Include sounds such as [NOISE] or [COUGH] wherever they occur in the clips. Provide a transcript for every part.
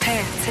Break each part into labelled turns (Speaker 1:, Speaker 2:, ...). Speaker 1: P3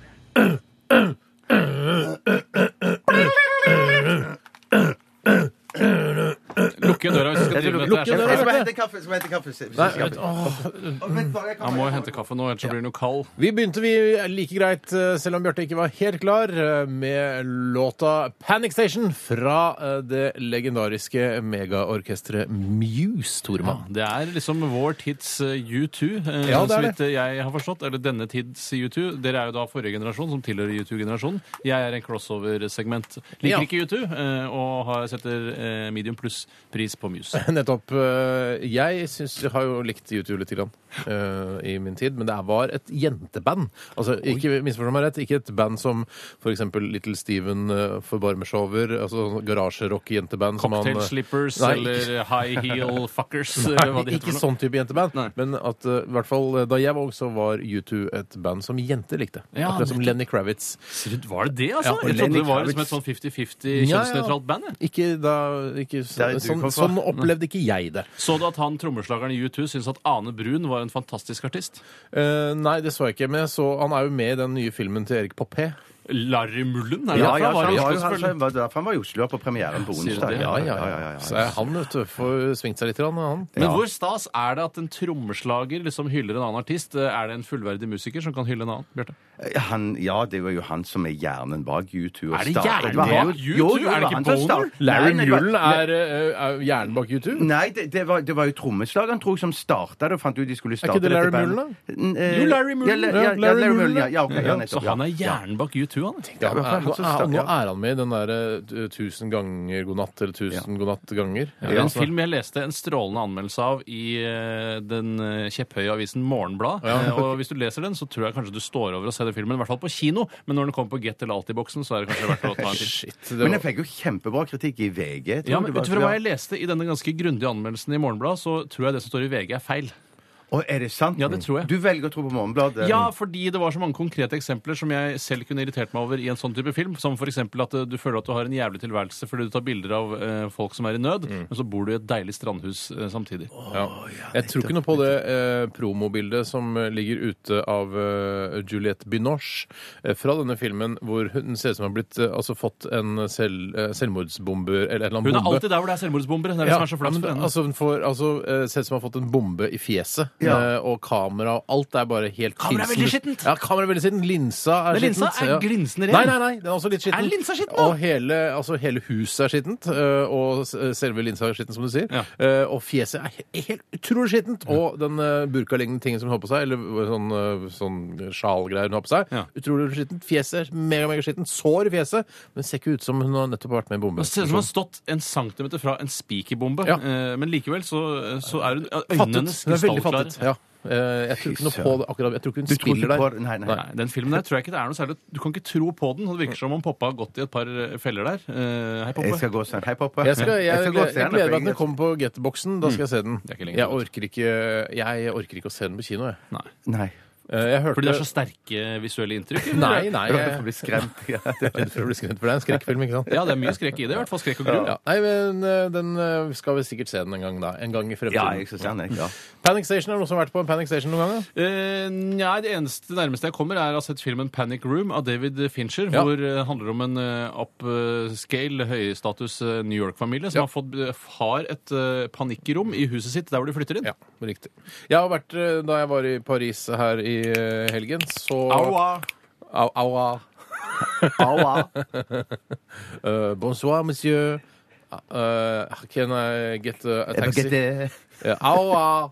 Speaker 2: Lukke døra hvis du skal drive med dette. her.
Speaker 3: døra. Skal
Speaker 4: Skal
Speaker 3: vi
Speaker 4: vi hente kaffe? Skal vi hente kaffe?
Speaker 2: Jeg må jo hente kaffe nå, ellers så blir det noe kald.
Speaker 3: Vi begynte vi like greit, eh, selv om Bjarte ikke var helt klar, eh, med låta 'Panic Station' fra eh, det legendariske megaorkesteret Muse, Toremann.
Speaker 2: Det er liksom vår tids eh, U2, eh,
Speaker 3: Ja, det
Speaker 2: så
Speaker 3: er
Speaker 2: vidt eh, jeg har forstått. Eller denne tids U2. Dere er jo da forrige generasjon, som tilhører U2-generasjonen. Jeg er en crossover-segment. Liker
Speaker 3: Ja.
Speaker 2: ikke U2, eh, og har, setter eh, medium pluss-pris på
Speaker 3: [LAUGHS]
Speaker 2: Muse.
Speaker 3: [LAUGHS] Nettopp. eh, Jeg synes, jeg har jo likt YouTube litt grann, eh, i min tid, men det var et jenteband. Altså, ikke misforstå meg rett, ikke et band som for eksempel Little Steven eh, forbarmer seg over, altså sånn garasjerock-jenteband. som han, eh,
Speaker 2: Cocktail slippers
Speaker 3: Nei.
Speaker 2: eller high
Speaker 3: [LAUGHS]
Speaker 2: heel fuckers, eller hva
Speaker 3: Nei,
Speaker 2: de
Speaker 3: ikke
Speaker 2: heter. for noe.
Speaker 3: sånn type jenteband,
Speaker 2: Nei.
Speaker 3: men at eh, i hvert fall eh, da jeg var ung, så var U2 et band som jenter likte.
Speaker 2: Ja,
Speaker 3: Akkurat som
Speaker 2: nettopp.
Speaker 3: Lenny Kravitz.
Speaker 2: Ser du, Var det det, altså?
Speaker 3: sånn. Ja, og
Speaker 2: jeg trodde
Speaker 4: Lenny
Speaker 2: det var liksom et
Speaker 4: Kravitz.
Speaker 2: sånn 50-50
Speaker 3: Ja, ja.
Speaker 2: kjønnsnøytralt band. jeg.
Speaker 3: Ikke da ikke,
Speaker 4: Der er
Speaker 3: sånn,
Speaker 4: du
Speaker 3: sånn,
Speaker 4: kom fra.
Speaker 3: sånn opplevde ikke jeg det.
Speaker 2: Så du at han trommeslageren i U2 syntes at Ane Brun var en fantastisk artist?
Speaker 3: Eh, nei, det så jeg ikke, men jeg så, han er jo med i den nye filmen til Erik Poppé.
Speaker 2: Larry Mullen? Er det
Speaker 4: Ja,
Speaker 2: derfra? Var
Speaker 4: ja,
Speaker 2: det i
Speaker 4: han var
Speaker 2: Oslo,
Speaker 4: jo her,
Speaker 2: selvfølgelig?
Speaker 4: så- var derfor han var i Oslo på premieren på
Speaker 2: Sier du
Speaker 4: onsdag.
Speaker 2: det?
Speaker 3: Ja, ja,
Speaker 4: ja, ja, ja.
Speaker 3: Så er han vet du, får svingt seg litt, grann, han.
Speaker 2: Men hvor stas er det at en trommeslager liksom hyller en annen artist? Er det en fullverdig musiker som kan hylle en annen? Bjarte?
Speaker 4: Han, ja, det var jo han som er hjernen bak U2. og
Speaker 2: Er det
Speaker 4: startet-
Speaker 2: hjernen
Speaker 4: var han-
Speaker 2: bak U2?
Speaker 4: Jo, jo,
Speaker 2: Er det
Speaker 4: var
Speaker 2: ikke
Speaker 4: han som
Speaker 2: Boner?
Speaker 4: startet-
Speaker 3: Larry
Speaker 4: Nei, nei, det var-
Speaker 3: Mullen er, eh, er hjernen bak YouTube?
Speaker 4: Nei, det, det, var, det var jo trommeslageren tror jeg, som starta det. og fant ut de skulle starte
Speaker 3: ikke det Larry
Speaker 4: dette bandet.
Speaker 3: Mullen,
Speaker 4: N- eh,
Speaker 2: Jo, Larry Mullen.
Speaker 4: Ja, ja, ja,
Speaker 3: Larry
Speaker 4: Larry
Speaker 3: Mullen,
Speaker 4: Mullen, ja. ja, ok, ja,
Speaker 2: Så
Speaker 4: nettopp, ja.
Speaker 2: han er hjernen bak U2, han?
Speaker 3: Ja,
Speaker 4: Ja, men
Speaker 3: er,
Speaker 4: han
Speaker 3: nå,
Speaker 4: som
Speaker 3: er,
Speaker 4: starter-
Speaker 3: nå er han med i den derre eh, 1000 ganger god natt eller 1000 god natt ganger.
Speaker 2: Det er En
Speaker 4: altså.
Speaker 2: film jeg leste en strålende anmeldelse av i eh, den eh, kjepphøye avisen Morgenblad. Eh, Og hvis du leser den, så tror jeg kanskje du står over å se den filmen, i hvert fall på kino. Men når den kommer på Get eller Altiboksen, så er det kanskje verdt å
Speaker 4: [LAUGHS]
Speaker 2: ta en titt.
Speaker 3: Shit. Det
Speaker 4: Men
Speaker 3: var,
Speaker 4: jeg fikk jo kjempebra kritikk i VG. tror
Speaker 2: Ja,
Speaker 4: jeg
Speaker 2: men
Speaker 4: det var.
Speaker 2: ut fra hva jeg leste i denne ganske grundige anmeldelsen i Morgenbladet, så tror jeg det som står i VG er feil.
Speaker 4: Å, er det sant?
Speaker 2: Ja, det tror jeg.
Speaker 4: Du velger å tro på
Speaker 3: Eh,
Speaker 4: Morgenbladet?
Speaker 2: Ja, fordi det var så mange konkrete eksempler som jeg selv kunne irritert meg over i en sånn type film. Som f.eks. at eh, du føler at du har en jævlig tilværelse fordi du tar bilder av eh, folk som er i nød,
Speaker 3: Mm.
Speaker 2: men så bor du i et deilig strandhus eh, samtidig.
Speaker 3: ja. Jeg tror ikke noe på det eh, promobildet som eh, ligger ute av eh, Juliette Binoche eh, fra denne filmen, hvor hun ser ut som hun har blitt, eh, altså fått en selv, eh, selvmordsbomber eller en eller
Speaker 2: Hun
Speaker 3: annen
Speaker 2: er
Speaker 3: bombe.
Speaker 2: alltid der hvor det er selvmordsbombere. Det er det
Speaker 3: Ja,
Speaker 2: som er så flaks
Speaker 3: men
Speaker 2: for henne.
Speaker 3: altså, hun får, altså, eh, ser ut som hun har fått en bombe i fjeset.
Speaker 4: Ja.
Speaker 3: eh, Og kamera og alt er bare helt
Speaker 2: Kamera er
Speaker 3: kinsen-
Speaker 2: veldig skittent.
Speaker 3: Ja, kamera er veldig skittent. Linsa er
Speaker 2: Men linsa
Speaker 3: skittent,
Speaker 2: er
Speaker 3: ja.
Speaker 2: glinsende ren.
Speaker 3: Nei, nei, nei, den er også litt skitten.
Speaker 2: Er linsa skitten, da?
Speaker 3: Og hele, altså, hele huset er skittent. eh, Og s- selve linsa er skitten, som du sier.
Speaker 2: Ja.
Speaker 3: Eh, Og fjeset er he- helt utrolig skittent. Og den eh, burkalignende tingen som hun har på seg, eller sånn, eh, sånn sjalgreier hun har på seg,
Speaker 2: Ja.
Speaker 3: utrolig skittent. Fjeset er mega, mega skittent. Sår i fjeset, men ser ikke ut som hun har nettopp vært med i en bombe.
Speaker 2: Det ser ut som hun har stått en centimeter fra en spikerbombe,
Speaker 3: Ja.
Speaker 2: eh, men likevel så, så er hun ja,
Speaker 3: Fattet.
Speaker 2: Øynene hennes
Speaker 3: Hun er veldig
Speaker 2: krystallklare.
Speaker 3: fattet. Ja. Eh, Jeg tror ikke noe på det akkurat. Jeg tror ikke hun
Speaker 4: Du tror
Speaker 3: spiller
Speaker 4: ikke
Speaker 3: der.
Speaker 4: på Nei, nei.
Speaker 2: Nei, den filmen der tror jeg ikke det er noe særlig Du kan ikke tro på den. og Det virker som om Poppa har gått i et par eh, feller der. Eh, hei,
Speaker 4: Jeg
Speaker 2: Poppe.
Speaker 4: skal gå og se den. Hei, Poppe.
Speaker 3: Jeg, skal, jeg, jeg,
Speaker 4: gå og se den,
Speaker 3: gleder meg
Speaker 4: for
Speaker 3: til den kommer på Getboksen. Da skal jeg se den.
Speaker 2: er ikke lenge
Speaker 3: Jeg
Speaker 2: til.
Speaker 3: orker ikke, jeg orker ikke å se den på kino, jeg.
Speaker 2: Nei.
Speaker 4: Nei.
Speaker 2: [LAUGHS]
Speaker 3: Eh, Jeg hørte
Speaker 2: Fordi det er så sterke visuelle inntrykk? eller?
Speaker 3: Nei, nei.
Speaker 4: Jeg var redd for å
Speaker 3: Jeg
Speaker 4: bli skremt. [LAUGHS] Ja,
Speaker 3: er redd for å bli skremt, for det er en skrekkfilm, ikke sant?
Speaker 2: Ja, det er mye skrekk i det. I hvert fall skrekk og gru.
Speaker 3: Ja, nei, men eh, den eh, skal vi sikkert se den en gang, da. En gang
Speaker 4: ja
Speaker 3: i
Speaker 4: jeg
Speaker 3: fremtiden.
Speaker 4: skal se den, jeg. Ja.
Speaker 3: Panic Station, er det noen som har vært på en Panic Station noen gang? da?
Speaker 2: Eh, nei, det eneste nærmeste jeg kommer, er å ha sett filmen 'Panic Room' av David Fincher,
Speaker 3: Ja.
Speaker 2: hvor det handler om en eh, upscale, høystatus eh, New York-familie som
Speaker 3: Ja.
Speaker 2: har, fått, har et eh, panikkrom i huset sitt der hvor de flytter inn.
Speaker 3: Ja, riktig. Jeg har vært, eh, Da jeg var i Paris her i eh, helgen, så
Speaker 2: Aua!
Speaker 3: Au, aua.
Speaker 4: [LAUGHS] Aua.
Speaker 3: Eh, bonsoir, monsieur. Eh, can I get eh, a taxi?
Speaker 4: Baguette.
Speaker 3: Ja, au, au.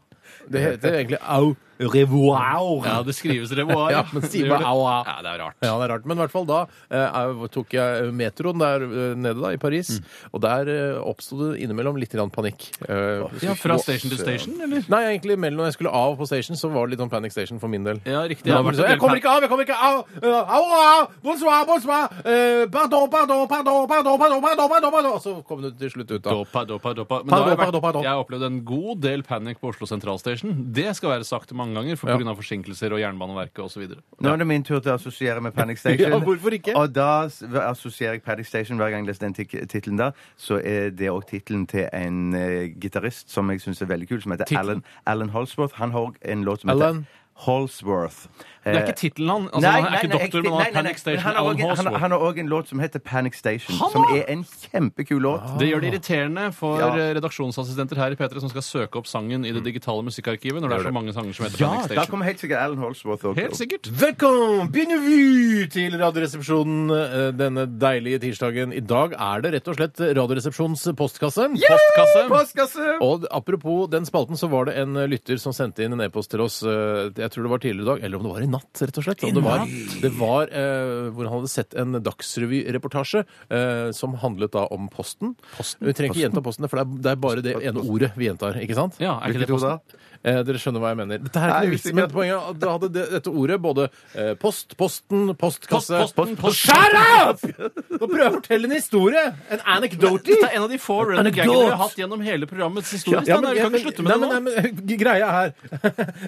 Speaker 3: Det heter egentlig au revoir.
Speaker 2: Ja, det skrives revoir.
Speaker 3: [LAUGHS] Ja, men si
Speaker 2: Det gjør
Speaker 3: bare
Speaker 2: det.
Speaker 3: au, au.
Speaker 2: Ja, det er rart.
Speaker 3: Ja, det er rart. Men i hvert fall da eh, er- tok jeg metroen der eh, nede da, i Paris,
Speaker 2: Mm.
Speaker 3: og der eh, oppstod det innimellom litt grann panikk. Eh,
Speaker 2: Ja, fra station til station, eller?
Speaker 3: Nei, egentlig mellom jeg skulle av på station, så var det litt sånn panic station for min del.
Speaker 2: Ja, riktig.
Speaker 3: Da var det sånn, jeg kommer ikke av! jeg kommer ikke av! Eh, Au, au! Bonsoir, bonsoir! Eh, Pardon, pardon, pardon, pardon, pardon, pardon, pardon, pardon! Og så kom du til slutt ut, da.
Speaker 2: Dopa, dopa, dopa. Men
Speaker 3: Pardon,
Speaker 2: da har jeg,
Speaker 3: pardon,
Speaker 2: vært,
Speaker 3: pardon.
Speaker 2: jeg har opplevd en god del panic på Oslo Sentralstation. Det skal være sagt mange mange ganger for
Speaker 3: Ja.
Speaker 2: pga. forsinkelser og Jernbaneverket osv.
Speaker 4: Nå er det min tur til å assosiere
Speaker 2: [LAUGHS]
Speaker 4: med Panic Station.
Speaker 3: Ja, hvorfor ikke?
Speaker 4: Og da s- assosierer jeg Panic Station hver gang jeg leser den tik- tittelen der. Så er det òg tittelen til en uh, gitarist som jeg syns er veldig kul, som heter Alan, Alan Holsworth. Han har òg en låt som
Speaker 3: Alan?
Speaker 4: heter Holsworth.
Speaker 2: Det er ikke tittelen han. Altså, han er ikke doktor, men han har Panic Station. Alan Halsworth.
Speaker 4: Han har òg en låt som heter Panic Station,
Speaker 2: Han
Speaker 4: som
Speaker 2: har-
Speaker 4: er en kjempekul låt.
Speaker 2: Det gjør det irriterende for
Speaker 4: Ja.
Speaker 2: eh, redaksjonsassistenter her i P3 som skal søke opp sangen i det digitale musikkarkivet når Mm. det er så mange sanger som heter
Speaker 4: Ja,
Speaker 2: Panic
Speaker 4: da
Speaker 2: Station.
Speaker 4: kommer helt sikkert Alan Holsworth òg.
Speaker 2: Helt sikkert.
Speaker 3: Velkommen, bienvenue til Radioresepsjonen eh, denne deilige tirsdagen. I dag er det rett og slett Radioresepsjonens postkasse.
Speaker 2: Postkasse.
Speaker 4: Postkasse!
Speaker 3: Og apropos den spalten, så var det en eh, lytter som sendte inn en e-post til oss eh, jeg tror det var tidligere i dag, eller om det var i natt, rett og slett. Om det var, det var eh, hvor han hadde sett en dagsrevyreportasje eh, som handlet da om Posten. Vi trenger ikke gjenta Posten, for det er, det er bare det ene ordet vi gjentar, ikke sant?
Speaker 2: Ja, er ikke det
Speaker 4: Hvilket ord da?
Speaker 2: posten?
Speaker 3: Eh, dere skjønner hva jeg mener. Dette her
Speaker 4: Nei,
Speaker 3: er ikke
Speaker 4: jeg
Speaker 3: noe
Speaker 4: visste
Speaker 3: vits,
Speaker 4: ikke
Speaker 3: men
Speaker 4: at-
Speaker 3: poenget er at da hadde det, dette ordet både eh, post, posten, postkasse
Speaker 2: Post, posten, post-
Speaker 3: Shut up! Nå prøver jeg å fortelle en historie! En anekdote!
Speaker 2: Dette er en av de få running
Speaker 3: Anekdot.
Speaker 2: gangene vi har hatt gjennom hele programmets historie.
Speaker 3: Ja, men
Speaker 2: Steinar. vi kan
Speaker 3: jeg-
Speaker 2: ikke slutte med
Speaker 3: nei,
Speaker 2: det nå.
Speaker 3: men, nei, men, greia her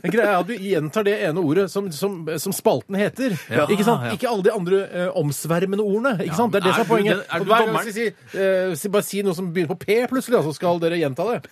Speaker 3: Greia er [LAUGHS] at du gjentar det ene ordet som, som, som spalten heter.
Speaker 2: Ja,
Speaker 3: ikke sant?
Speaker 2: ja.
Speaker 3: Ikke alle de andre eh, omsvermende ordene. Ikke sant? Det er det som
Speaker 2: er
Speaker 3: er
Speaker 2: du
Speaker 3: poenget.
Speaker 2: den- er
Speaker 3: Og
Speaker 2: du
Speaker 3: hver gang
Speaker 2: dommeren?
Speaker 3: jeg skal si, eh, si, bare si noe som begynner på P plutselig, da, så skal dere gjenta det.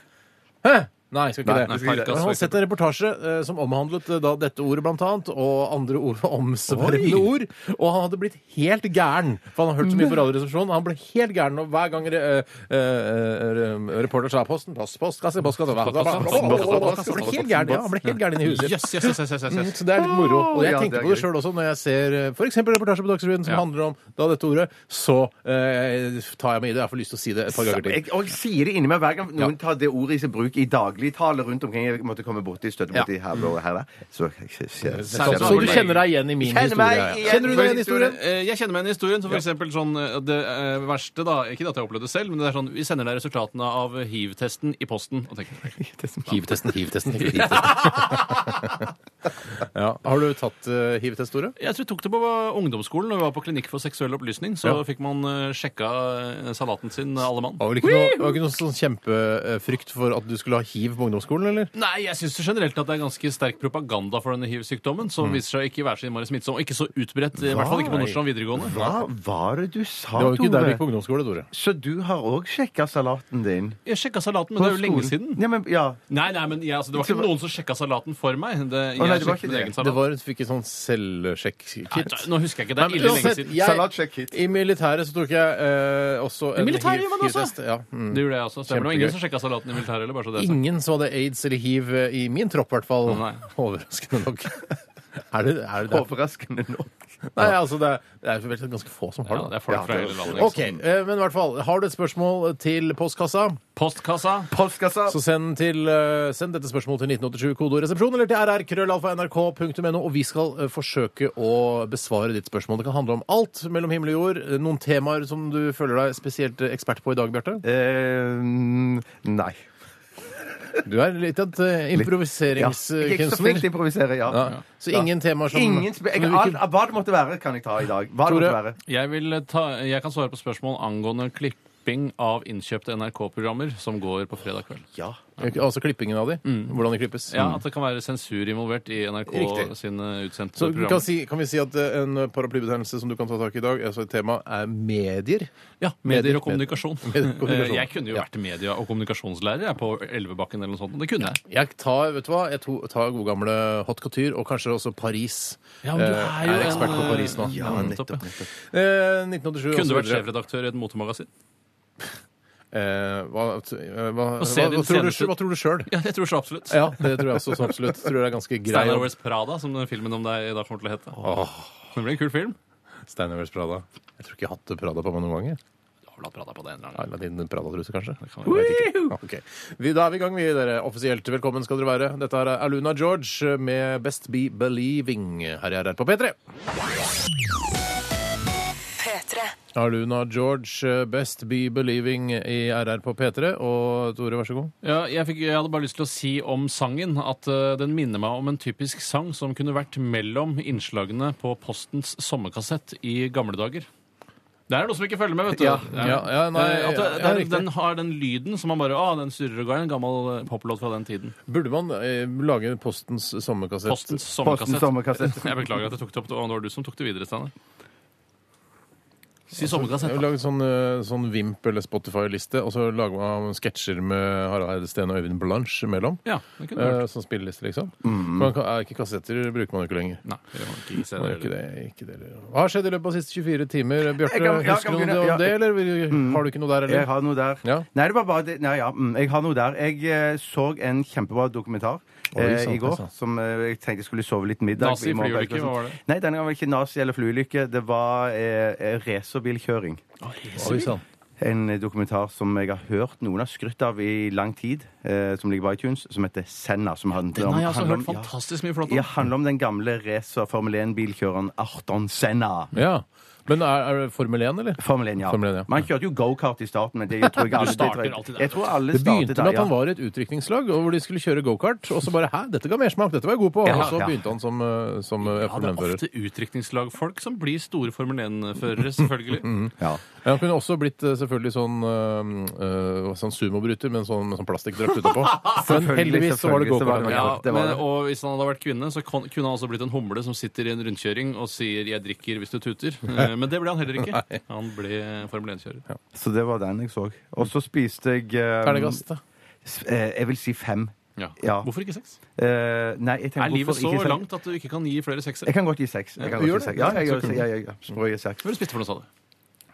Speaker 3: Hæ? Nei, jeg skal ikke
Speaker 4: Nei,
Speaker 3: det.
Speaker 2: nei, parkas,
Speaker 3: Men jeg
Speaker 2: for
Speaker 3: har sett en reportasje eh, som omhandlet eh, da dette ordet blant annet, og andre ord, omsvermende ord. Og han hadde blitt helt gæren, for han har hørt så mye på Radioresepsjonen. Han ble helt gæren, og hver gang re, eh, eh, reporter sa posten, post, postkasse, postkasse,
Speaker 2: Postkasse,
Speaker 3: postkasse Han ble helt gæren, ja. Han ble helt gæren inni huset.
Speaker 2: Yes, yes, yes, yes, yes,
Speaker 3: Mm,
Speaker 2: yes.
Speaker 3: Så det er litt moro. Og jeg
Speaker 4: Ja, det
Speaker 3: tenker
Speaker 4: er
Speaker 3: på
Speaker 4: gøy.
Speaker 3: det sjøl også når jeg ser f.eks. reportasje på Dagsrevyen som
Speaker 2: Ja.
Speaker 3: handler om da dette ordet, så eh, tar jeg meg i det. Jeg får lyst til å si det et par ganger til.
Speaker 4: Jeg, og jeg sier det inni meg hver gang noen tar det ordet i sin bruk i dagligtale rundt omkring. Jeg måtte komme borti støtte borti her og her. Så jeg kjenner
Speaker 3: Så, så du kjenner deg igjen i min
Speaker 4: Kjenner meg
Speaker 3: historie? ja.
Speaker 4: igjen.
Speaker 3: Kjenner du deg igjen i historien?
Speaker 2: Eh, Jeg kjenner meg igjen i historien. Så for eksempel sånn, eh, det eh, verste, da Ikke at jeg opplevde det selv, men det er sånn Vi sender deg resultatene av hiv-testen i posten. Og tenker,
Speaker 3: Hivtesten, hivtesten,
Speaker 2: [LAUGHS]
Speaker 3: hivtesten. ja. Har du tatt uh, hivtest, Tore?
Speaker 2: jeg tror jeg tok det på ungdomsskolen. Når vi var på Klinikk for seksuell opplysning, så
Speaker 3: Ja.
Speaker 2: fikk man eh, sjekka eh, salaten sin, alle mann.
Speaker 3: Det var vel ikke noe, det var ikke noe sånn kjempefrykt for at du skulle ha hiv på ungdomsskolen, eller?
Speaker 2: Nei, jeg syns generelt at det er ganske sterk propaganda for denne hiv-sykdommen, som viser seg ikke være så innmari smittsom, og ikke så utbredt, i hvert fall ikke på
Speaker 3: Nei.
Speaker 2: Nordstrand videregående.
Speaker 4: Hva var det du sa,
Speaker 3: Det var jo ikke der vi gikk
Speaker 4: Tore?
Speaker 3: på ungdomsskole, Tore.
Speaker 4: Så du har òg sjekka salaten din?
Speaker 2: Jeg sjekka salaten, men det er jo lenge siden.
Speaker 4: Ja, men, ja.
Speaker 2: Nei, nei, men jeg, altså, det var ikke noen som sjekka salaten for meg. Det, jeg
Speaker 4: nei, det var
Speaker 2: sjekket
Speaker 4: ikke
Speaker 2: min
Speaker 4: det.
Speaker 2: egen
Speaker 3: Det
Speaker 2: salat.
Speaker 3: var, du fikk et sånn selvsjekk-kit.
Speaker 2: Nei, nå husker jeg ikke. Det
Speaker 3: Nei,
Speaker 2: er
Speaker 3: men
Speaker 2: ille lenge
Speaker 3: uansett,
Speaker 2: siden.
Speaker 3: jeg-
Speaker 4: Salatsjekk-kit.
Speaker 3: I militæret så tok jeg eh, også en
Speaker 2: militæret gjør man det også?
Speaker 3: hiv-test. Ja. Mm.
Speaker 2: Det gjorde jeg også. Stemmer. Det var
Speaker 3: Kjempegøy.
Speaker 2: ingen som sjekka salaten i militæret heller, bare så det er sagt.
Speaker 3: Ingen som hadde aids eller hiv eh, i min tropp, i hvert fall.
Speaker 2: Nei.
Speaker 3: [LAUGHS] Overraskende
Speaker 2: [LAUGHS]
Speaker 3: nok. er det er det derfor?
Speaker 4: Overraskende nok.
Speaker 3: Nei, altså, det er, det er vel ganske få som har
Speaker 2: Ja,
Speaker 3: det.
Speaker 2: det er folk fra hele landet. Liksom.
Speaker 3: OK, eh, men i hvert fall, har du et spørsmål til postkassa,
Speaker 2: Postkassa.
Speaker 4: Postkassa.
Speaker 3: så send, til, eh, send dette spørsmålet til 1987 kodoresepsjon eller til rrkrøllalfa.nrk.no, og vi skal eh, forsøke å besvare ditt spørsmål. Det kan handle om alt mellom himmel og jord. Eh, Noen temaer som du føler deg spesielt eh, ekspert på i dag, Bjarte?
Speaker 4: Eh, nei.
Speaker 3: Du er litt av et eh,
Speaker 4: Ja. Jeg er ikke så flink til
Speaker 3: improviseringskunstner.
Speaker 4: å improvisere, ja.
Speaker 3: Ja. Så ingen temaer som
Speaker 4: Ingen spe jeg,
Speaker 3: som du ikke-
Speaker 4: alt, hva det måtte være, kan jeg ta i dag. Hva det
Speaker 3: Tore.
Speaker 4: måtte være.
Speaker 2: Jeg, vil ta, jeg kan svare på spørsmål angående klipping av innkjøpte NRK-programmer som går på fredag kveld.
Speaker 4: Ja.
Speaker 3: Altså klippingen av de?
Speaker 4: Mm.
Speaker 3: Hvordan de klippes? Mm.
Speaker 2: Ja, At det kan være sensur involvert i NRK
Speaker 3: Riktig.
Speaker 2: sine utsendte
Speaker 3: Så vi kan,
Speaker 2: programmer.
Speaker 3: si, kan vi si at eh, en paraplybetegnelse som du kan ta tak i i dag, altså et tema, er medier?
Speaker 2: Ja, Medier og kommunikasjon.
Speaker 3: [LAUGHS] Medier og kommunikasjon.
Speaker 2: Eh, Jeg kunne jo
Speaker 3: Ja.
Speaker 2: vært media- og kommunikasjonslærer jeg, på Elvebakken eller noe sånt. og Det kunne jeg.
Speaker 3: Jeg tar vet du hva, jeg to- tar gode gamle haute couture og kanskje også Paris.
Speaker 2: Ja, men du
Speaker 3: Eh,
Speaker 2: er jo
Speaker 3: er ekspert på
Speaker 2: en,
Speaker 3: Paris nå.
Speaker 2: Ja, nettopp, ja.
Speaker 3: Eh, 1987
Speaker 2: Kunne du vært
Speaker 3: og så videre.
Speaker 2: sjefredaktør i et motemagasin?
Speaker 3: Eh, hva, eh, hva,
Speaker 2: Og se
Speaker 3: hva,
Speaker 2: din
Speaker 3: hva, tror du,
Speaker 2: seneste-
Speaker 3: hva tror du sjøl?
Speaker 2: Ja, jeg tror så absolutt.
Speaker 3: Ja, det tror jeg også så absolutt. Tror det er ganske grei
Speaker 2: Steinar Wears Prada, som den filmen om deg i dag kommer til å hete. Det blir en kul film.
Speaker 3: Steinar West Prada. Jeg tror ikke jeg har hatt Prada på meg noen ganger.
Speaker 2: Du har vel hatt Prada på det en eller annen gang.
Speaker 3: Eller din Prada-truse, kanskje?
Speaker 2: kan
Speaker 3: Jeg vet ikke. Ok. Vi, da er vi i gang, vi, dere. Offisielt velkommen skal dere være. Dette er Aluna George med Best Be Believing. Her er her på P3.
Speaker 1: P3.
Speaker 3: Aluna George, Best Be Believing i RR på P3. Og Tore, vær så god.
Speaker 2: Ja, jeg, fikk, jeg hadde bare lyst til å si om sangen at eh, den minner meg om en typisk sang som kunne vært mellom innslagene på Postens sommerkassett i gamle dager. Det er noe som ikke følger med, vet du.
Speaker 3: Ja.
Speaker 2: Det er-
Speaker 3: Ja, ja, nei,
Speaker 2: Eh, at det,
Speaker 3: ja,
Speaker 2: det,
Speaker 3: riktig.
Speaker 2: den har den lyden som man bare Å, den surrer og går. En gammel eh, poplåt fra den tiden.
Speaker 3: Burde man eh, lage Postens sommerkassett?
Speaker 2: Postens
Speaker 4: Postens
Speaker 2: sommerkassett. [LAUGHS]
Speaker 4: sommerkassett.
Speaker 2: Jeg beklager at jeg tok det opp. Det var du som tok det videre, Steinar. Si
Speaker 3: Altså, Jeg
Speaker 2: sommerkassett.
Speaker 3: vil
Speaker 2: da.
Speaker 3: lage en sånn, eh, sånn Vimp- eller Spotify-liste, og så lager man sketsjer med Harald Eide Steen og Øyvind Blanche imellom.
Speaker 2: Ja, det kunne du
Speaker 3: Eh,
Speaker 2: hørt.
Speaker 3: Sånn spilleliste, liksom.
Speaker 4: Mm.
Speaker 3: Man kan, er ikke kassetter bruker man jo ikke lenger.
Speaker 2: Nei, det var ikke se
Speaker 3: Det er
Speaker 2: det.
Speaker 3: ikke det, ikke det. eller- Hva har skjedd i løpet av de siste 24 timer? Bjarte,
Speaker 4: Jeg kan- jeg kan
Speaker 3: husker du
Speaker 4: begynne, ja.
Speaker 3: noe
Speaker 4: Mm.
Speaker 3: om det, eller vil- har du ikke noe der,
Speaker 4: Jeg
Speaker 3: eller?
Speaker 4: har noe der.
Speaker 3: Ja.
Speaker 4: Nei, det var bare det. Nei, ja. mm, Jeg har noe der. Jeg eh, så en kjempebra dokumentar
Speaker 3: Oi,
Speaker 4: eh,
Speaker 3: sant,
Speaker 4: i går
Speaker 3: sant.
Speaker 4: som eh, jeg tenkte jeg skulle sove litt middag.
Speaker 2: Nazi,
Speaker 4: i morgen.
Speaker 2: flyulykke, hva var det?
Speaker 4: sånn. Nei, denne gangen var det ikke nazi eller flyulykke. Det var eh, eh, racerbilkjøring.
Speaker 3: Oi,
Speaker 4: sånn.
Speaker 3: sant.
Speaker 4: En dokumentar som jeg har hørt noen har skrytt av i lang tid, eh, som ligger på iTunes, som heter Senna. Som handler
Speaker 2: Den
Speaker 4: om,
Speaker 2: har jeg altså
Speaker 4: handler
Speaker 2: hørt
Speaker 4: om- ja.
Speaker 2: fantastisk mye flott
Speaker 4: Ja,
Speaker 2: om.
Speaker 4: handler om den gamle racer Formel 1-bilkjøreren Arton Senna.
Speaker 3: Ja. Men er, er det Formel 1, eller?
Speaker 4: Formel 1, ja.
Speaker 3: Formel 1, ja.
Speaker 4: Man kjørte jo gokart i starten, men det tror jeg alle, det
Speaker 2: starter
Speaker 4: tror jeg-
Speaker 2: alltid der.
Speaker 4: Jeg tror alle
Speaker 3: Det begynte
Speaker 4: startet der,
Speaker 3: med at
Speaker 4: ja.
Speaker 3: han var i et utrykningslag, og hvor de skulle kjøre gokart. Og så bare 'hæ, dette ga mersmak, dette var jeg god på'.
Speaker 4: Ja,
Speaker 3: Og så
Speaker 4: ja.
Speaker 3: begynte han som, eh, som eh,
Speaker 2: Ja, det
Speaker 3: Formel
Speaker 2: er
Speaker 3: 1-fører.
Speaker 2: ofte utrykningslagfolk som blir store Formel 1-førere,
Speaker 4: [LAUGHS]
Speaker 2: selvfølgelig.
Speaker 4: Ja.
Speaker 3: Ja, Han kunne også blitt eh, selvfølgelig sånn, eh, eh, sånn sumobryter med en sånn, med sånn
Speaker 4: [LAUGHS]
Speaker 3: plastikkdrakt utapå. Men
Speaker 4: Selvfølgelig,
Speaker 3: heldigvis så var det
Speaker 4: selvfølgelig, så var
Speaker 3: gokart.
Speaker 4: det-
Speaker 3: han
Speaker 2: Ja,
Speaker 3: var på.
Speaker 4: det var
Speaker 2: men,
Speaker 4: det.
Speaker 2: og hvis han hadde vært kvinne, så kon- kunne han altså blitt en humle som sitter i en rundkjøring og sier 'jeg drikker hvis du
Speaker 4: [LAUGHS]
Speaker 2: tuter'. Eh, Men det ble han heller ikke. Han ble Formel 1-kjører.
Speaker 4: Så det var den jeg så. Og så spiste jeg eh,
Speaker 3: Terningkast, da.
Speaker 4: s- eh, Jeg vil si fem.
Speaker 2: Ja.
Speaker 4: Ja.
Speaker 2: Hvorfor ikke seks?
Speaker 4: Eh, nei, jeg tenker
Speaker 2: Er livet
Speaker 4: hvorfor
Speaker 2: så
Speaker 4: ikke seks?
Speaker 2: langt at du ikke kan gi flere sekser?
Speaker 4: Jeg kan godt gi seks. Jeg kan godt
Speaker 3: du
Speaker 4: gi
Speaker 3: gjør det?
Speaker 4: seks. Ja, jeg gjør det. Ja, ja, ja. Sprø i seks.
Speaker 2: Hva har du spist for noe, sa du?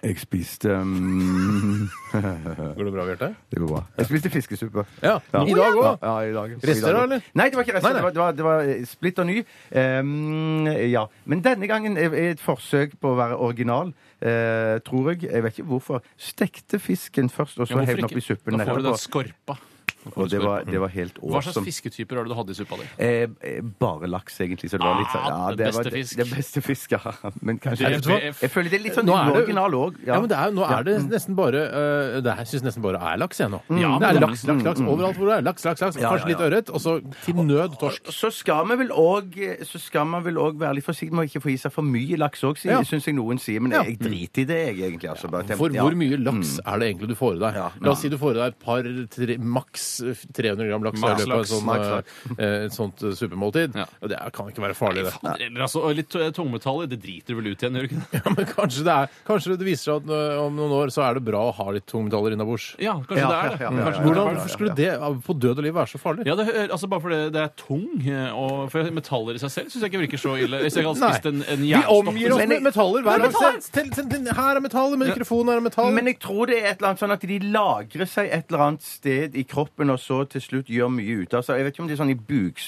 Speaker 4: Jeg spiste um, [LAUGHS]
Speaker 3: Går det bra, Bjarte?
Speaker 4: Det går bra. Jeg spiste fiskesuppe.
Speaker 3: Ja. I dag òg?
Speaker 4: Ja, i dag.
Speaker 3: Rester
Speaker 4: I dag.
Speaker 3: da, eller?
Speaker 4: Nei, det var ikke rester.
Speaker 3: Nei, nei.
Speaker 4: Det, var, det, var, det var eh, splitter ny. Ehm, ja. Men denne gangen er er et forsøk på å være original, eh, tror jeg. Jeg vet ikke hvorfor. Stekte fisken først, og så hev den opp i suppen
Speaker 2: Da får du
Speaker 4: etterpå.
Speaker 2: den skorpa. Da får
Speaker 4: Og
Speaker 2: du
Speaker 4: det var,
Speaker 2: skorpa.
Speaker 4: det var helt
Speaker 2: Hva slags
Speaker 4: awesome.
Speaker 2: fisketyper har du hatt i suppa di?
Speaker 4: Eh, eh, bare laks, egentlig. Så det var litt sånn
Speaker 2: Ah, det beste fisk.
Speaker 4: Det, det beste fisk, ja. [LAUGHS] Men kanskje
Speaker 3: Vet du hva?
Speaker 2: DPF.
Speaker 4: Jeg føler det er litt sånn
Speaker 3: Nå er det-
Speaker 4: uoriginal òg.
Speaker 3: Ja, men det er, nå er det nesten bare eh, Det her syns nesten bare er laks, jeg nå.
Speaker 4: Mm.
Speaker 2: Ja,
Speaker 3: det
Speaker 2: men-
Speaker 3: er laks, laks, laks overalt hvor det er. Laks, laks, laks.
Speaker 4: ja,
Speaker 3: Kanskje litt
Speaker 4: ja.
Speaker 3: ørret, og så til nød torsk.
Speaker 4: Så skal man vel òg Så skal man vel også være litt forsiktig med å ikke få i seg for mye laks òg,
Speaker 3: Ja.
Speaker 4: syns jeg noen sier. Men
Speaker 3: Ja.
Speaker 4: jeg driter i det, jeg, egentlig. Altså. Bare tenk-
Speaker 3: For
Speaker 4: ja. Mm.
Speaker 3: hvor mye laks er det egentlig du får i deg?
Speaker 4: Ja.
Speaker 3: La oss si du får i deg et par, tre, maks 300 gram laks i
Speaker 2: Maks
Speaker 3: løpet av et
Speaker 2: laks,
Speaker 4: maks
Speaker 3: sånt, eh, et sånt eh, supermåltid.
Speaker 2: Ja.
Speaker 3: Og det er- kan ikke være farlig, det.
Speaker 2: Eller, altså, og litt eh, tungmetaller, det driter du vel ut igjen, gjør du ikke det?
Speaker 3: Ja, men kanskje det, er, kanskje det viser seg at ø, om noen år så er det bra å ha litt tungmetaller innabords.
Speaker 2: Ja, kanskje
Speaker 4: Ja,
Speaker 2: det er det.
Speaker 4: ja,
Speaker 2: Kanskje det
Speaker 4: ja, ja, ja,
Speaker 2: er
Speaker 4: ja.
Speaker 2: det.
Speaker 3: Hvordan hvorfor skulle det ø, på død og liv være så farlig?
Speaker 2: Ja, det, hø- altså Bare fordi det er tung, eh, og for metaller i seg selv syns jeg ikke virker så ille. Hvis jeg hadde
Speaker 3: Nei.
Speaker 2: spist en, en
Speaker 3: Vi omgir
Speaker 2: jernstopp liksom.
Speaker 4: Men
Speaker 3: oss
Speaker 4: jeg-
Speaker 3: med metaller hver
Speaker 4: Men
Speaker 3: dag. Se, til- til- til- Her er metallet, men mikrofonen er metall.
Speaker 4: Men jeg tror det er et eller annet sånn at de lagrer seg et eller annet sted i kroppen, og så til slutt gjør mye ut av seg. Jeg vet ikke om det er sånn i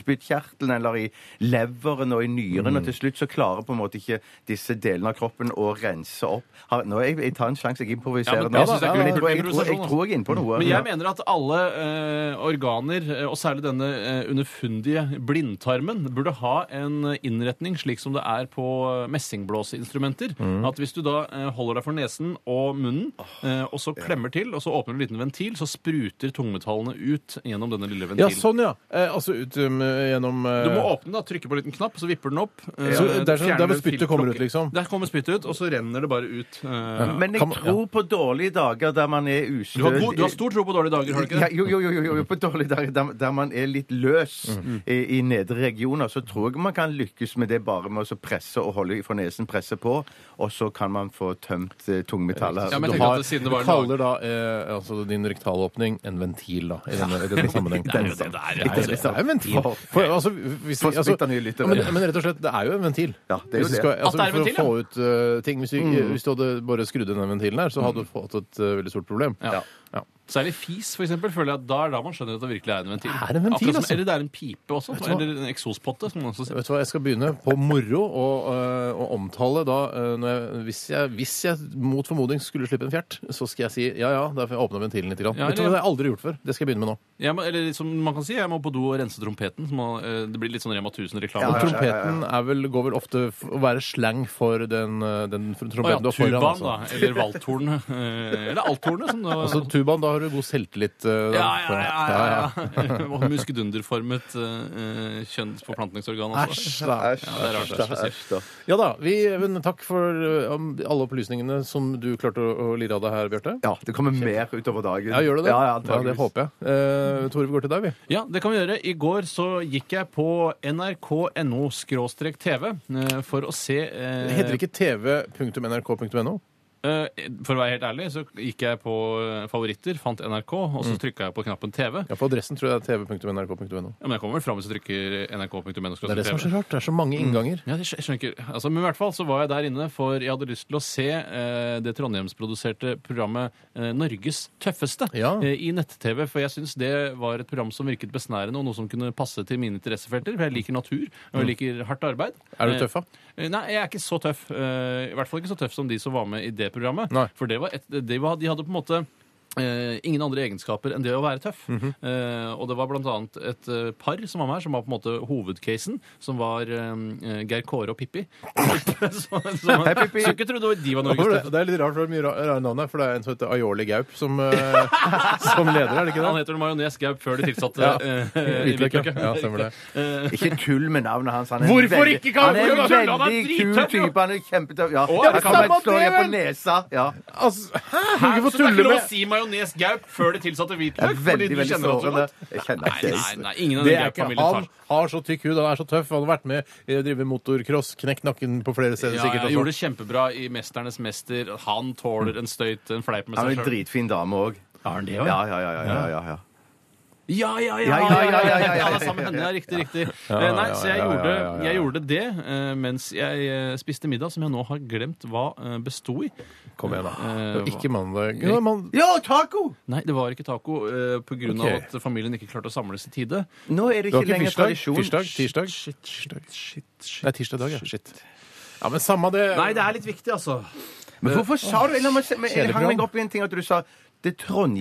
Speaker 4: bukspyttkjertelen eller i leveren og i nyren,
Speaker 2: Mm.
Speaker 4: og til slutt så klarer på en måte ikke disse delene av kroppen å rense opp. Har- Nå, jeg, jeg tar en sjanse, jeg
Speaker 2: Ja,
Speaker 4: improviserer
Speaker 2: men
Speaker 4: nå.
Speaker 2: det
Speaker 4: Jeg
Speaker 2: synes jeg
Speaker 4: tror
Speaker 2: er
Speaker 4: jeg
Speaker 2: kult
Speaker 4: tror jeg
Speaker 2: improvisasjon, altså.
Speaker 4: er inne på noe.
Speaker 2: Men jeg mener at alle eh, organer, eh, og særlig denne eh, underfundige blindtarmen, burde ha en innretning slik som det er på eh, messingblåseinstrumenter.
Speaker 3: Mm.
Speaker 2: At hvis du da eh, holder deg for nesen og munnen, eh, og så klemmer til, og så åpner du en liten ventil, så spruter tungmetallene ut gjennom denne lille
Speaker 3: Ja,
Speaker 2: ventilen.
Speaker 3: sånn, ja. Eh, altså ut ø, gjennom eh, ø,
Speaker 2: Du må åpne den, da, trykke på en liten knapp, så vipper den opp. eh,
Speaker 3: Så det er sånn-
Speaker 2: fjerner
Speaker 3: der hvor
Speaker 2: en
Speaker 3: spyttet kommer ut,
Speaker 2: filtplukke.
Speaker 3: liksom?
Speaker 2: Der kommer spyttet ut, og så renner det bare ut. eh.
Speaker 4: Men jeg
Speaker 3: Kan man- ja.
Speaker 4: tror på dårlige dager der man er ustø.
Speaker 2: Du, har god, du har stor tro på dårlige dager, har du ikke
Speaker 4: Ja,
Speaker 2: det?
Speaker 4: jo, jo, jo, jo, jo, på dårlige dager der, der man er litt løs i, i nedre regioner, så tror jeg man kan lykkes med det bare med å så presse og holde for nesen, presse på, og så kan man få tømt eh, tungmetallet.
Speaker 2: Ja, men
Speaker 3: Du,
Speaker 2: jeg tenker
Speaker 3: har,
Speaker 2: at det siden
Speaker 3: du
Speaker 2: det var en
Speaker 3: kaller da eh, altså din rektalåpning en ventil, da, i denne, i denne sammenheng.
Speaker 2: Det er jo det det er. liksom
Speaker 3: Det er, det er en ventil.
Speaker 4: For-
Speaker 3: For, altså, hvis,
Speaker 4: For
Speaker 3: altså,
Speaker 4: splitter nye lyttere.
Speaker 3: ja, men, men rett og slett, det er jo en ventil.
Speaker 4: Ja, det er jo
Speaker 3: Hvis du
Speaker 4: det. Mm.
Speaker 3: Skal,
Speaker 2: At det
Speaker 3: altså,
Speaker 2: er en ventil,
Speaker 3: for å få ut eh, ting, hvis du, ikke- hvis du hadde bare skrudd inn den ventilen her, så hadde du fått et eh, veldig stort problem.
Speaker 2: Ja.
Speaker 3: Ja.
Speaker 2: Særlig fis, for eksempel, føler jeg at da er da man skjønner at det virkelig er en ventil.
Speaker 3: Det er en ventil,
Speaker 2: Akkurat som,
Speaker 3: altså.
Speaker 2: Eller det er en pipe også.
Speaker 3: Vet du hva?
Speaker 2: Eller en eksospotte, som man også sier.
Speaker 3: Vet du hva, Jeg skal begynne på moro å, eh, å omtale da eh, når jeg, hvis, jeg, hvis jeg mot formodning skulle slippe en fjert, så skal jeg si ja ja, derfor åpna ventilen litt. Grann.
Speaker 2: Ja,
Speaker 3: Vet du
Speaker 2: ja.
Speaker 3: hva, Det har jeg aldri gjort før. Det skal jeg begynne med nå.
Speaker 2: Jeg må, eller som man kan si, jeg må på do og rense trompeten. Så må, eh, det blir litt sånn Rema 1000-reklame.
Speaker 4: Ja, ja,
Speaker 3: Og
Speaker 4: ja, ja, ja.
Speaker 3: trompeten er vel, går vel ofte f- å være slang for den, eh, den f-
Speaker 2: Å ja,
Speaker 3: trompeten du har foran.
Speaker 2: tubaen,
Speaker 3: Altså.
Speaker 2: da.
Speaker 3: [LAUGHS]
Speaker 2: Eller valthornet. eh, Eller althornet, som det var.
Speaker 3: Altså tubaen, da har du god selvtillit. eh, da.
Speaker 2: Ja, ja, ja. ja, ja. [LAUGHS] Og Muskedunderformet eh, eh, kjønnsforplantningsorgan også.
Speaker 3: Æsj, da.
Speaker 4: Æsj,
Speaker 2: Ja, det er rart, det er
Speaker 4: da, æsj, da.
Speaker 3: Ja da. Vi, men takk for eh, om alle opplysningene som du klarte å, å lire av deg her, Bjarte.
Speaker 4: Ja, det kommer mer utover dagen.
Speaker 3: Ja, gjør du det?
Speaker 4: Ja, ja,
Speaker 3: ja, det
Speaker 4: antageligvis.
Speaker 3: håper jeg. Eh, Tore, vi går til deg, vi.
Speaker 2: Ja, det kan vi gjøre. I går så gikk jeg på nrk.no-tv eh, for å se eh,
Speaker 3: Det heter ikke tv.nrk.no?
Speaker 2: eh, For å være helt ærlig så gikk jeg på eh, favoritter, fant NRK, og
Speaker 3: Mm.
Speaker 2: så trykka jeg på knappen TV.
Speaker 3: Ja, på adressen tror jeg det er tv.nrk.no.
Speaker 2: Ja, men jeg kommer vel fram hvis jeg trykker nrk.no.
Speaker 3: Det er det som er så rart. Det er så mange innganger.
Speaker 2: Ja, det skj- jeg skjønner ikke. Altså, men i hvert fall så var jeg der inne, for jeg hadde lyst til å se eh, det trondheimsproduserte programmet eh, Norges tøffeste
Speaker 3: Ja.
Speaker 2: eh, i nett-TV. For jeg syns det var et program som virket besnærende, og noe som kunne passe til mine interessefelter. For jeg liker natur, og jeg liker hardt arbeid.
Speaker 3: Mm. Er du tøff, da?
Speaker 2: Eh, Nei, jeg er ikke så tøff. Eh, I hvert fall ikke så tøff som de som var med i det programmet.
Speaker 3: Nei.
Speaker 2: For det var et, det var, de hadde på en måte eh, ingen andre egenskaper enn det å være tøff.
Speaker 3: Mhm.
Speaker 2: Eh, og det var blant annet et eh, par som var med her, som var på en måte hovedcasen, som var eh, Geir Kåre og Pippi. [LAUGHS] så, så,
Speaker 4: Hei, Pippi.
Speaker 2: så ikke trodde det- de var Norges
Speaker 3: Hvorfor
Speaker 2: tøffeste.
Speaker 3: det? Det er litt rart, for det er mye ra- rare navn her, for det er en som heter Aioli Gaup som, eh, [LAUGHS] som leder, er det ikke
Speaker 2: Han
Speaker 3: det?
Speaker 2: heter vel Majones Gaup før de tilsatte
Speaker 3: [LAUGHS] Ja. [LAUGHS]
Speaker 2: eh,
Speaker 3: Hvitløk, ja.
Speaker 2: hvitløk,
Speaker 3: Ja, stemmer det.
Speaker 2: Eh,
Speaker 4: Ikke tull med navnet hans. Han er
Speaker 2: Hvorfor
Speaker 4: veldig-
Speaker 2: ikke, Karl?
Speaker 4: Han er
Speaker 2: Hvorfor tuller han? Han
Speaker 4: en
Speaker 2: er
Speaker 4: veldig kul
Speaker 2: drittøff, jo.
Speaker 4: type. Han er kjempetøff. Ja,
Speaker 2: ja,
Speaker 4: han
Speaker 2: det
Speaker 4: kommer
Speaker 3: samme
Speaker 4: og slår
Speaker 3: det,
Speaker 4: igjen på
Speaker 3: vel?
Speaker 4: nesa. Ja.
Speaker 3: Altså, hæ? Kan
Speaker 2: Her, så det
Speaker 3: ikke få
Speaker 2: er
Speaker 3: tulle
Speaker 2: ikke lov
Speaker 3: med
Speaker 2: å si Majones Gaup før de tilsatte
Speaker 4: Det er
Speaker 2: hvitløk? Fordi
Speaker 4: veldig,
Speaker 2: du
Speaker 4: veldig
Speaker 2: kjenner ham så
Speaker 4: sårende.
Speaker 2: godt.
Speaker 4: Jeg kjenner
Speaker 2: Nei,
Speaker 4: ikke
Speaker 2: nei,
Speaker 4: det.
Speaker 2: nei, ingen av
Speaker 3: det
Speaker 2: den
Speaker 3: er ikke
Speaker 2: Gaup-familien tar
Speaker 3: han har så tykk hud, han er så tøff. Han har vært med i å drive motorcross, knekt nakken på flere steder
Speaker 2: Ja,
Speaker 3: sikkert.
Speaker 2: jeg
Speaker 3: også.
Speaker 2: gjorde det kjempebra i 'Mesternes mester'. Han tåler en støyt, en fleip med
Speaker 4: Han er
Speaker 2: seg
Speaker 4: en
Speaker 2: sjøl.
Speaker 4: dritfin dame òg. Ja, ja, ja. ja, ja, ja,
Speaker 2: Ja,
Speaker 4: ja.
Speaker 2: ja, ja!
Speaker 4: Ja, ja, ja, ja, ja, ja, ja.
Speaker 2: Han er sammen med henne, ja, riktig, riktig.
Speaker 3: Ja,
Speaker 2: Eh, Nei,
Speaker 3: ja,
Speaker 2: så jeg
Speaker 3: ja, ja,
Speaker 2: gjorde,
Speaker 3: ja, ja, ja.
Speaker 2: jeg gjorde det eh, mens jeg eh, spiste middag, som jeg nå har glemt hva eh, besto i.
Speaker 3: Kom igjen, da.
Speaker 2: Eh,
Speaker 3: Og Ikke mandag. Jo, man...
Speaker 4: Ja, taco!
Speaker 2: Nei, det var ikke taco eh, på grunn
Speaker 3: Ok.
Speaker 2: av at familien ikke klarte å samles i tide.
Speaker 4: Nå er det
Speaker 3: Det var
Speaker 4: ikke
Speaker 3: ikke
Speaker 4: lenger
Speaker 3: tirsdag?
Speaker 4: tradisjon.
Speaker 3: Tirsdag? Tirsdag?
Speaker 2: Shit, shit, shit, shit.
Speaker 3: Nei, tirsdag dag, ja. Shit. Ja, men samme det.
Speaker 2: Nei, det er litt viktig, altså.
Speaker 4: Men hvorfor sa du La meg se- men Jeg hang
Speaker 3: Kjedeprogram.
Speaker 4: meg opp i en ting at du sa det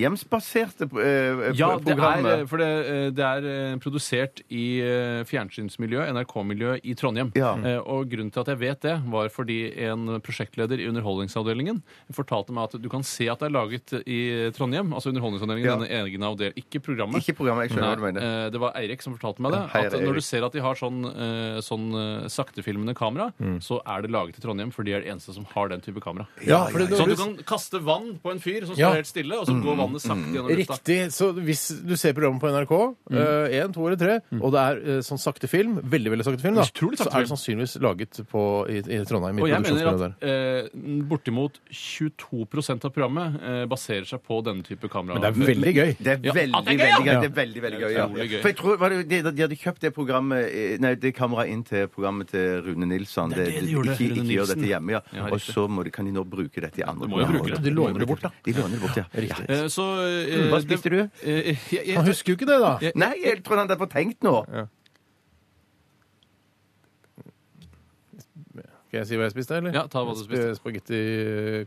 Speaker 4: trondhjemsbaserte eh,
Speaker 2: Ja, det
Speaker 4: programmet.
Speaker 2: er, for det, eh, det er eh, produsert i eh, fjernsynsmiljøet, NRK-miljøet i Trondheim.
Speaker 4: Ja.
Speaker 2: Eh, Og grunnen til at jeg vet det, var fordi en prosjektleder i Underholdningsavdelingen fortalte meg at du kan se at det er laget i Trondheim, altså Underholdningsavdelingen,
Speaker 4: Ja.
Speaker 2: denne egen avdelingen, ikke programmet.
Speaker 4: Ikke programmet. Jeg skjønner hva du
Speaker 2: eh, Nei,
Speaker 4: mener.
Speaker 2: eh, det var Eirik som fortalte meg det.
Speaker 4: Ja, hei,
Speaker 2: At når
Speaker 4: Eirik.
Speaker 2: du ser at de har sånn, eh, sånn eh, saktefilmende kamera,
Speaker 4: Mm.
Speaker 2: så er det laget i Trondheim, for de er det eneste som har den type kamera.
Speaker 3: Ja, for det-
Speaker 2: Sånn at du kan kaste vann på en fyr som
Speaker 3: Ja. Mm.
Speaker 2: står helt stille, og så
Speaker 4: Mm.
Speaker 2: går vannet sakte gjennom lufta.
Speaker 3: Riktig. Så hvis du ser programmet på NRK,
Speaker 2: Mm.
Speaker 3: én, to eller tre, og det er eh, sånn sakte film, veldig veldig sakte film, da,
Speaker 2: Utrolig sakte
Speaker 3: så er det sannsynligvis laget på, i, i Trondheim. i
Speaker 2: Og jeg mener
Speaker 3: produksjonsmiljøet
Speaker 2: at eh, bortimot 22 av programmet eh, baserer seg på denne type kamera.
Speaker 3: Men det er veldig gøy.
Speaker 4: Det er
Speaker 2: Ja,
Speaker 4: veldig,
Speaker 2: at det er gøy, ja!
Speaker 4: veldig gøy. Det
Speaker 3: Ja.
Speaker 4: er veldig, veldig gøy, ja.
Speaker 2: Utrolig gøy.
Speaker 4: For jeg tror, var det, de, de hadde kjøpt det programmet eh, Nei, det kameraet inn til programmet til Rune Nilsson.
Speaker 2: Det er det de gjorde,
Speaker 4: Ikke,
Speaker 2: Rune
Speaker 4: ikke gjør
Speaker 2: Nilsen.
Speaker 4: dette hjemme, ja.
Speaker 2: Ja, riktig.
Speaker 4: Og så må de, kan de nå bruke dette i andre
Speaker 2: Du må jo bruke det.
Speaker 3: De låner det bort, da.
Speaker 4: De låner det bort, ja.
Speaker 3: Riktig.
Speaker 2: Eh, så, eh,
Speaker 4: Hva
Speaker 2: det-
Speaker 4: spiste du?
Speaker 2: Eh, jeg, jeg,
Speaker 3: Han husker jo ikke det, da.
Speaker 4: Nei, jeg tror han hadde fått tenkt nå.
Speaker 3: Skal jeg si hva jeg spiste, eller?
Speaker 2: Ja, ta hva du spiste.
Speaker 3: Sp- Eh, Spagetti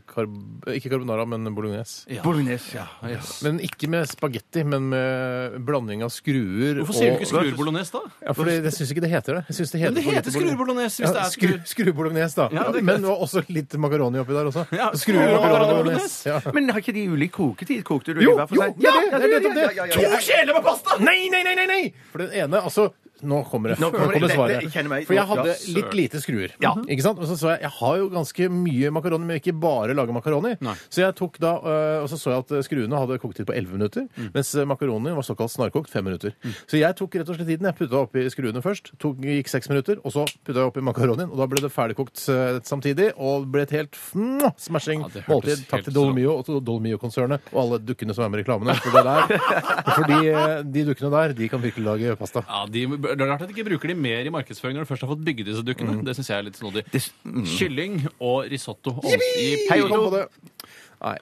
Speaker 3: karb... Ikke carbonara, men bolognese.
Speaker 2: ja.
Speaker 4: Bolognese, ja.
Speaker 2: Ah, yes.
Speaker 3: Men ikke med spagetti, men med blanding av skruer
Speaker 2: Hvorfor sier du
Speaker 3: og-
Speaker 2: ikke skruer bolognese, da?
Speaker 3: Ja, fordi jeg syns ikke det heter det. Jeg synes det heter
Speaker 2: Men det
Speaker 3: for lite
Speaker 2: heter skruer bolognese hvis det er
Speaker 3: Ja, skru,
Speaker 2: skruer.
Speaker 3: skrubolognese, da.
Speaker 2: Ja, det er
Speaker 3: men det var også litt makaroni oppi der også.
Speaker 2: Ja,
Speaker 3: Skruer
Speaker 2: skruer og
Speaker 3: makaroni
Speaker 2: bolognese.
Speaker 3: bolognese. Ja.
Speaker 4: Men har ikke de ulik koketid? Kokte du
Speaker 3: Jo,
Speaker 4: i hver for
Speaker 3: jo,
Speaker 4: seg?
Speaker 3: ja, det- det er nettopp det.
Speaker 2: kjeler med pasta!
Speaker 3: Nei, nei, nei, nei, nei! For den ene, altså Nå kommer det, nå
Speaker 4: Nå
Speaker 3: kommer
Speaker 4: kommer det.
Speaker 3: det
Speaker 4: Det-
Speaker 3: svaret.
Speaker 4: det- jeg kjenner meg-
Speaker 3: For jeg
Speaker 4: Ja,
Speaker 3: hadde
Speaker 4: søren.
Speaker 3: litt lite skruer. Mhm.
Speaker 4: Ja.
Speaker 3: Ikke sant? Og så så jeg jeg har jo ganske mye makaroni, men ikke bare lager makaroni.
Speaker 2: Nei.
Speaker 3: Så jeg tok da, øh, og så så jeg at skruene hadde koktid på 11 minutter,
Speaker 2: Mm.
Speaker 3: mens makaronien var såkalt snarkokt 5 minutter. Så jeg tok rett og slett tiden. Jeg putta oppi skruene først, tok, gikk 6 minutter, og så putta jeg oppi makaronien. Og da ble det ferdigkokt øh, samtidig, og ble et helt mwah, smashing
Speaker 2: Ja, det hørtes
Speaker 3: måltid.
Speaker 2: helt sånn
Speaker 3: Takk til Dolmio og til Dolmio-konsernet og alle dukkene som er med i reklamene. For
Speaker 2: [LAUGHS]
Speaker 3: det der, fordi øh, de dukkene der, de kan virkelig lage pasta.
Speaker 2: Ja, de, det er rart at de ikke bruker de mer i markedsføring når du først har fått bygd disse dukkene.
Speaker 3: Mm.
Speaker 2: Det syns jeg er litt snodig. Kylling og risotto. Og, Jippi!
Speaker 4: Hei,
Speaker 3: Kom
Speaker 4: Otto.
Speaker 3: på det. Nei.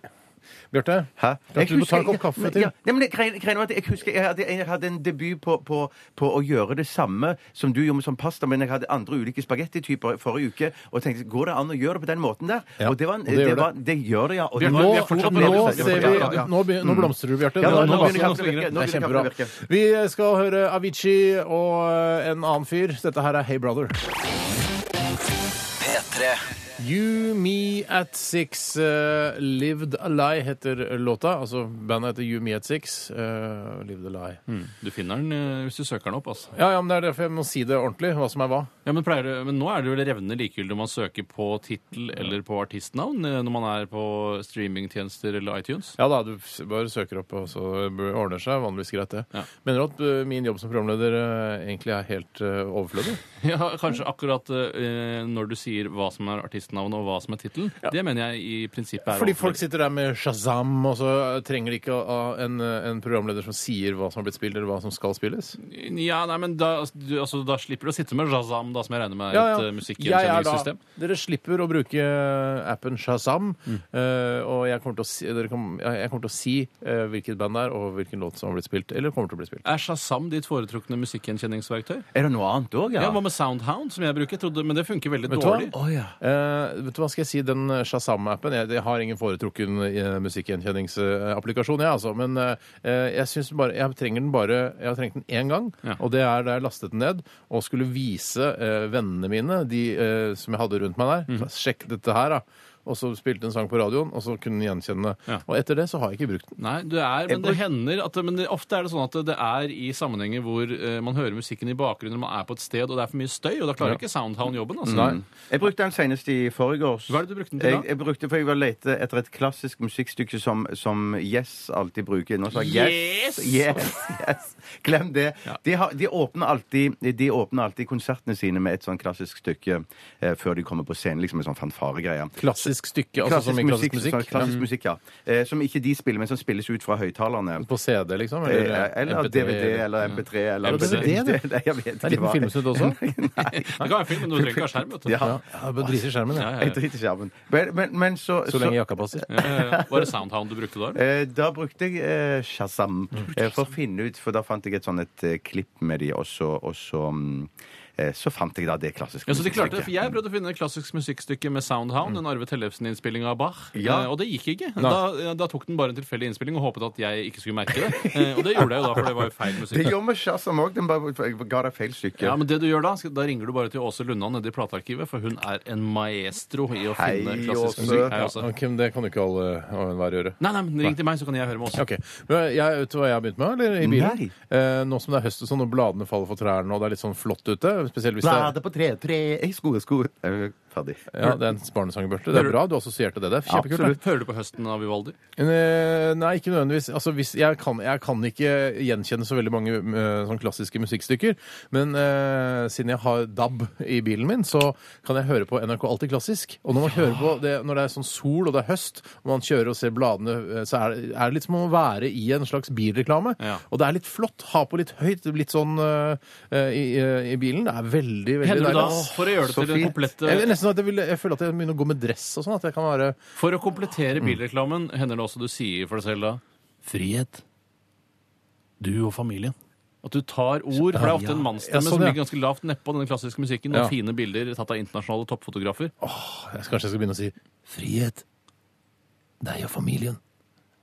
Speaker 3: Bjarte,
Speaker 4: Hæ?
Speaker 3: kan ikke du ta en kopp kaffe til?
Speaker 4: Ja, nei, men det- greien- greien var at jeg husker jeg hadde, jeg hadde en debut på, på, på å gjøre det samme som du gjorde med sånn pasta, men jeg hadde andre ulike spagettityper forrige uke, og tenkte går det an å gjøre det på den måten der?
Speaker 3: Ja,
Speaker 4: Og det, var en,
Speaker 3: og det
Speaker 4: det,
Speaker 3: gjør
Speaker 4: var, det gjør det, ja. Og det
Speaker 2: Bjørn,
Speaker 4: var,
Speaker 3: Nå,
Speaker 2: vi er fortsatt
Speaker 3: nå,
Speaker 2: bra.
Speaker 4: Ja,
Speaker 3: ser
Speaker 4: ja,
Speaker 3: vi,
Speaker 4: ja. Mm.
Speaker 3: nå, be- nå blomstrer du, Bjarte.
Speaker 4: Ja, nå,
Speaker 3: Nå-
Speaker 4: nå
Speaker 3: nå baser
Speaker 4: begynner
Speaker 3: det.
Speaker 4: kaffen å virke. Nå
Speaker 3: Det er
Speaker 4: begynner kaffen å
Speaker 3: kjempebra.
Speaker 4: virke.
Speaker 3: Vi skal høre Avicii eh, og en annen fyr. Dette her er Hey Brother.
Speaker 5: P3.
Speaker 3: You Me At Six. eh, Lived A Lie heter låta. Altså bandet heter You Me At Six. eh, Lived A Lie.
Speaker 4: Mm.
Speaker 2: Du finner den eh, hvis du søker den opp. altså.
Speaker 3: Ja, ja, men det er derfor jeg må si det ordentlig, hva som er hva.
Speaker 2: Ja, men, pleier, du- men nå er det vel revnende likegyldig om man søker på tittel eller på artistnavn eh, når man er på streamingtjenester eller iTunes?
Speaker 3: Ja da, du s- bare søker opp, og så b- ordner det seg. Vanligvis greit, det.
Speaker 2: Ja.
Speaker 3: Mener du at eh, min jobb som programleder eh, egentlig er helt eh, overflødig?
Speaker 2: [LAUGHS] Ja, Kanskje akkurat eh, når du sier hva som er artistnavnet og hva som er tittelen. Det mener jeg i prinsippet er
Speaker 3: Fordi
Speaker 2: overflødig.
Speaker 3: folk sitter der med Shazam, og så trenger de ikke å- å- en, eh, en programleder som sier hva som har blitt spilt, eller hva som skal spilles.
Speaker 2: Ja, nei, men da, altså, du, altså, da slipper du å sitte med Shazam, da, som jeg regner med er et
Speaker 3: Ja, ja.
Speaker 2: eh,
Speaker 3: Jeg er da-
Speaker 2: musikkgjenkjenningssystem.
Speaker 3: Dere slipper å bruke appen Shazam,
Speaker 2: Mm.
Speaker 3: eh, og jeg kommer til å si, dere kom, ja, jeg kommer til å si eh, hvilket band det er, og hvilken låt som har blitt spilt, eller kommer til å bli spilt.
Speaker 2: Er Shazam ditt foretrukne musikkgjenkjenningsverktøy?
Speaker 4: Er det noe annet òg,
Speaker 2: Ja,
Speaker 4: ja?
Speaker 2: Hva med Soundhound, som jeg bruker? Jeg Trodde, men det funker veldig
Speaker 3: Vet du hva?
Speaker 2: dårlig.
Speaker 4: Å, ja.
Speaker 3: Eh, vet du hva skal jeg si, den Shazam-appen jeg, jeg har ingen foretrukken eh, musikkgjenkjenningsapplikasjon, jeg, altså. Men eh, jeg syns bare Jeg trenger den bare Jeg har trengt den én gang,
Speaker 2: Ja.
Speaker 3: og det er da jeg lastet den ned og skulle vise eh, vennene mine, de eh, som jeg hadde rundt meg der, så, sjekk dette her, da. Og så spilte en sang på radioen, og så kunne den gjenkjenne. det.
Speaker 2: Ja.
Speaker 3: Og etter det så har jeg ikke brukt den.
Speaker 2: Nei, det er, men det hender at Men det, ofte er det sånn at det er i sammenhenger hvor eh, man hører musikken i bakgrunnen, man er på et sted, og det er for mye støy, og da klarer ikke Soundhound jobben. Altså.
Speaker 3: Nei.
Speaker 4: Jeg brukte den senest i forgårs.
Speaker 2: Hva er det du brukte den til
Speaker 4: Jeg,
Speaker 2: da?
Speaker 4: jeg brukte, for jeg var lete etter et klassisk musikkstykke som, som Yes alltid bruker. Nå sa jeg yes!
Speaker 2: Yes!
Speaker 4: Yes! yes. Glem det. De, har, de, åpner alltid, de åpner alltid konsertene sine med et sånn klassisk stykke eh, før de kommer på scenen, liksom en sånn fanfaregreie.
Speaker 3: Klassisk stykke, altså som i klassisk musikk.
Speaker 4: sånn klassisk musikk, ja. Eh, som ikke de spiller, men som spilles ut fra høyttalerne.
Speaker 3: På CD, liksom?
Speaker 4: Eh, Eller
Speaker 3: MP3,
Speaker 4: DVD eller MP3 eller
Speaker 3: det DVD, det?
Speaker 4: [LAUGHS] Nei, jeg vet ikke
Speaker 3: Det er en liten
Speaker 4: hva.
Speaker 3: filmsnutt også.
Speaker 2: [LAUGHS] Det kan være film, men du trenger ikke ha skjerm. vet du.
Speaker 4: Ja.
Speaker 3: Ja, jeg bare driter i skjermen, jeg.
Speaker 2: Ja, ja,
Speaker 4: Jeg
Speaker 2: ja.
Speaker 4: driter i skjermen. Men, men, men så,
Speaker 3: Så lenge jakka passer.
Speaker 2: Ja, ja, ja. Eh, Var det Soundhound du brukte da? eller?
Speaker 4: Eh, Da brukte jeg eh, Shazam eh, for å finne ut, for da fant jeg et sånn et eh, klipp med de, og så, og så, mm, eh, så fant jeg da det klassiske
Speaker 2: Ja, så de klarte det, for
Speaker 4: musikkstykket.
Speaker 2: Jeg prøvde å finne et klassisk musikkstykke med Soundhound, en Arve Tellefsen-innspilling av Bach,
Speaker 4: Ja.
Speaker 2: eh, og det gikk ikke. Da, da tok den bare en tilfeldig innspilling og håpet at jeg ikke skulle merke det. Eh, Og det gjorde jeg jo da, for det var jo feil
Speaker 4: [LAUGHS] Det
Speaker 2: musikk.
Speaker 4: gjorde vi Shazam òg. Den bare jeg ga deg feil stykke.
Speaker 2: Ja, men det du gjør Da skal- da ringer du bare til Åse Lundan nede i platearkivet, for hun er en maestro i å
Speaker 4: Hei,
Speaker 2: finne klassisk
Speaker 4: Åse.
Speaker 2: musikk. Hei,
Speaker 3: Ja,
Speaker 2: Åse.
Speaker 3: ok, men det kan jo ikke alle og enhver gjøre.
Speaker 2: Nei, nei, men ring til meg, så kan jeg høre med oss.
Speaker 3: Ok, men jeg, Vet du hva jeg har begynt med? eller i bilen?
Speaker 4: Nei.
Speaker 3: Eh, nå som det er høst og sånn, og bladene faller for trærne, og det er litt sånn flott ute spesielt hvis det er,
Speaker 4: Bladet på tre, tre, i sko, sko. Er vi ferdig?
Speaker 3: ja, det er en barnesangbølte. Det er bra, du assosierte det. Det er kjempekult. det.
Speaker 2: Absolutt. Hører du på høsten av Vivaldi?
Speaker 3: Men, eh, Nei, ikke nødvendigvis. Altså, hvis, jeg, kan, jeg kan ikke gjenkjenne så veldig mange eh, sånn klassiske musikkstykker. Men eh, siden jeg har DAB i bilen min, så kan jeg høre på NRK Alltid Klassisk. Og når man hører på det når det er sånn sol og det er høst, og man kjører og ser bladene, eh, så er det, er det litt som å være i en slags bilreklame.
Speaker 2: Ja.
Speaker 3: Og det er litt flott. Ha på litt høyt, litt sånn eh, i, i- i bilen. Det er veldig, veldig
Speaker 2: Hender du da,
Speaker 3: deilig.
Speaker 2: for eh, å gjøre det
Speaker 4: så
Speaker 2: til den
Speaker 4: fint.
Speaker 3: Jeg,
Speaker 2: komplette
Speaker 3: nesten at jeg, vil, jeg føler at jeg begynner å gå med dress og sånn. At jeg kan være
Speaker 2: For å
Speaker 3: Mm.
Speaker 2: komplettere bilreklamen, hender det også du sier for deg selv da Frihet. Du og familien. At du tar ord, for det er ofte en
Speaker 3: Ja,
Speaker 2: mannsstemme
Speaker 3: sånn,
Speaker 2: som
Speaker 3: ja.
Speaker 2: ligger ganske lavt nedpå den klassiske musikken, og
Speaker 3: Ja.
Speaker 2: fine bilder tatt av internasjonale toppfotografer.
Speaker 3: Jeg skal- Kanskje jeg skal begynne å si frihet. Deg og familien.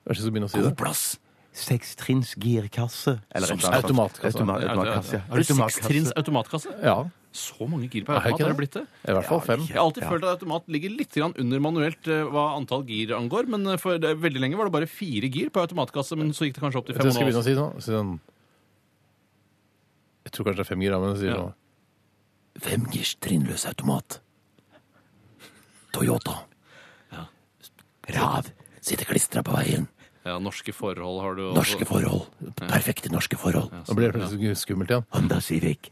Speaker 3: Kanskje jeg skal begynne å si det?
Speaker 2: plass!
Speaker 4: Sekstrinns girkasse. Eller
Speaker 3: Som
Speaker 4: et eller annet sånt.
Speaker 3: automatkasse.
Speaker 2: altså.
Speaker 4: Automa-
Speaker 2: Ja, det-
Speaker 4: Automatkasse.
Speaker 2: Har du sekstrinns automatkasse?
Speaker 3: Ja.
Speaker 2: Så mange gir på
Speaker 3: Er
Speaker 2: automat
Speaker 3: det ikke
Speaker 2: har det
Speaker 3: det?
Speaker 2: blitt det.
Speaker 3: I hvert fall fem.
Speaker 2: Jeg har alltid følt at automat ligger litt grann under manuelt eh, hva antall gir angår, men eh, for det, veldig lenge var det bare fire gir på automatkasse, men så gikk det kanskje opp til
Speaker 3: Jeg
Speaker 2: fem.
Speaker 3: tror jeg skal
Speaker 2: og en
Speaker 3: begynne å
Speaker 2: halv.
Speaker 3: si sånn. Si sånn jeg tror kanskje det er fem gir, ja, men jeg sier
Speaker 2: Ja.
Speaker 3: sånn Fem girs trinnløs automat. Toyota. Rav. Sitter klistra på veien.
Speaker 2: Ja, norske forhold har du også.
Speaker 3: forhold. Perfekte norske forhold. Nå blir det plutselig skummelt igjen.
Speaker 4: Honda Civic.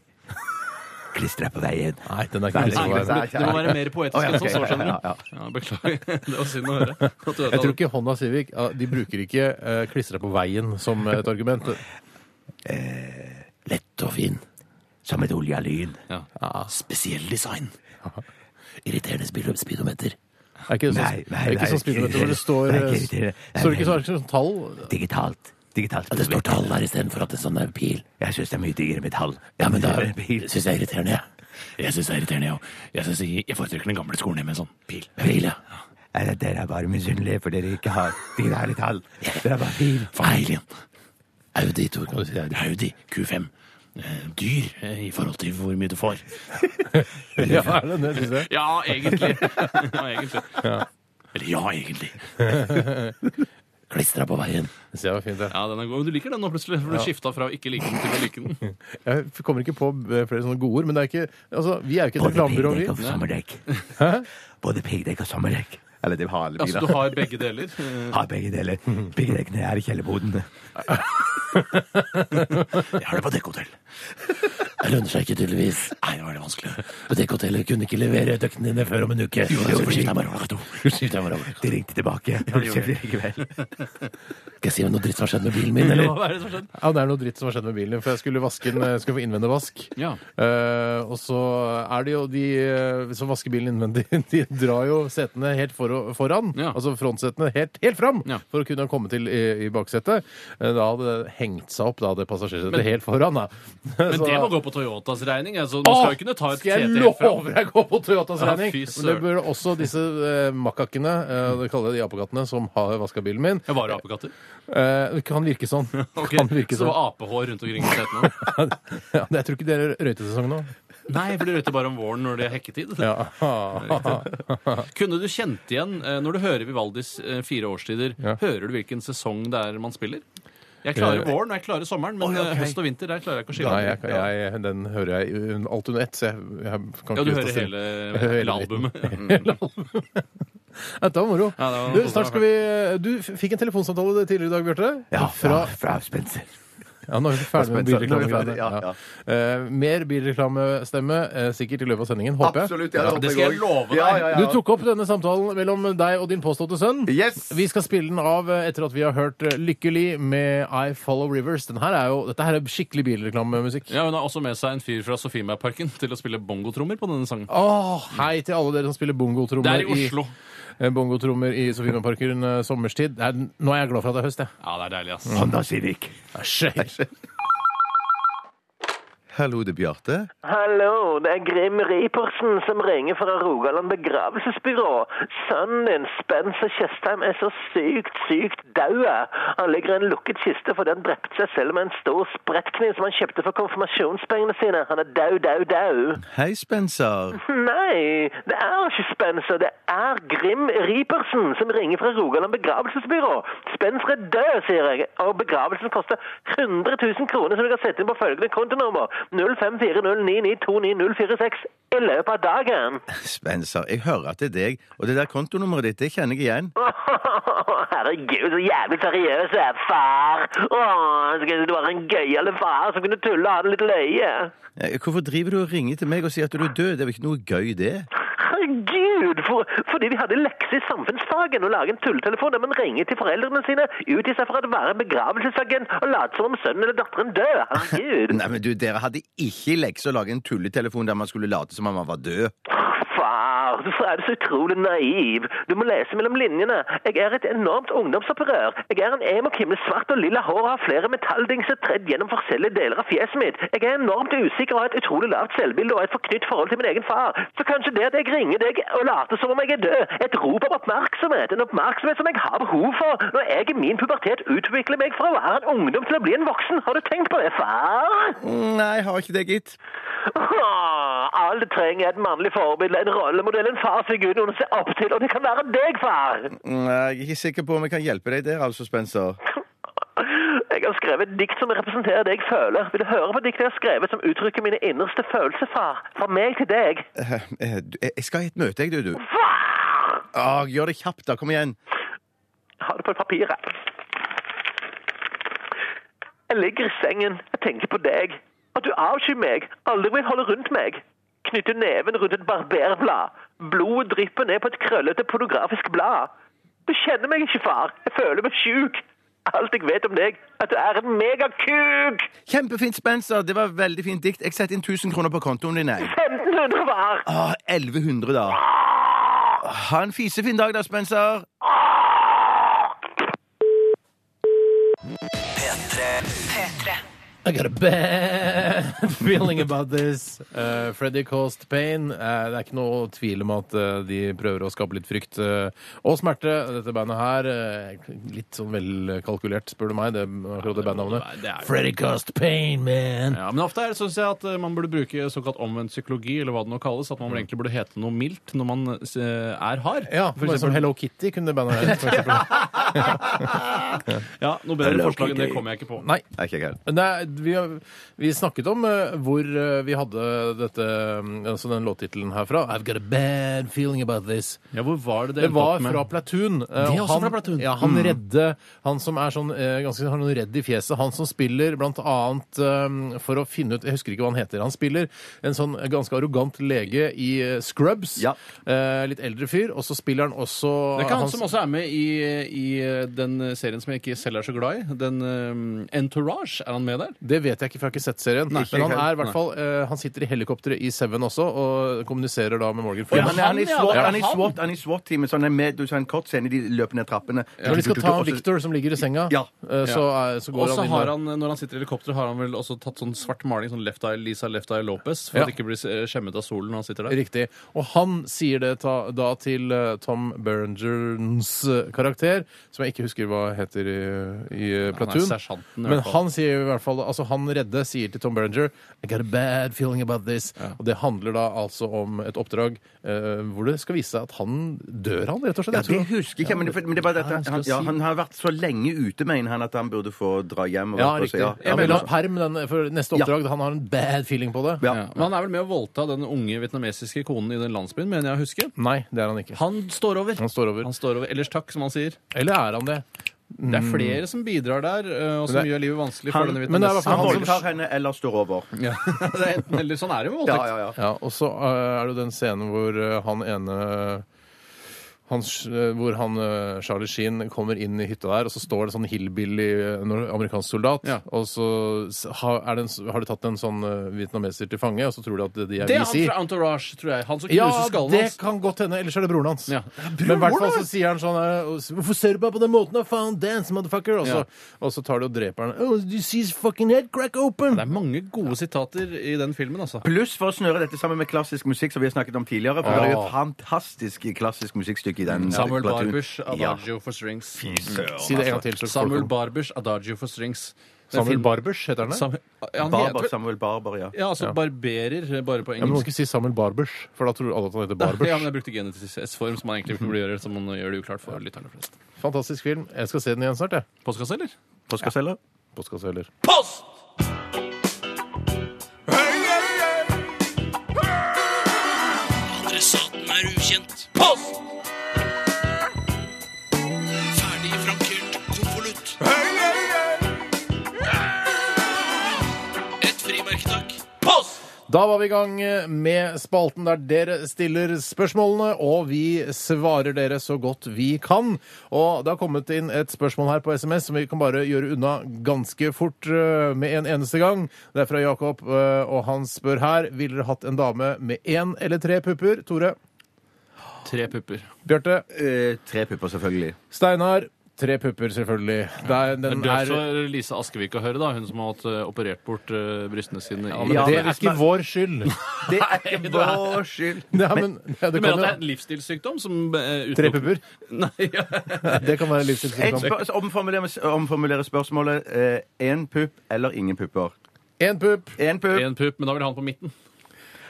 Speaker 4: Klistra på veien.
Speaker 3: Nei, den er ikke
Speaker 4: Nei,
Speaker 3: klistra på veien.
Speaker 4: nei, nei.
Speaker 2: Det må være mer poetisk
Speaker 4: Å, ja,
Speaker 2: enn som
Speaker 4: ok,
Speaker 2: så,
Speaker 4: ja,
Speaker 2: skjønner
Speaker 4: ja,
Speaker 2: du. Ja, beklager. [LAUGHS] Det var synd å høre. At du
Speaker 3: Jeg tror ikke Honda Civic ja, De bruker ikke eh, klistra på veien som et argument.
Speaker 5: Lett og fin. Som et olja lyn.
Speaker 2: Ja.
Speaker 5: Spesiell design. Irriterende speedo- speedometer.
Speaker 3: Er ikke det sånn,
Speaker 5: Nei, nei,
Speaker 3: er ikke
Speaker 5: nei,
Speaker 3: sånn speedometer hvor det står eh,
Speaker 5: nei, ikke irriterende. Nei,
Speaker 3: Står det ikke
Speaker 5: nei.
Speaker 3: sånn, sånn tall?
Speaker 5: Digitalt. Digitalt. Ja, det står tall her istedenfor at det er sånn er pil. Jeg syns det er mye diggere [LAUGHS] med tall. Ja, men da syns jeg er irriterende, jeg. Jeg syns det er irriterende, jeg òg. Jeg, synes jeg, jeg foretrekker den gamle skolen med sånn pil. Pil, ja.
Speaker 4: Nei, Dere er bare misunnelige for dere ikke har de der tall. Dere er bare fine.
Speaker 5: Feil igjen. Audi, Tor, kan du si det? Audi Q5. eh, dyr eh, i forhold til hvor mye du får.
Speaker 3: Ja, er det det, synes jeg?
Speaker 2: Ja, egentlig. Ja, egentlig.
Speaker 5: Eller ja, [LAUGHS] egentlig. Klistra på veien.
Speaker 3: Det ser jeg var fint, det.
Speaker 2: Ja, den er god. Men du liker den nå plutselig, for du skifta fra å ikke like den til å like
Speaker 3: [LAUGHS]
Speaker 2: den.
Speaker 3: Jeg kommer ikke på eh, flere sånne gode ord, men det er ikke Altså, vi er jo ikke et
Speaker 5: Både
Speaker 3: reklamebyrå, vi.
Speaker 5: piggdekk og sommerdekk. Både piggdekk og sommerdekk.
Speaker 4: Eller det er halebiler.
Speaker 2: Altså, du har begge
Speaker 3: [LAUGHS]
Speaker 2: deler.
Speaker 5: Har begge deler. Piggdekkene er i kjellerboden. Jeg har det på dekkhotell. Det lønner seg ikke, tydeligvis. Nei, det var det vanskelig. På dekkhotellet kunne ikke levere døkkene dine før om en uke. Jo, det var skiftet meg over. Skiftet meg over. De ringte tilbake. Skal jeg si om noe dritt som har skjedd med bilen min,
Speaker 2: Eller
Speaker 5: eller?
Speaker 2: hva er det som skjedde?
Speaker 3: Ja, det er noe dritt som har skjedd med bilen. For jeg skulle vaske den, jeg skulle få innvendig vask.
Speaker 2: Ja.
Speaker 3: Eh, og så er det jo de eh, som vasker bilen innvendig, [LAUGHS] de drar jo setene helt for, foran.
Speaker 2: Ja.
Speaker 3: Altså frontsetene helt, helt fram
Speaker 2: Ja.
Speaker 3: for å kunne komme til i, i baksetet. Eh, Da hadde det hengt seg opp, da, det passasjersetet
Speaker 2: Men-
Speaker 3: helt foran. Da. [LAUGHS]
Speaker 2: Men det må gå på Toyotas regning. Altså, du skal jo kunne ta et
Speaker 3: skal jeg
Speaker 2: TT fra
Speaker 3: love deg å gå på Toyotas
Speaker 2: Ja,
Speaker 3: regning?
Speaker 2: fy
Speaker 3: Men det burde også disse eh, makakkene, eh, det kaller jeg de apekattene, som har vaska bilen min.
Speaker 2: Jeg var apekatter.
Speaker 3: Eh, det kan virke sånn.
Speaker 2: [LAUGHS] Ok,
Speaker 3: Kan virke
Speaker 2: Så det
Speaker 3: sånn.
Speaker 2: var apehår rundt omkring i setene.
Speaker 3: [LAUGHS] Ja, jeg tror ikke det er røytesesong nå.
Speaker 2: Nei, for de røyter bare om våren når det er hekketid.
Speaker 3: Ja.
Speaker 2: Kunne du kjent igjen, eh, når du hører Vivaldis eh, fire årstider,
Speaker 3: Ja.
Speaker 2: hører du hvilken sesong det er man spiller? Jeg klarer
Speaker 3: Eh,
Speaker 2: våren og jeg klarer sommeren, men eh, høst og vinter der klarer jeg ikke å skille.
Speaker 3: Nei, jeg, jeg, den hører jeg un- alt under ett, så jeg, jeg kan ikke
Speaker 2: Ja, du
Speaker 3: ut av
Speaker 2: hører
Speaker 3: stemmen.
Speaker 2: hele,
Speaker 3: Jeg hører hele
Speaker 2: hele
Speaker 3: [LAUGHS]
Speaker 2: albumet. Mm.
Speaker 3: Dette var moro.
Speaker 2: Ja, det var-
Speaker 3: du, snart skal vi, du f- fikk en telefonsamtale tidligere i dag, Bjarte.
Speaker 4: Ja, fra,
Speaker 3: Fra,
Speaker 4: fra Spencer.
Speaker 3: ja, nå er vi ferdig med
Speaker 4: Nå er vi ferdig,
Speaker 3: bilreklamegreiene.
Speaker 4: ja,
Speaker 3: Ja. Eh, mer bilreklamestemme eh, sikkert i løpet av sendingen, håper jeg.
Speaker 4: Absolutt. Ja,
Speaker 2: det skal jeg love deg.
Speaker 4: Ja, ja, ja.
Speaker 3: Du tok opp denne samtalen mellom deg og din påståtte sønn.
Speaker 4: Yes!
Speaker 3: Vi skal spille den av eh, etter at vi har hørt eh, 'Lykkelig' med I Follow Rivers. Den her er jo, dette her er skikkelig bilreklamemusikk.
Speaker 2: Ja, Hun har også med seg en fyr fra Sofiemarken [LAUGHS] til å spille bongotrommer på denne sangen.
Speaker 3: Åh, hei til alle dere som spiller
Speaker 2: Det
Speaker 3: bongotrommer
Speaker 2: er i Oslo.
Speaker 3: eh, bongotrommer i Sofiemarken eh, sommerstid. Det er, nå er jeg glad for at det er høst, jeg.
Speaker 2: Ja, det er deilig, ass.
Speaker 4: Honda Civic.
Speaker 3: Æsj.
Speaker 4: Hallo, det er Bjarte.
Speaker 1: Hallo, det er Grim Ripersen som ringer fra Rogaland begravelsesbyrå. Sønnen din, Spencer Tjøstheim, er så sykt, sykt daud. Han ligger i en lukket kiste fordi han drepte seg selv med en stor sprettkniv som han kjøpte for konfirmasjonspengene sine. Han er daud, daud, daud.
Speaker 4: Hei, Spencer.
Speaker 1: Nei, det er ikke Spencer. Det er Grim Ripersen som ringer fra Rogaland begravelsesbyrå. Spencer er død, sier jeg, og begravelsen koster 100 000 kroner som du kan sette inn på følgende kontonummer 0540992904 i løpet av dagen.
Speaker 4: Spencer, jeg hører at det er deg, og det der kontonummeret ditt, det kjenner jeg igjen.
Speaker 1: [LAUGHS] Herregud, så jævlig seriøs jeg er, far. Åh, skal du være en gøyale far som kunne tulle og ha det litt løye.
Speaker 4: Eh, Hvorfor driver du og ringer til meg og sier at du er død? Det er jo ikke noe gøy, det.
Speaker 1: Herregud, for, fordi vi hadde lekse i samfunnsfagen å lage en tulletelefon der man ringer til foreldrene sine, utgir seg for å være begravelsesagent og later som om sønnen eller datteren dør. Herregud.
Speaker 4: Nei, men du, Dere hadde ikke i lekse å lage en tulletelefon der man skulle late som om man var død.
Speaker 1: Far, hvorfor er du så utrolig naiv? Du må lese mellom linjene. Jeg er et enormt ungdomsopprør. Jeg er en emokrim med svart og lilla hår og har flere metalldingser tredd gjennom forskjellige deler av fjeset mitt. Jeg er enormt usikker og har et utrolig lavt selvbilde og et forknytt forhold til min egen far. Så kanskje det at jeg ringer deg og later som om jeg er død, et rop om oppmerksomhet, en oppmerksomhet som jeg har behov for når jeg i min pubertet utvikler meg fra å være en ungdom til å bli en voksen. Har du tenkt på det, far?
Speaker 4: Mm, Nei, har ikke det, gitt.
Speaker 1: Åh, Alle Ah, trenger et mannlig forbilde, en rollemodell, en farfigur noen å se opp til, og det kan være deg, far!
Speaker 4: Mm, Jeg er ikke sikker på om jeg kan hjelpe deg der, altså, Spencer.
Speaker 1: Jeg har skrevet et dikt som representerer det jeg føler. Vil du høre på diktet jeg har skrevet som uttrykker mine innerste følelser, far? Fra meg til deg.
Speaker 4: Eh, eh, du- Jeg jeg skal i et møte, jeg, du. du.
Speaker 1: Far!
Speaker 4: Ah, gjør det kjapt, da. Kom igjen.
Speaker 1: Ha det på papiret. Jeg ligger i sengen, jeg tenker på deg. At du avskyr meg, aldri vil holde rundt meg. Knytte neven rundt et barberblad. Blodet drypper ned på et krøllete pornografisk blad. Du kjenner meg ikke, far. Jeg føler meg sjuk. Alt jeg vet om deg, at du er en megakuk!
Speaker 4: Kjempefint, Spencer. Det var veldig fint dikt. Jeg setter inn 1000 kroner på kontoen din, jeg.
Speaker 1: 1500 var!
Speaker 4: Ah, 1100, da. Ha en fisefin dag, da, Spencer.
Speaker 6: P3.
Speaker 3: I got a bad [LAUGHS] feeling about this. Eh, Freddy caused pain. Eh, det er ikke noe tvil om at eh, de prøver å skape litt frykt eh, og smerte. Dette bandet her eh, litt sånn velkalkulert, spør du meg. Det, akkurat det bandnavnet.
Speaker 2: Nei, det er jo-
Speaker 3: Freddy caused pain, man.
Speaker 2: Ja, men ofte er det synes jeg at eh, man burde bruke såkalt omvendt psykologi, eller hva det nå kalles, at man vel egentlig burde hete noe mildt når man eh, er hard.
Speaker 3: Ja, for eksempel Hello Kitty kunne det bandet her. For [LAUGHS] eksempel.
Speaker 2: Ja, noe bedre forslag enn det kommer jeg ikke på.
Speaker 3: Nei.
Speaker 4: Nei, ikke jeg heller.
Speaker 3: Nei, vi, har- vi snakket om eh, hvor eh, vi hadde dette, mm, altså den låttittelen herfra. I've got a bad feeling about this.
Speaker 2: Ja, hvor var det det
Speaker 3: Det
Speaker 2: endte
Speaker 3: var
Speaker 2: opp med?
Speaker 3: fra Platoon. Mm. eh, og
Speaker 2: er også fra Platoon.
Speaker 3: Ja, han redde Han som er sånn eh, ganske han er redd i fjeset. Han som spiller blant annet eh, for å finne ut Jeg husker ikke hva han heter. Han spiller en sånn ganske arrogant lege i eh, Scrubs.
Speaker 4: Ja.
Speaker 3: Eh, litt eldre fyr. Og så spiller han også
Speaker 2: Det er ikke han
Speaker 3: hans-
Speaker 2: som også er med i, i den serien som jeg ikke selv er så glad i. Den eh, Entourage, er han med der?
Speaker 3: Det vet jeg ikke, for jeg har ikke sett serien.
Speaker 4: ikke
Speaker 3: men han
Speaker 4: helt.
Speaker 3: er i hvert fall eh, Han sitter i helikopteret i Seven også og kommuniserer da med Morgan
Speaker 4: Ja,
Speaker 3: Freeman.
Speaker 4: han, er- han, er i
Speaker 2: han, ja,
Speaker 4: SWAT-
Speaker 2: det er
Speaker 4: han er i
Speaker 2: han.
Speaker 4: SWAT- han er i SWAT-teamet. Så han er med du så en kort scene de løper ned trappene.
Speaker 3: Når de skal ta
Speaker 4: Og så-
Speaker 3: Victor, som ligger i senga,
Speaker 4: Ja.
Speaker 3: eh, så, er- så
Speaker 2: Og
Speaker 3: går
Speaker 2: så
Speaker 3: han inn
Speaker 2: har
Speaker 3: der.
Speaker 2: han, når han sitter i helikopteret, har han vel også tatt sånn svart maling, sånn Left Eye Lisa Left Eye Lopez, for
Speaker 3: Ja.
Speaker 2: at det ikke blir eh, skjemmet av solen når han sitter der.
Speaker 3: Riktig. Og han sier det ta, da til eh, Tom Berengerns eh, karakter, som jeg ikke husker hva heter i, i eh, Platoon.
Speaker 2: sersjanten, i hvert
Speaker 3: Men
Speaker 2: fall.
Speaker 3: han sier i hvert fall Altså han redde sier til Tom Berenger I got a bad feeling about this. Og det handler da altså om et oppdrag eh, hvor det skal vise seg at han dør, han, rett og slett.
Speaker 4: Ja,
Speaker 3: Jeg tror
Speaker 4: det husker jeg ikke, men det, men det er bare dette,
Speaker 2: skal
Speaker 4: han, ja,
Speaker 2: si-
Speaker 4: han har vært så lenge ute, mener han, at han burde få dra hjem. Og
Speaker 3: Ja,
Speaker 4: være på seg,
Speaker 3: riktig.
Speaker 4: Ja,
Speaker 3: Jeg vil ha perm den, for neste oppdrag. Han har en bad feeling på det.
Speaker 4: Ja.
Speaker 2: Ja. Men han er vel med å voldta den unge vietnamesiske konen i den landsbyen, mener jeg å huske.
Speaker 3: Nei, det er han ikke.
Speaker 2: Han står over.
Speaker 3: Han står over.
Speaker 2: Han står over. Ellers takk, som han sier.
Speaker 3: Eller er han det?
Speaker 2: Det er flere som bidrar der, eh, og som
Speaker 3: Mm. Men det-
Speaker 2: gjør livet vanskelig for
Speaker 4: Han-
Speaker 2: denne
Speaker 3: men det er i hvert
Speaker 4: Han
Speaker 3: fall
Speaker 2: vietnamesiske.
Speaker 4: voldtar henne eller står over.
Speaker 2: Ja. [LAUGHS] Det er enten eller. Sånn er det jo med
Speaker 4: Ja,
Speaker 2: voldtekt.
Speaker 4: ja, ja.
Speaker 3: Ja, og så eh, er det jo den scenen hvor eh, han ene han, sh- eh, hvor han, eh, Charlie Sheen kommer inn i hytta der, og så står det en sånn hillbilly eh, nor- amerikansk soldat.
Speaker 2: Ja.
Speaker 3: Og så s- ha- er det en, s- har de tatt en sånn eh, vietnameser til fange, og så tror de at de er
Speaker 2: Det er han
Speaker 3: VC.
Speaker 2: fra Entourage, tror jeg. Han som
Speaker 3: Ja,
Speaker 2: knuser skallen
Speaker 3: det
Speaker 2: hans.
Speaker 3: kan godt hende. Ellers er det broren hans.
Speaker 2: Ja.
Speaker 3: Men i hvert fall så sier han sånn eh, Hvorfor ser du meg på den måten? da? Faen, dance, motherfucker! Og så, og så tar de og dreper han. Oh, you see his fucking head crack open!
Speaker 2: Det er mange gode sitater i den filmen, altså.
Speaker 4: Pluss for å snøre dette sammen med klassisk musikk, som vi har snakket om tidligere. For det er jo et fantastisk klassisk musikkstykke i
Speaker 3: Mm.
Speaker 4: den.
Speaker 2: Samuel
Speaker 4: platoon.
Speaker 2: Barbush,
Speaker 4: Ja.
Speaker 2: Adagio for Strings.
Speaker 3: Si det en gang til. Så
Speaker 2: Samuel Barbush, Adagio for Strings. Den
Speaker 3: Samuel
Speaker 2: film-
Speaker 3: Barbers heter han det?
Speaker 2: Sam- Ja, han
Speaker 4: Barber,
Speaker 2: heter-
Speaker 4: Samuel Barber, ja.
Speaker 2: Ja, altså barberer, bare på
Speaker 3: Ja, men man må
Speaker 2: engelsk.
Speaker 3: ikke si Samuel Barbers, for da tror alle at han
Speaker 4: [LAUGHS]
Speaker 3: heter Barbers.
Speaker 2: Ja, men jeg brukte genetisk S-form, som man egentlig ikke burde gjøre, som man gjør det uklart for lytterne flest.
Speaker 3: Fantastisk film. Jeg skal se den igjen snart, jeg.
Speaker 2: Postkasse, eller?
Speaker 4: Postkasse, eller?
Speaker 3: Postkasse heller.
Speaker 6: Adressaten er ukjent. Post! Ferdig frankert konvolutt. Et frimerke, takk. Post!
Speaker 3: Da var vi i gang eh, med spalten der dere stiller spørsmålene, og vi svarer dere så godt vi kan. Og det har kommet inn et spørsmål her på SMS som vi kan bare gjøre unna ganske fort øh, med en eneste gang. Det er fra Jakob, øh, og han spør her Ville dere hatt en dame med én eller tre pupper? Tore?
Speaker 2: Tre pupper.
Speaker 3: Bjarte?
Speaker 4: Eh, tre pupper, selvfølgelig.
Speaker 3: Steinar? Tre pupper, selvfølgelig. Det er, den
Speaker 2: Du er
Speaker 3: er
Speaker 2: så Lise Askevik å høre, da. Hun som har hatt eh, operert bort eh, brystene sine. i-
Speaker 3: Men
Speaker 4: Ja,
Speaker 3: det
Speaker 4: men
Speaker 3: er
Speaker 4: hvis
Speaker 3: ikke
Speaker 4: man-
Speaker 3: vår skyld.
Speaker 4: Det er ikke vår skyld.
Speaker 3: [LAUGHS] Ja, men, ja,
Speaker 2: Du mener at
Speaker 3: det, kan
Speaker 2: det er
Speaker 3: jo,
Speaker 2: en livsstilssykdom som eh,
Speaker 3: tre
Speaker 2: utelukker-
Speaker 3: pupper?
Speaker 2: [LAUGHS] Nei, ja.
Speaker 3: Det kan være
Speaker 4: Et
Speaker 3: [LAUGHS] livsstilssykdom.
Speaker 4: spør- omformulere, omformulere spørsmålet. Én pupp eller ingen pupper?
Speaker 3: Én pupp.
Speaker 4: Én pupp.
Speaker 2: [LAUGHS] En pupp, men da vil han på midten.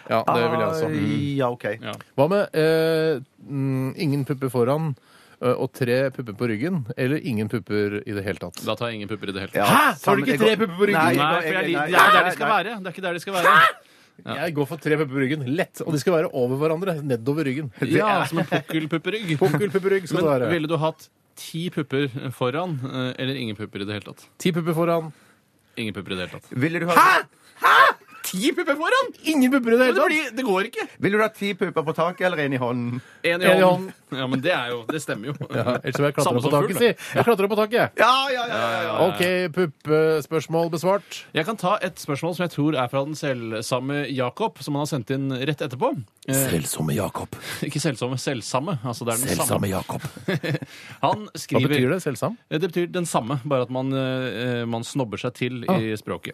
Speaker 3: Ja, det vil jeg altså. Mm. også.
Speaker 4: Ah, Ja, OK.
Speaker 2: Ja.
Speaker 3: Hva med eh, mm, ingen pupper foran eh, og tre pupper på ryggen? Eller ingen pupper i det hele tatt?
Speaker 2: Da tar jeg ingen pupper i det hele tatt.
Speaker 4: Ja,
Speaker 3: Hæ? Så har du
Speaker 4: samme-
Speaker 3: ikke
Speaker 4: jeg går-
Speaker 3: tre pupper på ryggen?
Speaker 4: Nei, jeg
Speaker 2: Nei, for
Speaker 4: går-
Speaker 2: jeg,
Speaker 4: jeg-
Speaker 2: det er
Speaker 4: nei,
Speaker 2: ikke der
Speaker 4: nei,
Speaker 2: de skal
Speaker 4: nei.
Speaker 2: være. Det er ikke der de skal være.
Speaker 3: Jeg går for tre pupper på ryggen. Lett. Og de skal være over hverandre. Nedover ryggen.
Speaker 2: Ja, som en pukkelpupperygg.
Speaker 3: Pukkelpupperygg skal
Speaker 2: Men
Speaker 3: det være.
Speaker 2: ville du hatt ti pupper foran, eh, eller ingen pupper i det hele tatt?
Speaker 3: Ti pupper foran.
Speaker 2: Ingen pupper i det hele tatt.
Speaker 4: Ville du ha Hæ?!
Speaker 2: ti pupper foran!
Speaker 3: Ingen bubber i
Speaker 2: Men
Speaker 3: det
Speaker 2: det,
Speaker 3: hele tatt!
Speaker 2: blir, det går ikke.
Speaker 4: Vil du ha ti pupper på taket eller én i hånden?
Speaker 2: Én
Speaker 3: En i
Speaker 2: i hånden. Ja, men det er jo Det stemmer jo.
Speaker 3: Ja, ellers vil jeg klatre
Speaker 2: Samme
Speaker 3: opp
Speaker 2: som
Speaker 3: på taket,
Speaker 2: fugl,
Speaker 3: si.
Speaker 2: det.
Speaker 3: Jeg klatrer opp på taket, jeg.
Speaker 4: Ja, ja, ja. ja, ja.
Speaker 3: OK, puppespørsmål besvart.
Speaker 2: Jeg kan ta et spørsmål som jeg tror er fra den selvsamme Jakob, som han har sendt inn rett etterpå. [LAUGHS] Eh,
Speaker 5: Selvsomme Jakob.
Speaker 2: ikke selvsomme, selvsamme. Altså det er den
Speaker 5: Selvsamme Jakob.
Speaker 2: samme. [LAUGHS] Han
Speaker 3: Hva
Speaker 2: skriver
Speaker 3: betyr det? Selvsam?
Speaker 2: Eh, Det betyr den samme, bare at man, eh, man snobber seg til
Speaker 3: Ah.
Speaker 2: i språket.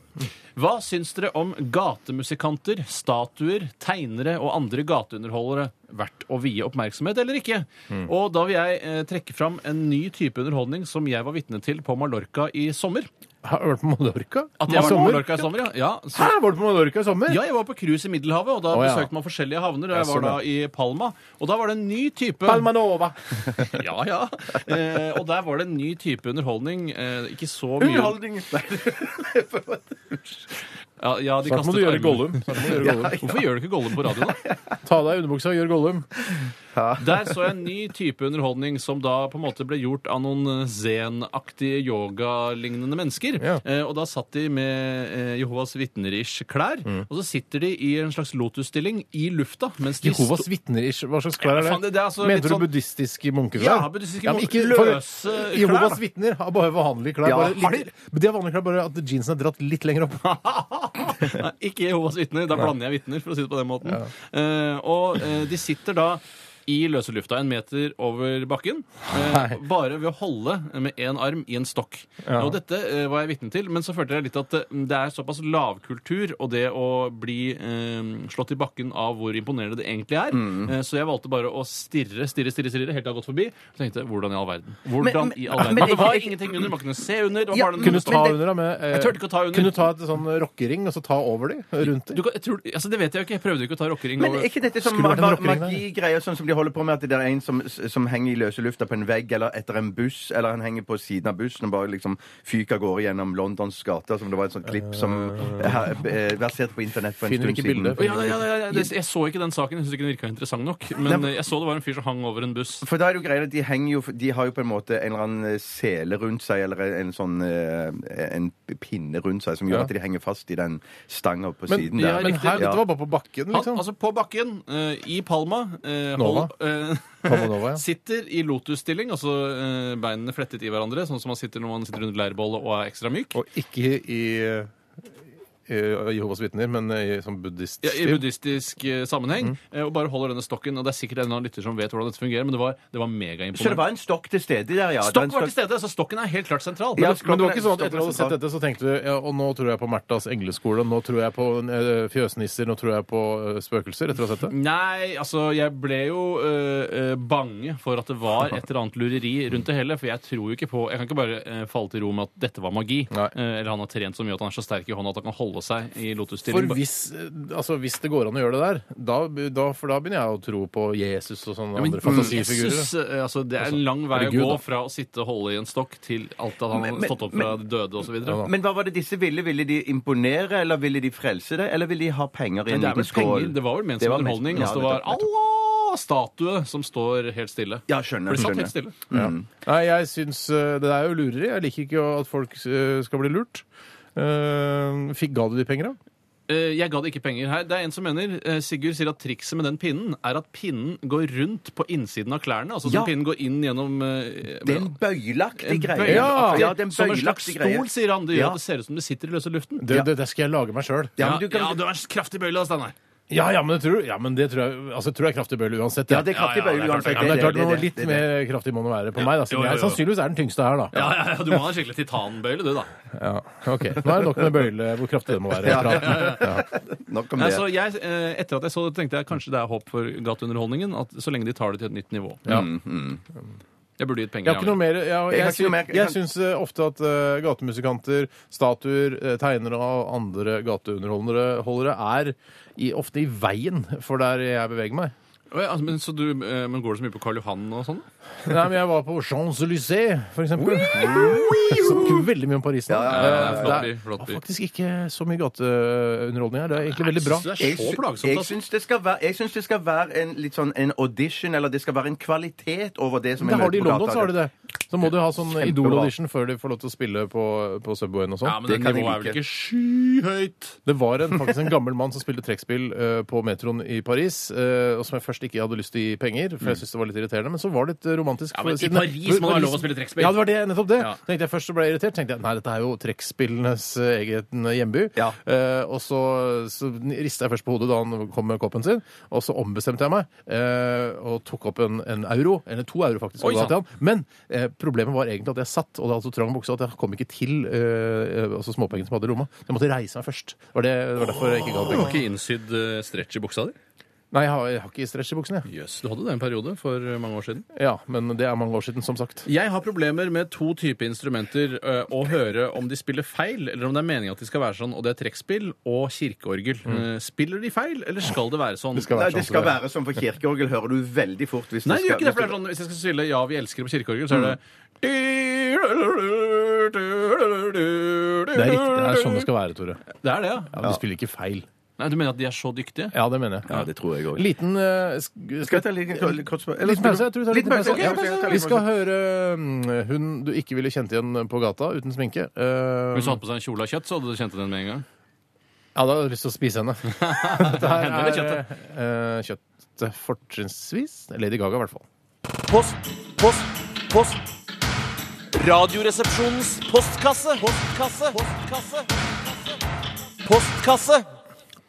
Speaker 2: Hva syns dere om gatemusikanter, statuer, tegnere og andre gateunderholdere verdt å vie oppmerksomhet eller ikke?
Speaker 3: Hmm.
Speaker 2: Og da vil jeg eh, trekke fram en ny type underholdning som jeg var vitne til på Mallorca i sommer.
Speaker 3: Har du vært på Mallorca?
Speaker 2: At jeg var på
Speaker 3: Sommer?
Speaker 2: Mallorca i sommer, ja. ja så,
Speaker 3: Hæ, var du på Mallorca i sommer?
Speaker 2: [LAUGHS] ja, jeg var på cruise i Middelhavet, og da
Speaker 3: Å, ja.
Speaker 2: besøkte man forskjellige havner. Og
Speaker 3: Ja,
Speaker 2: jeg var da
Speaker 3: sånn,
Speaker 2: i Palma, og da var det en ny type
Speaker 3: Palmanova.
Speaker 2: [LAUGHS] Ja, ja. Eh, og der var det en ny type underholdning. Eh, ikke så mye
Speaker 4: Underholdning!
Speaker 2: [LAUGHS] Ja, ja, de
Speaker 3: Snart må
Speaker 2: kastet
Speaker 3: du gjøre
Speaker 2: armene. [LAUGHS]
Speaker 3: Gollum. [LAUGHS] Snart må du gjøre Gollum.
Speaker 2: Hvorfor gjør du ikke Gollum på radioen?
Speaker 3: [LAUGHS]
Speaker 2: da?
Speaker 3: Ta av deg underbuksa og gjør Gollum.
Speaker 2: Der så jeg en ny type underholdning som da på en måte ble gjort av noen zen-aktige yogalignende mennesker.
Speaker 3: Ja.
Speaker 2: Eh, og da satt de med eh, Jehovas vitner-ish klær,
Speaker 3: Mm.
Speaker 2: og så sitter de i en slags lotusstilling i lufta mens de
Speaker 3: Jehovas
Speaker 2: sto-
Speaker 3: vitner-ish, hva slags klær er
Speaker 2: Ja, faen,
Speaker 3: det?
Speaker 2: det- det er altså litt
Speaker 3: Mener du
Speaker 2: sånn-
Speaker 3: buddhistiske munkeklær?
Speaker 2: Ja, buddhistiske
Speaker 3: men
Speaker 2: mun-
Speaker 3: ikke-
Speaker 2: løse
Speaker 3: for-
Speaker 2: klær,
Speaker 3: Jehovas
Speaker 2: da.
Speaker 3: vitner har bare vanlige klær.
Speaker 4: Ja,
Speaker 3: bare
Speaker 4: har
Speaker 3: litt, de har vanlige klær, bare at jeansen er dratt litt lenger opp.
Speaker 2: [LAUGHS] Nei, ikke Jehovas vitner. Da blander jeg vitner, for å si det på den måten. Eh, og eh, de sitter da i løse lufta, en meter over bakken, eh,
Speaker 3: Nei.
Speaker 2: bare ved å holde med én arm i en stokk. Og dette eh, var jeg vitne til, men så følte jeg litt at eh, det er såpass lavkultur, og det å bli eh, slått i bakken av hvor imponerende det egentlig er,
Speaker 4: Mm.
Speaker 2: eh, så jeg valgte bare å stirre, stirre, stirre, stirre helt til jeg har gått forbi. Og tenkte hvordan i all verden? Hvordan
Speaker 4: Men-
Speaker 2: i all verden?
Speaker 4: men-
Speaker 2: det var
Speaker 4: jeg- jeg-
Speaker 2: ingenting under, man kunne se under. Det var
Speaker 4: Ja,
Speaker 2: bare den
Speaker 3: Kunne du ta
Speaker 2: stokk.
Speaker 3: under da med eh,
Speaker 2: Jeg turte ikke å ta under.
Speaker 3: Kunne du ta et sånn rockering og så ta over de? Rundt
Speaker 2: Du
Speaker 3: de?
Speaker 2: kan, jeg tror, altså det vet jeg jo ikke. Jeg prøvde jo ikke å ta rockering.
Speaker 4: Men
Speaker 2: over-
Speaker 4: er ikke dette som
Speaker 3: Skulle vært en
Speaker 4: ma-
Speaker 3: rockering, da.
Speaker 4: magigreier, sånn som de holder på med at det er en som, som henger i løse lufta på en vegg eller etter en buss, eller han henger på siden av bussen og bare liksom fyker av gårde gjennom Londons gater, som det var et sånt klipp som eh, eh, verserte på internett for en
Speaker 3: Finner
Speaker 4: stund
Speaker 3: ikke
Speaker 4: siden.
Speaker 3: bildet.
Speaker 2: Å, ja, ja, ja, ja, det, jeg så ikke den saken. Jeg syns ikke den virka interessant nok. Men eh, jeg så det var en fyr som hang over en buss.
Speaker 4: For da er det jo greia at de henger jo De har jo på en måte en eller annen sele rundt seg, eller en sånn eh, En pinne rundt seg, som gjør
Speaker 3: Ja.
Speaker 4: at de henger fast i den stanga på
Speaker 3: Men,
Speaker 4: siden
Speaker 3: ja,
Speaker 4: der.
Speaker 3: men
Speaker 2: riktig.
Speaker 3: her,
Speaker 4: Ja.
Speaker 3: dette var bare på bakken,
Speaker 2: Han,
Speaker 3: liksom.
Speaker 2: altså på bakken eh, i Palma eh,
Speaker 3: Nova.
Speaker 2: eh,
Speaker 3: Palma Nova,
Speaker 2: [LAUGHS]
Speaker 3: ja.
Speaker 2: Sitter i lotusstilling, altså eh, beinene flettet i hverandre, sånn som man sitter når man sitter rundt leirbålet og er ekstra myk.
Speaker 3: Og ikke i eh, Jehovas vitner, men i sånn buddhist
Speaker 2: Ja, I buddhistisk eh,
Speaker 3: Mm.
Speaker 2: sammenheng. eh, Og bare holder denne stokken. Og det er sikkert en eller annen lytter som vet hvordan dette fungerer, men det var, det var
Speaker 4: Så det
Speaker 2: megaimponerende.
Speaker 4: var en stokk til stede der, ja.
Speaker 2: Stokk var til stede, så stokken er helt klart sentral.
Speaker 4: Ja,
Speaker 2: Men-
Speaker 3: Men det var ikke sånn at
Speaker 4: Stokken
Speaker 3: etter at du hadde
Speaker 4: sentral.
Speaker 3: sett dette, så tenkte du ja, og nå tror jeg på Märthas engleskole, og nå tror jeg på eh, fjøsnisser, nå tror jeg på eh, spøkelser, etter å ha sett det?
Speaker 2: Nei, altså jeg ble jo øh, øh, bange for at det var et eller annet lureri rundt det hele. For jeg tror jo ikke på Jeg kan ikke bare øh, falle til ro med at dette var magi.
Speaker 3: Nei.
Speaker 2: Eh, eller han har trent så mye at han er så sterk i hånda at han kan holde seg i
Speaker 3: For
Speaker 2: lotusstilling.
Speaker 3: hvis, eh, altså, hvis det går an å gjøre det der, da, da, for da begynner jeg å tro på Jesus og sånne
Speaker 2: Ja, men mm,
Speaker 3: andre fantasifigurer.
Speaker 2: Jesus, eh, altså, det er en lang vei
Speaker 3: herregud,
Speaker 2: å gå
Speaker 3: da.
Speaker 2: fra å sitte og holde i en stokk til alt at han
Speaker 4: Men-
Speaker 2: har
Speaker 4: men-
Speaker 2: stått opp fra de døde osv.
Speaker 3: Ja, da.
Speaker 4: Men hva var det disse ville? Ville de imponere, eller ville de frelse deg, eller ville de ha penger i
Speaker 2: Men
Speaker 4: en
Speaker 2: det er vel
Speaker 4: liten skål?
Speaker 2: penger. Det var vel ment
Speaker 4: Det
Speaker 2: som
Speaker 4: var ment-
Speaker 2: underholdning.
Speaker 4: ja,
Speaker 2: altså, det var
Speaker 4: nettopp, nettopp.
Speaker 2: Allah! Statue som står helt stille.
Speaker 4: Ja, skjønner.
Speaker 2: For de satt
Speaker 4: skjønner.
Speaker 2: helt stille.
Speaker 3: Ja. Nei, jeg syns eh, det er jo lureri. Jeg liker ikke at folk eh, skal bli lurt. Eh, Fikk, ga du de penger, da?
Speaker 2: Eh, Jeg ga det ikke penger her. Det er en som mener eh, Sigurd sier at trikset med den pinnen er at pinnen går rundt på innsiden av klærne. Altså
Speaker 4: Ja.
Speaker 2: som pinnen går inn gjennom eh,
Speaker 4: Det er en bøylaktig
Speaker 2: en
Speaker 4: greie.
Speaker 2: bøyle.
Speaker 3: Ja,
Speaker 4: ja, det er en
Speaker 2: Som en slags
Speaker 4: bøylaktig greie.
Speaker 2: stol, sier han. Det gjør
Speaker 4: Ja.
Speaker 2: at det ser ut som det sitter i løse luften.
Speaker 3: Det, det, det skal jeg lage meg sjøl.
Speaker 4: Ja,
Speaker 2: Ja,
Speaker 4: men du kan...
Speaker 2: ja, du har en kraftig bøyle, da, Steinar.
Speaker 3: Ja, ja, men det tror, ja, men det tror jeg altså, jeg tror jeg er kraftig bøyle uansett.
Speaker 4: Ja, det er kraftig
Speaker 2: Ja, ja,
Speaker 4: bøyle
Speaker 2: det er klart,
Speaker 4: uansett.
Speaker 3: Ja, men det er klart,
Speaker 4: det,
Speaker 3: noe
Speaker 4: det,
Speaker 3: litt
Speaker 4: det, det.
Speaker 3: mer kraftig må det være på meg. Da,
Speaker 2: Jo,
Speaker 3: siden
Speaker 2: jo,
Speaker 3: jeg
Speaker 2: jo.
Speaker 3: sannsynligvis er den tyngste her, da.
Speaker 2: Ja, ja, ja, du må ha en skikkelig titanbøyle, du, da.
Speaker 3: Ja, ok. Nå er det nok med bøyle, hvor kraftig det må være. Ja.
Speaker 4: Nok om
Speaker 2: Nei,
Speaker 4: det.
Speaker 2: så jeg, eh, etter at jeg så det, tenkte jeg kanskje det er håp for gateunderholdningen. At så lenge de tar det til et nytt nivå. Mm,
Speaker 3: Ja.
Speaker 2: Jeg burde gitt penger.
Speaker 3: Jeg har ikke noe mer. Jeg,
Speaker 4: Jeg har
Speaker 3: jeg,
Speaker 4: ikke noe mer.
Speaker 3: sy- jeg syns eh, ofte at eh, gatemusikanter, statuer, eh, tegnere og andre gateunderholdere holdere er i, ofte i veien for der jeg beveger meg.
Speaker 2: Å, ja, altså, men, så du, eh, men går det så mye på Karl Johan og sånn?
Speaker 3: Nei, men jeg var på Champs-Élysées, for eksempel. Snakker veldig mye om Paris nå.
Speaker 4: Ja,
Speaker 2: ja, ja.
Speaker 3: Eh, det er
Speaker 2: Flott by, flott by.
Speaker 3: faktisk ikke så mye gateunderholdning her. Det er egentlig veldig bra.
Speaker 2: Det
Speaker 4: Jeg
Speaker 2: er så
Speaker 4: sy-
Speaker 2: plagsomt.
Speaker 4: Jeg
Speaker 2: altså.
Speaker 4: syns det skal være, jeg synes det skal være en, litt sånn en audition, eller det skal være en kvalitet over det som
Speaker 3: Det
Speaker 4: jeg
Speaker 3: har de
Speaker 4: møter
Speaker 3: i
Speaker 4: på
Speaker 3: London,
Speaker 4: gata.
Speaker 3: så har de det. Så må du ha sånn Idol-audition før du får lov til å spille på, på Subwayen og sånn.
Speaker 2: Ja, men det nivået er vel ikke skyhøyt?
Speaker 3: Det var en, faktisk en gammel mann som spilte trekkspill eh, på metroen i Paris, eh, og som jeg først ikke hadde lyst til å gi penger, for jeg syntes det var litt irriterende, men så var det litt eh, romantisk.
Speaker 2: Mm. Ja, men
Speaker 3: for-
Speaker 2: i
Speaker 3: siden-
Speaker 2: Paris må det være lov å spille trekkspill.
Speaker 3: Ja, det var det, nettopp det.
Speaker 2: Ja.
Speaker 3: Tenkte jeg først så ble jeg irritert, tenkte jeg nei, dette er jo trekkspillenes eh, egen hjemby.
Speaker 4: Ja.
Speaker 3: Eh, og så, så rista jeg først på hodet da han kom med koppen sin, og så ombestemte jeg meg eh, og tok opp en, en euro, eller to euro faktisk, og
Speaker 2: Oi,
Speaker 3: ga til han. Men eh, problemet var egentlig at jeg satt, og det hadde så trang bukse at jeg kom ikke til eh, eh, altså småpengene som jeg hadde i lomma. Jeg måtte reise meg først. Det var, det, det var derfor jeg ikke ga
Speaker 2: Du har
Speaker 3: penger.
Speaker 2: ikke innsydd eh, stretch i buksa di?
Speaker 3: Nei, jeg har, jeg har ikke stretch i buksene, jeg.
Speaker 2: Jøss, du hadde det en periode for eh, mange år siden.
Speaker 3: Ja, men det er mange år siden, som sagt.
Speaker 2: Jeg har problemer med to typer instrumenter. eh, Å høre om de spiller feil, eller om det er meningen at de skal være sånn, og det er trekkspill og kirkeorgel. Eh, Spiller de feil, eller skal det være sånn?
Speaker 3: Det skal
Speaker 4: Nei,
Speaker 3: være
Speaker 4: det
Speaker 3: sånn.
Speaker 4: skal
Speaker 3: tror jeg.
Speaker 4: være sånn, for kirkeorgel hører du veldig fort hvis
Speaker 2: Nei, det
Speaker 4: skal,
Speaker 2: gjør ikke det. for det er sånn, Hvis jeg skal spille 'Ja, vi elsker' på kirkeorgel, så er
Speaker 3: Mm.
Speaker 2: det Det er
Speaker 3: Det er riktig. Det er sånn det skal være, Tore.
Speaker 2: Det er det, ja.
Speaker 3: Ja, men De spiller ikke feil.
Speaker 2: Nei, Du mener at de er så dyktige?
Speaker 3: Ja, det mener jeg.
Speaker 4: Ja, det tror jeg òg.
Speaker 3: Liten eh, sk-
Speaker 4: Skal jeg ta en liten kort- kort spørsmål? Eller
Speaker 3: Litt pause. Jeg tror vi tar
Speaker 4: Litt
Speaker 3: liten pause.
Speaker 4: pause, ok,
Speaker 3: Ja,
Speaker 4: pause, jeg tar litt
Speaker 3: Vi skal
Speaker 4: pause.
Speaker 3: høre mm, hun du ikke ville kjent igjen på gata uten sminke. Eh,
Speaker 2: Hvis du hadde på seg en kjole av kjøtt, så hadde du kjent den med en gang.
Speaker 3: ja, da hadde jeg lyst til å spise henne. Dette her
Speaker 2: Henne
Speaker 3: er
Speaker 2: eller kjøttet?
Speaker 3: eh, kjøttet, fortrinnsvis. Lady Gaga, i hvert fall.
Speaker 7: Post, post, post. Radioresepsjonens postkasse. Postkasse. Postkasse. Postkasse.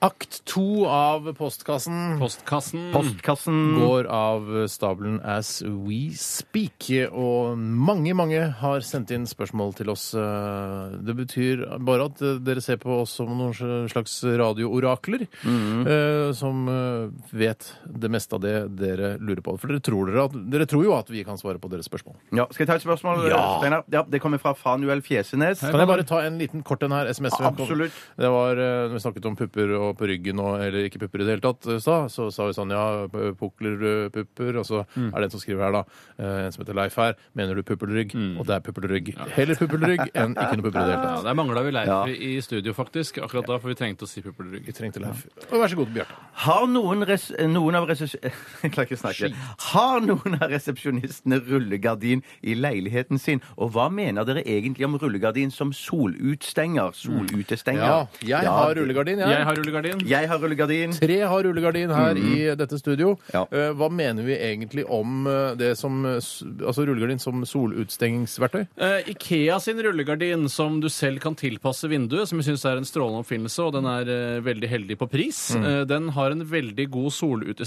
Speaker 3: Akt to av Postkassen
Speaker 2: Postkassen.
Speaker 4: Postkassen
Speaker 3: går av stabelen as we speak. Og mange, mange har sendt inn spørsmål til oss. Eh, Det betyr bare at eh, dere ser på oss som noen slags radioorakler eh, som eh, vet det meste av det dere lurer på. For dere tror, dere at, dere tror jo at vi kan svare på deres spørsmål.
Speaker 4: Ja, Skal jeg ta et spørsmål? Steinar? Ja, det kommer fra Fanuel Fjesenes.
Speaker 3: Kan jeg bare ta en liten kort en her? SMS vi har fått?
Speaker 4: Absolutt.
Speaker 3: Det var, eh, når vi snakket om pupper og ryggen og eller ikke pupper i det hele tatt, eh, sa, så sa vi sånn ja, p- pukler, eh, pupper, og så er det en som skriver her da, eh, en som heter Leif her, mener du puppelrygg? Og det er puppelrygg. Heller puppelrygg enn ikke noe pupper i det hele
Speaker 2: [LAUGHS] Ja,
Speaker 3: tatt.
Speaker 2: der mangla vi Leif
Speaker 4: Ja.
Speaker 2: i studio, faktisk. Akkurat da, for vi trengte å si puppelerygg.
Speaker 3: Vi trengte Leif. Og vær så god, Bjarte.
Speaker 4: Har noen, res noen av resepsj- [LAUGHS] Jeg klarer ikke å snakke. Har noen av resepsjonistene rullegardin i leiligheten sin? Og hva mener dere egentlig om rullegardin som solutstenger? Solutestenger?
Speaker 3: Mm. Ja, jeg
Speaker 4: Ja,
Speaker 3: har
Speaker 4: det-
Speaker 3: rullegardin,
Speaker 2: Jeg har rullegardin.
Speaker 4: Jeg har rullegardin.
Speaker 3: Tre har rullegardin her i dette studio.
Speaker 4: Ja.
Speaker 3: Eh, Hva mener vi egentlig om eh, det som eh, s- altså rullegardin som solutstengingsverktøy?
Speaker 2: Eh, Ikea sin rullegardin som du selv kan tilpasse vinduet, som jeg syns er en strålende oppfinnelse, og den er eh, veldig heldig på pris. Eh, den har en veldig god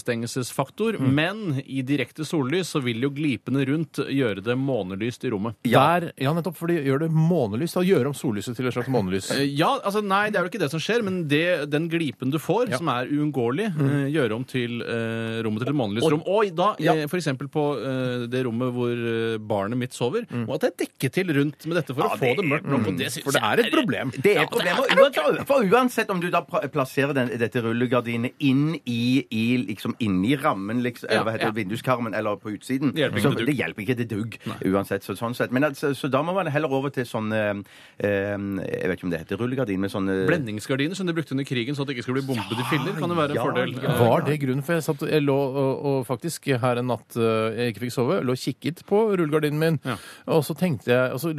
Speaker 2: solutestengelsesfaktor, men i direkte sollys så vil jo glipene rundt gjøre det månelyst i rommet.
Speaker 3: Der, ja, nettopp, for de gjør det månelys. Da gjør om sollyset til et slags månelys.
Speaker 2: Eh, Ja, altså nei, det er jo ikke det som skjer, men det, den glipen du får, som er uunngåelig, eh, gjør om til eh, rommet til et månelyst rom. Og da, eh, for eksempel på eh, det rommet hvor eh, barnet mitt sover, og at jeg dekker til rundt med dette for å få Mm. det mørkt nok, og det synes
Speaker 3: For det er et problem.
Speaker 4: Det er problemer.
Speaker 2: altså,
Speaker 4: Uansett, for uansett om du da pla- plasserer den, dette rullegardinet inn i, i liksom inni rammen, liksom, eller hva heter
Speaker 2: Ja,
Speaker 4: det, vinduskarmen, eller på utsiden,
Speaker 2: Det hjelper ikke
Speaker 4: så
Speaker 2: med dugg.
Speaker 4: det hjelper ikke til dugg. Uansett, så, sånn sett. Men altså, så da må man heller over til sånne eh, Jeg vet ikke om det heter rullegardin, men sånne
Speaker 2: Blendingsgardiner som de brukte under krigen, så at det ikke skulle bli bombet i filler, kan jo være en
Speaker 4: ja,
Speaker 2: fordel.
Speaker 4: ja.
Speaker 2: Eh,
Speaker 3: Var det grunnen for jeg, satt, jeg lå og, og faktisk her en natt eh, jeg ikke fikk sove, lå og kikket på rullegardinen min,
Speaker 2: Ja.
Speaker 3: og så tenkte jeg, og så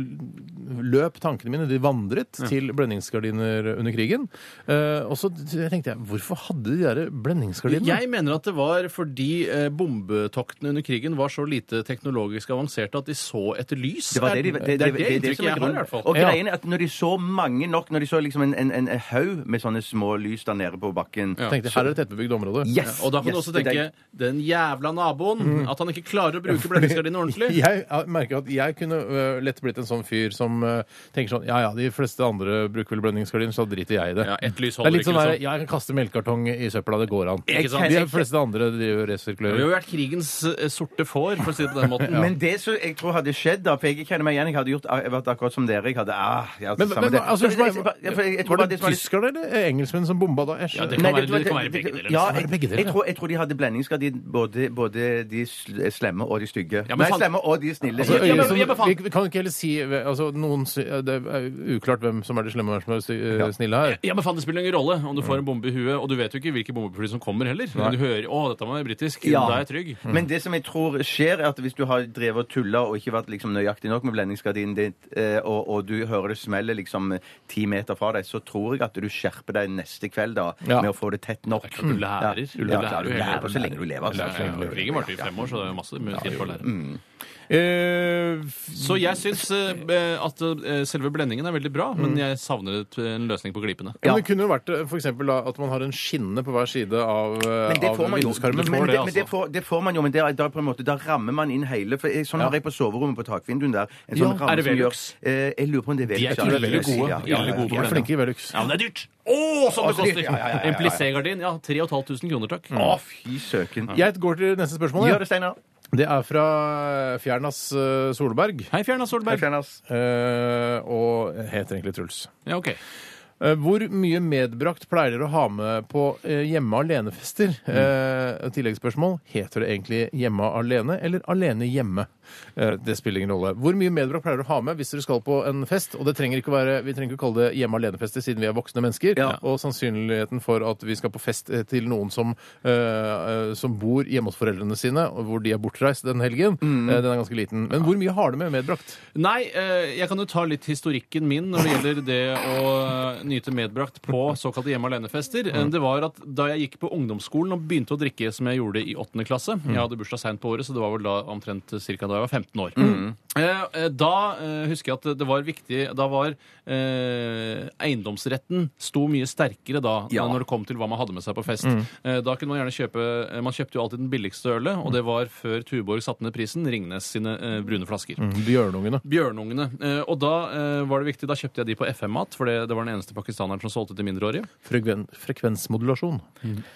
Speaker 3: løp tankene mine, de vandret til blendingsgardiner under krigen, Eh, og så tenkte jeg, hvorfor hadde de der blendingsgardinene?
Speaker 2: Jeg mener at det var fordi eh, bombetoktene under krigen var så lite teknologisk avanserte at de så etter lys.
Speaker 4: Det var det, de, det, det, det, det, det,
Speaker 2: inntrykket
Speaker 4: som er
Speaker 2: jeg har, i
Speaker 4: grunnen.
Speaker 2: hvert fall.
Speaker 4: Og
Speaker 3: Ja.
Speaker 4: greien er at når de så mange nok, når de så liksom en, en, en haug med sånne små lys der nede på bakken
Speaker 2: Ja.
Speaker 3: tenkte, her er et tettbebygd område.
Speaker 4: Yes!
Speaker 2: Og da kan du
Speaker 4: yes,
Speaker 2: også
Speaker 4: det er Mm.
Speaker 2: tenke
Speaker 4: det.
Speaker 2: den jævla naboen, at han ikke klarer å bruke blendingsgardinen
Speaker 4: [LAUGHS]
Speaker 2: ordentlig.
Speaker 3: Jeg har merket at jeg kunne øh, lett blitt en sånn fyr som øh, tenker sånn Ja ja, de fleste andre bruker vel blendingsgardin, så da driter jeg i det.
Speaker 2: Ja, ett lys
Speaker 3: det
Speaker 2: holder
Speaker 3: er litt
Speaker 2: ikke,
Speaker 3: sånn der,
Speaker 2: liksom.
Speaker 3: ja, Jeg kan kaste melkekartong i søpla, det går an.
Speaker 2: Ikke sant?
Speaker 3: De fleste andre driver og
Speaker 2: Vi har
Speaker 3: resirkulerer.
Speaker 2: jo vært krigens eh, sorte får, for å si det på den
Speaker 4: [LAUGHS]
Speaker 2: måten.
Speaker 4: Men det som jeg tror hadde skjedd da, for jeg kjenner meg igjen, jeg hadde gjort, jeg vært akkurat som dere. Jeg hadde, ah, jeg hadde
Speaker 3: Men,
Speaker 4: samme
Speaker 3: men
Speaker 4: det.
Speaker 3: altså,
Speaker 4: jeg, jeg, jeg, jeg, jeg, jeg tror
Speaker 3: Var
Speaker 4: bare
Speaker 3: det
Speaker 4: det som var litt-
Speaker 3: tyskerne eller eh, engelskmenn som bomba da? Jeg
Speaker 2: Ja, det
Speaker 3: skjønner.
Speaker 2: kan,
Speaker 4: Nei,
Speaker 2: være,
Speaker 4: det var-
Speaker 2: det kan være
Speaker 4: det-
Speaker 2: begge
Speaker 4: det-
Speaker 2: deler.
Speaker 4: Ja,
Speaker 2: liksom.
Speaker 3: det begge deler,
Speaker 4: jeg, jeg,
Speaker 3: ja.
Speaker 4: tror, jeg tror de hadde blendingsgardin, både, både de sl- slemme og de stygge.
Speaker 2: Ja, men
Speaker 4: Nei,
Speaker 2: faen-
Speaker 4: slemme og de snille.
Speaker 3: Altså,
Speaker 2: Ja, men-
Speaker 3: som-
Speaker 2: ja, men faen.
Speaker 3: vi, vi kan ikke heller si altså, noen, sy- Det er uklart hvem som er de slemme og hvem som er de sy- eh, snille her.
Speaker 2: Ja, men faen, Det spiller ingen rolle om du får
Speaker 4: Mm.
Speaker 2: en bombe i huet, og du vet jo ikke hvilke bombefly som kommer heller. Men du hører 'Å, dette var britisk'.
Speaker 4: Ja.
Speaker 2: Da er jeg trygg.
Speaker 4: Men det som jeg tror skjer, er at hvis du har drevet og tulla og ikke vært liksom nøyaktig nok med blendingsgardinen din, eh, og, og du hører det smelle liksom ti meter fra deg, så tror jeg at du skjerper deg neste kveld da,
Speaker 3: Ja.
Speaker 4: med å få det tett nok.
Speaker 2: klart du lærer.
Speaker 4: Mm. Ja,
Speaker 2: Du
Speaker 4: ja,
Speaker 2: lærer
Speaker 4: klart,
Speaker 2: jo
Speaker 4: du
Speaker 2: hele
Speaker 4: lærer
Speaker 2: tiden.
Speaker 4: så lenge du lever.
Speaker 2: Ja,
Speaker 4: Altså.
Speaker 2: ja, ja. Krigen varte i fem år, så det er jo masse mye tid for å lære.
Speaker 4: Mm.
Speaker 3: Eh,
Speaker 2: Så jeg syns eh, at eh, selve blendingen er veldig bra,
Speaker 4: Mm.
Speaker 2: men jeg savner et, en løsning på glipene.
Speaker 3: Men det kunne jo vært eh, for eksempel, da, at man har en skinne på hver side av, eh,
Speaker 4: Men det
Speaker 3: av
Speaker 4: får man jo. Men,
Speaker 3: vinduskarmen.
Speaker 4: men,
Speaker 2: får det,
Speaker 4: det, men det,
Speaker 2: altså.
Speaker 4: får, det får man jo, men det er, da, på en måte, da rammer man inn hele for jeg, Sånn har jeg på soverommet på takvinduet der. En sånn
Speaker 2: Ja,
Speaker 4: ramme
Speaker 2: er det
Speaker 4: som gjør,
Speaker 2: Velux?
Speaker 4: eh, jeg lurer på om det er
Speaker 2: De
Speaker 4: Velux.
Speaker 2: er
Speaker 4: ja, det er
Speaker 2: ille
Speaker 4: Velux,
Speaker 2: gode.
Speaker 4: ja, ja,
Speaker 2: Ille
Speaker 4: ja,
Speaker 2: gode
Speaker 3: De
Speaker 4: ja.
Speaker 3: er flinke i Velux.
Speaker 2: Ja, men det er dyrt! Å, sånn det
Speaker 4: Å, så dyrt.
Speaker 2: koster!
Speaker 4: Ja, ja, ja, ja, ja.
Speaker 2: En plissé-gardin, ja. 3500 kroner, takk.
Speaker 4: Å, fy søken.
Speaker 3: Jeg går til neste spørsmål.
Speaker 4: Gjør
Speaker 3: jeg.
Speaker 4: det, Steinar.
Speaker 3: Det er fra Fjernas eh, Solberg.
Speaker 2: Hei, Fjerna Solberg.
Speaker 4: Fjernas.
Speaker 3: eh, Og heter egentlig Truls.
Speaker 2: Ja, ok.
Speaker 3: Eh, Hvor mye medbrakt pleier dere å ha med på eh, hjemme alene-fester? Eh, Tilleggsspørsmål. Heter det egentlig hjemme alene eller alene hjemme? Eh, Det spiller ingen rolle. Hvor mye medbrakt pleier dere å ha med hvis dere skal på en fest? Og det trenger ikke å være, vi trenger ikke å kalle det hjemme alene-fester siden vi er voksne mennesker.
Speaker 4: Ja.
Speaker 3: Og sannsynligheten for at vi skal på fest eh, til noen som, eh, eh, som bor hjemme hos foreldrene sine, og hvor de er bortreist den helgen, eh, den er ganske liten. Men hvor mye har du med medbrakt?
Speaker 2: Nei, eh, jeg kan jo ta litt historikken min når det gjelder det å eh, nyte medbrakt på såkalte hjemme alene-fester. Eh, Det var at da jeg gikk på ungdomsskolen og begynte å drikke som jeg gjorde i åttende klasse Jeg hadde bursdag seint på året, så det var vel da omtrent cirka da jeg var 15 år. Eh, eh, Da eh, husker jeg at det var viktig Da var eh, eiendomsretten sto mye sterkere da
Speaker 4: Ja.
Speaker 2: når det kom til hva man hadde med seg på fest. Eh, Da kunne man gjerne kjøpe eh, Man kjøpte jo alltid den billigste ølet, og det var før Tuborg satte ned prisen, Ringnes sine eh, brune flasker.
Speaker 3: Bjørnungene.
Speaker 2: Bjørnungene. Eh, og da eh, var det viktig, da kjøpte jeg de på FM-mat, for det, det var den eneste pakistaneren som solgte til mindreårige.
Speaker 3: Frekven, frekvensmodulasjon.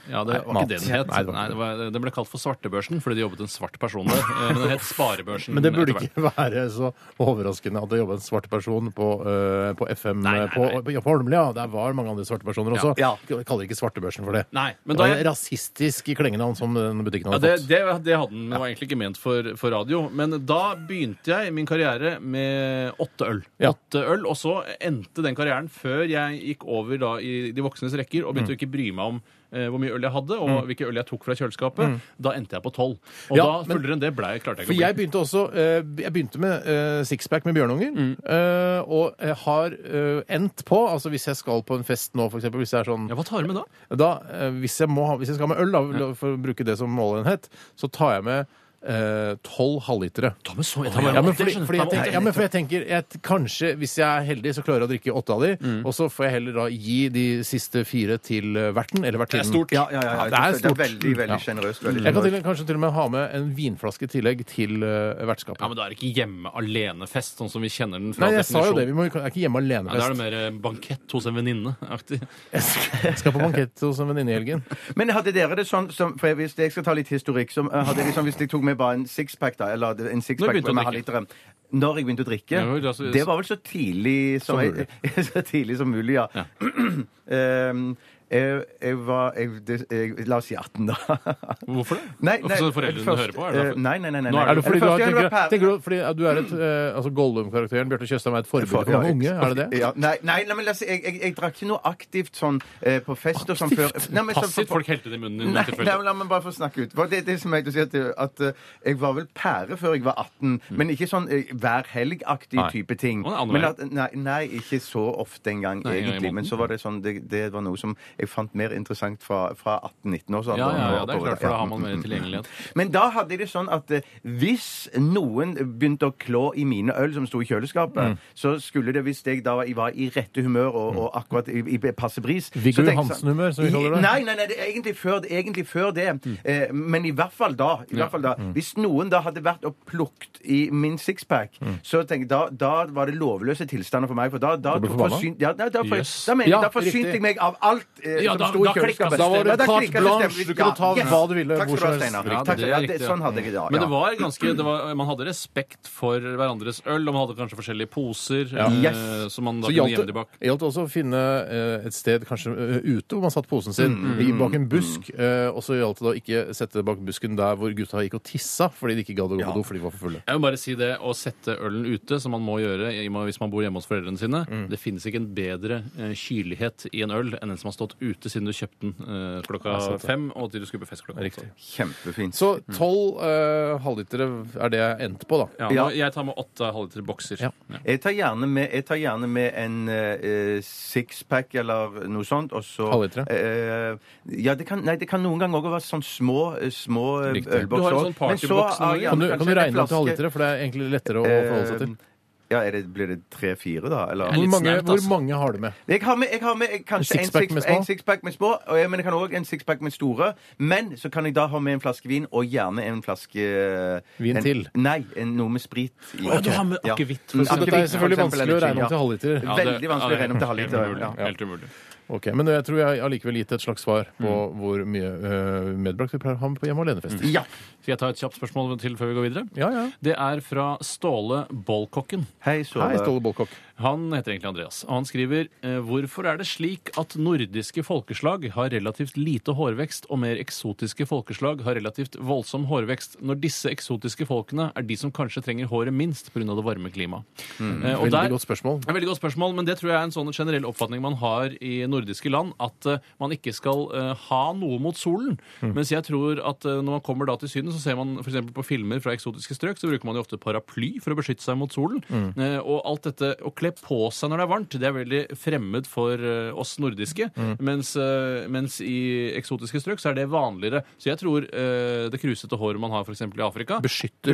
Speaker 2: Ja, det var
Speaker 3: mat.
Speaker 2: ikke det den het. Nei,
Speaker 3: Nei, det var ikke
Speaker 2: det var, eh, den ble kalt for svartebørsen fordi det jobbet en svart person der. Eh, men den het Sparebørsen.
Speaker 3: Men det burde
Speaker 2: etter hvert.
Speaker 3: ikke [LAUGHS] være så overraskende at det jobba en svart person på, eh, på FM
Speaker 2: Nei, nei, nei.
Speaker 3: På, ja, på Holmlia. Der var mange andre svarte personer også.
Speaker 4: Ja.
Speaker 3: Jeg kaller ikke svartebørsen for det.
Speaker 2: Nei, men
Speaker 3: det
Speaker 2: da-
Speaker 3: var rasistisk i klengenavn som den butikken
Speaker 2: Ja,
Speaker 3: hadde
Speaker 2: det,
Speaker 3: fått.
Speaker 2: det, det hadde den, men det var egentlig ikke ment for, for radio. Men da begynte jeg min karriere med åtte øl.
Speaker 3: Ja.
Speaker 2: Åtte øl, Og så endte den karrieren før jeg gikk over da i de voksnes rekker og
Speaker 3: Mm.
Speaker 2: begynte å ikke bry meg om eh, hvor mye øl jeg hadde, og hvilke øl jeg tok fra kjøleskapet. Da endte jeg på tolv. Og
Speaker 3: Mm. Ja,
Speaker 2: da
Speaker 3: men-
Speaker 2: fullere enn det ble jeg klarte jeg
Speaker 3: For
Speaker 2: ikke å
Speaker 3: jeg begynte også eh, Jeg begynte med eh, sixpack med Bjørnunger.
Speaker 2: Mm.
Speaker 3: eh, og jeg har eh, endt på Altså hvis jeg skal på en fest nå, for eksempel, hvis jeg er sånn
Speaker 2: Ja, Hva tar du med da?
Speaker 3: da, eh, hvis, jeg må ha, hvis jeg skal ha med øl, da, for å bruke det som måleenhet, så tar jeg med eh, tolv halvlitere.
Speaker 2: Ta med så, jeg tar med
Speaker 3: Ja, men
Speaker 2: åtte,
Speaker 3: fordi,
Speaker 2: skjønner du.
Speaker 3: fordi
Speaker 2: Ta med åtte.
Speaker 3: jeg tenker, ja, men for jeg tenker at kanskje hvis jeg er heldig, så klarer jeg å drikke åtte av de,
Speaker 2: Mm.
Speaker 3: og så får jeg heller da gi de siste fire til eh, verten, eller vertinnen.
Speaker 4: Ja, ja, ja, ja.
Speaker 3: det er stort.
Speaker 4: veldig, veldig
Speaker 3: Ja.
Speaker 4: sjenerøst. veldig
Speaker 3: Jeg kan
Speaker 4: sjenerøst.
Speaker 3: til, kanskje til og med ha med en vinflaske i tillegg til eh, vertskapet.
Speaker 2: Ja, men Da er det ikke hjemme alene-fest, sånn som vi kjenner den fra
Speaker 3: Nei, jeg sa jo
Speaker 2: definisjon.
Speaker 3: det. Vi må, jeg er ikke hjemme
Speaker 2: Ja, da er det
Speaker 3: alene-fest.
Speaker 2: mer eh, bankett hos en venninne-aktig.
Speaker 3: Jeg skal- jeg skal på bankett hos en venninne i helgen.
Speaker 4: Men hadde dere det sånn som, for jeg- Hvis jeg skal ta litt historikk så eh, hadde jeg liksom, Hvis jeg tok med bare en sixpack, da Eller hadde en
Speaker 2: Når
Speaker 4: sixpack
Speaker 2: begynte du å
Speaker 4: med
Speaker 2: drikke?
Speaker 4: halvliteren Når jeg begynte å drikke
Speaker 2: Ja, vel, altså,
Speaker 4: Det var vel så tidlig som,
Speaker 3: Som
Speaker 4: jeg, [LAUGHS] Så tidlig som mulig, ja. [CLEARS THROAT] Ehm, jeg, jeg var jeg, det, jeg, La oss si 18, da. [LAUGHS]
Speaker 2: Hvorfor det?
Speaker 4: Nei, nei,
Speaker 2: Hvorfor foreldrene
Speaker 4: først-
Speaker 2: hører på? Er det
Speaker 4: eh,
Speaker 2: derfor?
Speaker 4: Nei, nei, nei. nei,
Speaker 2: Nå er
Speaker 4: nei.
Speaker 3: Er det fordi
Speaker 4: Eller først
Speaker 3: du, har,
Speaker 4: jeg var
Speaker 3: tenker,
Speaker 4: pære-
Speaker 3: tenker du, fordi at du er et eh, altså Gollum-karakteren Bjarte Tjøstheim er et forbilde for
Speaker 4: Ja,
Speaker 3: noen unge?
Speaker 4: jeg-
Speaker 3: Er det det?
Speaker 4: Ja, nei, nei, nei, men la oss si, jeg, jeg, jeg drakk ikke noe aktivt sånn eh, på fest og sånn før. Nei, men så-
Speaker 2: Passivt folk helte det i munnen din.
Speaker 4: Nei,
Speaker 2: tilfeldig.
Speaker 4: nei, men la meg bare få snakke ut. For Det, det som jeg til å si at, at eh, Jeg var vel pære før jeg var 18,
Speaker 2: Mm.
Speaker 4: men ikke sånn eh, hver helg-aktig type ting.
Speaker 2: Å, det er andre
Speaker 4: Men at, nei, nei, ikke så ofte engang,
Speaker 2: Nei, en gang i
Speaker 4: egentlig.
Speaker 2: måneden.
Speaker 4: Men så var det sånn det, det var noe som jeg fant mer interessant fra, fra 18-19 år.
Speaker 2: ja, ja, ja, det er klart, for da har man mer tilgjengelighet.
Speaker 4: Mm. Men da hadde jeg det sånn at eh, hvis noen begynte å klå i mine øl som sto i
Speaker 2: Mm.
Speaker 4: kjøleskapet, så skulle det, hvis jeg da var, var i rette humør og, og akkurat i, i passe bris så
Speaker 3: Viggo
Speaker 4: tenkte jeg sånn-
Speaker 3: Johansen-humør, som vi kaller det.
Speaker 4: Nei, nei, nei, det er egentlig før, det- egentlig før det. Eh, men i hvert fall da. I hvert fall da
Speaker 3: Mm.
Speaker 4: Hvis noen da hadde vært og plukket i min sixpack,
Speaker 3: Mm.
Speaker 4: så tenkte jeg da, da var det lovløse tilstander for meg. For da, da,
Speaker 3: Du ble forbanna?
Speaker 4: forsyn, ja, nei, da, for,
Speaker 2: Jøs.
Speaker 4: da, mener, jeg-
Speaker 3: Ja,
Speaker 4: da forsynte
Speaker 3: riktig.
Speaker 4: jeg meg av alt eh, eh,
Speaker 2: Ja,
Speaker 4: som
Speaker 2: da-
Speaker 4: sto i
Speaker 2: da klikket
Speaker 4: kjøleskapet.
Speaker 3: Da var det
Speaker 4: Ja, da
Speaker 3: carte
Speaker 4: klikket det
Speaker 3: blanche.
Speaker 4: stemmer.
Speaker 3: Du kunne ta hva du ville,
Speaker 4: Takk
Speaker 3: hvor
Speaker 4: skal du ha,
Speaker 3: som helst.
Speaker 4: Steinar.
Speaker 2: Ja,
Speaker 4: Takk,
Speaker 2: det er
Speaker 4: ja,
Speaker 2: riktig,
Speaker 4: det,
Speaker 2: ja.
Speaker 4: sånn hadde jeg det. Ja,
Speaker 2: Men det
Speaker 4: ja.
Speaker 2: var ganske, det var, man hadde respekt for hverandres øl, og man hadde kanskje forskjellige poser eh,
Speaker 4: Yes.
Speaker 2: som man da
Speaker 3: Så
Speaker 2: kunne
Speaker 3: gjaldt
Speaker 2: gjemme
Speaker 3: det
Speaker 2: det bak.
Speaker 3: gjaldt også å finne eh, et sted kanskje eh, ute hvor man satt posen sin,
Speaker 2: Mm.
Speaker 3: i- bak en busk. eh, og så gjaldt det da ikke sette det bak busken der hvor gutta gikk og tissa fordi de ikke gadd å gå på do fordi de var for fulle.
Speaker 2: Jeg vil bare si det, Å sette ølen ute, som man må gjøre i og med- hvis man bor hjemme hos foreldrene sine
Speaker 4: Mm.
Speaker 2: Det finnes ikke en bedre eh, kylighet i en øl enn den som har stått ute siden du kjøpte den eh, klokka fem og til du skulle på fest klokka åtte.
Speaker 4: Kjempefint.
Speaker 3: Så tolv eh, halvlitere er det jeg endte på, da.
Speaker 2: Ja,
Speaker 4: Ja.
Speaker 2: nå- Jeg tar med åtte halvliter bokser.
Speaker 3: Ja.
Speaker 2: Ja.
Speaker 4: Jeg tar gjerne med, jeg tar gjerne med en eh, sixpack eller noe sånt, og så
Speaker 3: Halvlitere?
Speaker 4: Eh, ja, det kan, nei, det kan noen ganger være sånn små, eh, små eh,
Speaker 3: Riktig.
Speaker 4: ølbokser.
Speaker 2: Du har en
Speaker 4: også.
Speaker 2: sånn
Speaker 4: Men så,
Speaker 2: partyboks noen
Speaker 4: ah, ja,
Speaker 3: Kan du,
Speaker 4: kanskje
Speaker 3: kan du
Speaker 4: en
Speaker 3: regne opp til
Speaker 4: flaske.
Speaker 3: halvlitere, for det er egentlig lettere å forholde seg til?
Speaker 4: Eh, Ja, er det, Blir det tre-fire, da? Eller?
Speaker 3: Hvor
Speaker 2: litt
Speaker 3: mange,
Speaker 2: snaut,
Speaker 3: hvor
Speaker 2: altså.
Speaker 3: mange har du med?
Speaker 4: Jeg har med, jeg har med eh, kanskje
Speaker 3: En
Speaker 4: en
Speaker 3: sixpack
Speaker 4: sixpack
Speaker 3: med
Speaker 4: med,
Speaker 3: små?
Speaker 4: six med små, og jeg, men jeg kan òg en sixpack med store. Men så kan jeg da ha med en flaske vin, og gjerne en flaske eh,
Speaker 3: Vin
Speaker 4: en,
Speaker 3: til?
Speaker 4: Nei, en, noe med sprit. i.
Speaker 2: Å, du har med akevitt, for
Speaker 4: Mm,
Speaker 3: Så dette
Speaker 4: akevitt,
Speaker 3: er
Speaker 4: for
Speaker 3: selvfølgelig
Speaker 4: eksempel,
Speaker 3: vanskelig å
Speaker 4: eller
Speaker 3: regne om
Speaker 4: gin,
Speaker 3: til halvliter.
Speaker 4: Ja, Veldig vanskelig å regne opp til halvliter,
Speaker 2: Helt
Speaker 4: ja.
Speaker 2: umulig. Helt umulig.
Speaker 3: Ok, Men jeg tror jeg allikevel gitt et slags svar på
Speaker 2: Mm.
Speaker 3: hvor mye eh, medbrakt vi pleier å ha med på hjemme alene-fester.
Speaker 4: ja.
Speaker 2: Skal jeg ta et kjapt spørsmål til før vi går videre?
Speaker 3: Ja, ja.
Speaker 2: Det er fra Ståle Bollkokken.
Speaker 4: Hei, så
Speaker 2: Mm.
Speaker 3: Hei, Ståle Bolkok.
Speaker 2: Han heter egentlig Andreas, og han skriver eh, Hvorfor er det slik at nordiske folkeslag har relativt lite hårvekst, og mer eksotiske folkeslag har relativt voldsom hårvekst, når disse eksotiske folkene er de som kanskje trenger håret minst pga. det varme klimaet?
Speaker 4: Mm.
Speaker 2: Eh, og
Speaker 3: Veldig
Speaker 2: der-
Speaker 3: godt spørsmål.
Speaker 2: Det er et Veldig godt spørsmål, men det tror jeg er en sånn generell oppfatning man har i nordiske land, at eh, man ikke skal eh, ha noe mot solen.
Speaker 3: Mm.
Speaker 2: Mens jeg tror at eh, når man kommer da til syden, så ser man f.eks. på filmer fra eksotiske strøk, så bruker man jo ofte paraply for å beskytte seg mot solen.
Speaker 3: Mm.
Speaker 2: Eh, og alt dette å kle på seg når det er varmt, det er veldig fremmed for eh, oss nordiske.
Speaker 3: Mm.
Speaker 2: Mens, eh, mens i eksotiske strøk så er det vanligere. Så jeg tror eh, det krusete håret man har f.eks. i Afrika, beskytter,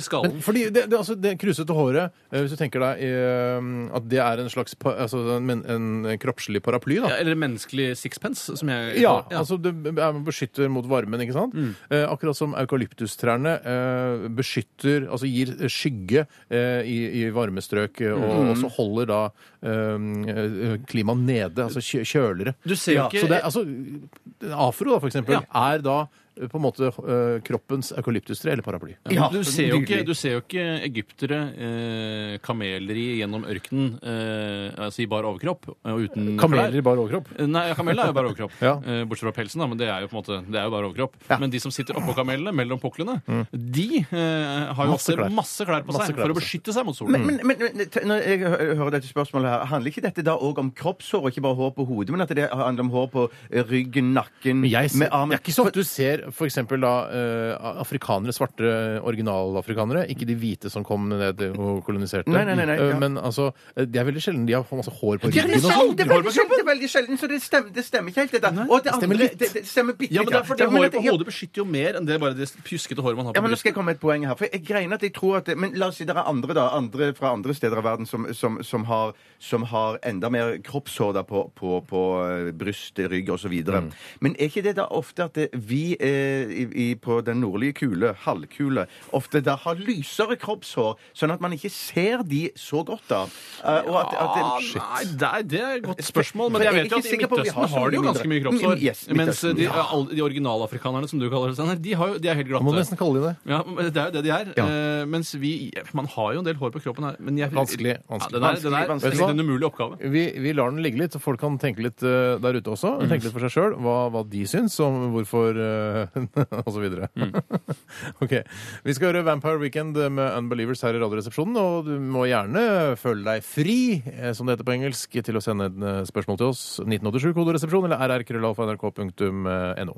Speaker 2: skallen.
Speaker 3: Men fordi det, det, altså, det krusete håret, eh, hvis du tenker deg eh, at det er en slags pa, altså, en, men- en kroppslig paraply, da.
Speaker 2: Ja, eller en menneskelig sixpence, som jeg
Speaker 3: Ja, altså det er, beskytter mot varmen, ikke sant?
Speaker 2: Mm.
Speaker 3: Eh, akkurat som eukalyptustrærne eh, beskytter, altså gir skygge eh, i, i varme strøk, eh, og,
Speaker 2: Mm.
Speaker 3: og så holder da eh, klimaet nede, altså kjø- kjølere.
Speaker 2: Du ser jo ikke
Speaker 3: Så det, altså, afro da, for eksempel,
Speaker 2: Ja.
Speaker 3: er da eh, på en måte eh, kroppens eukalyptustre eller paraply.
Speaker 4: Ja,
Speaker 2: du, ser jo ikke,
Speaker 4: nydelig.
Speaker 2: du ser jo ikke egyptere eh, kamelri gjennom ørkenen eh, altså i bar overkropp og uten
Speaker 3: Kameler i
Speaker 2: klær.
Speaker 3: bar overkropp.
Speaker 2: Nei, kameler er jo bare overkropp.
Speaker 3: Ja.
Speaker 2: eh, bortsett fra pelsen, da, men det er jo på en måte, det er jo bare overkropp. Men de som sitter oppå kamelene, mellom puklene, de eh, har jo masse
Speaker 3: Masse klær.
Speaker 2: klær, masse klær på
Speaker 3: Masse
Speaker 2: seg
Speaker 3: klær
Speaker 2: for
Speaker 3: på
Speaker 2: å beskytte seg mot solen.
Speaker 4: Men, men, men, men t- når jeg hø- hører dette spørsmålet her, handler ikke dette da òg om kroppshår, og ikke bare hår på hodet, men at det handler om hår på eh, ryggen, nakken,
Speaker 3: Men jeg, ser,
Speaker 4: med armen?
Speaker 3: det er ikke sånn at du ser for eksempel da eh, afrikanere, svarte originalafrikanere, ikke de hvite som kom ned og koloniserte.
Speaker 4: Nei, nei, nei, nei,
Speaker 3: Eh,
Speaker 4: ja.
Speaker 3: Men altså, eh, det er veldig sjelden de har masse hår på
Speaker 4: Det er
Speaker 3: ryggen.
Speaker 4: veldig
Speaker 3: og
Speaker 4: sjelden,
Speaker 3: sånn.
Speaker 4: det er veldig sjelden, det er veldig sjelden, så det stemmer, det stemmer ikke helt, dette. Og det
Speaker 3: stemmer
Speaker 4: andre,
Speaker 3: litt.
Speaker 4: det, det stemmer bitte
Speaker 2: Ja, men det er fordi
Speaker 4: Ja, men
Speaker 2: Håret
Speaker 4: dette-
Speaker 2: på
Speaker 4: ja.
Speaker 2: hodet beskytter jo mer enn det bare det pjuskete håret man har
Speaker 4: Ja,
Speaker 2: på
Speaker 4: men Nå
Speaker 2: brystet.
Speaker 4: skal jeg komme med et poeng her. for jeg greiner at jeg tror at, Men la oss si det er andre da, andre fra andre steder av verden som, som, som, har, som har enda mer kroppshår da på, på, på eh, bryst, rygg osv. videre
Speaker 3: Mm.
Speaker 4: Men er ikke det da ofte at eh, vi eh, i, i, på den nordlige kule, halvkule, ofte da har lysere kroppshår, sånn at man ikke ser de så godt da? Eh, og at, at,
Speaker 2: Ah, nei, det er, det er et godt spørsmål, men
Speaker 4: [LAUGHS] For
Speaker 2: jeg
Speaker 4: jeg er
Speaker 2: vet jo
Speaker 4: ikke
Speaker 2: at i
Speaker 4: sikker på om vi har
Speaker 2: Midtøsten
Speaker 4: så
Speaker 2: har de jo
Speaker 4: mye
Speaker 2: ganske mye
Speaker 4: mindre.
Speaker 2: kroppshår.
Speaker 4: Yes,
Speaker 2: mens eh,
Speaker 4: Midtøsten,
Speaker 2: de,
Speaker 4: ja.
Speaker 2: alle de originalafrikanerne, som du kaller det, Steinar, de, har jo- de er helt glatte.
Speaker 3: Må du nesten kalle de det.
Speaker 2: Ja, men det er jo det de er. Eh, mens vi Man har jo en del hår på kroppen her. Men jeg,
Speaker 3: Vanskelig, vanskelig.
Speaker 2: Ja, den er, den er,
Speaker 4: Vanskelig,
Speaker 3: vanskelig.
Speaker 2: nesten en umulig oppgave.
Speaker 3: Vi, vi lar den ligge litt, så folk kan tenke litt eh, der ute også. Tenke litt for seg sjøl hva, hva de syns om hvorfor eh, [LAUGHS] og så videre. ok. Vi skal høre Vampire Weekend med Unbelievers her i Radioresepsjonen. Og du må gjerne føle deg fri, eh, som det heter på engelsk, til å sende en eh, spørsmål til oss. 1987 kodoresepsjon eller rrkrøllalfa.nrk.no.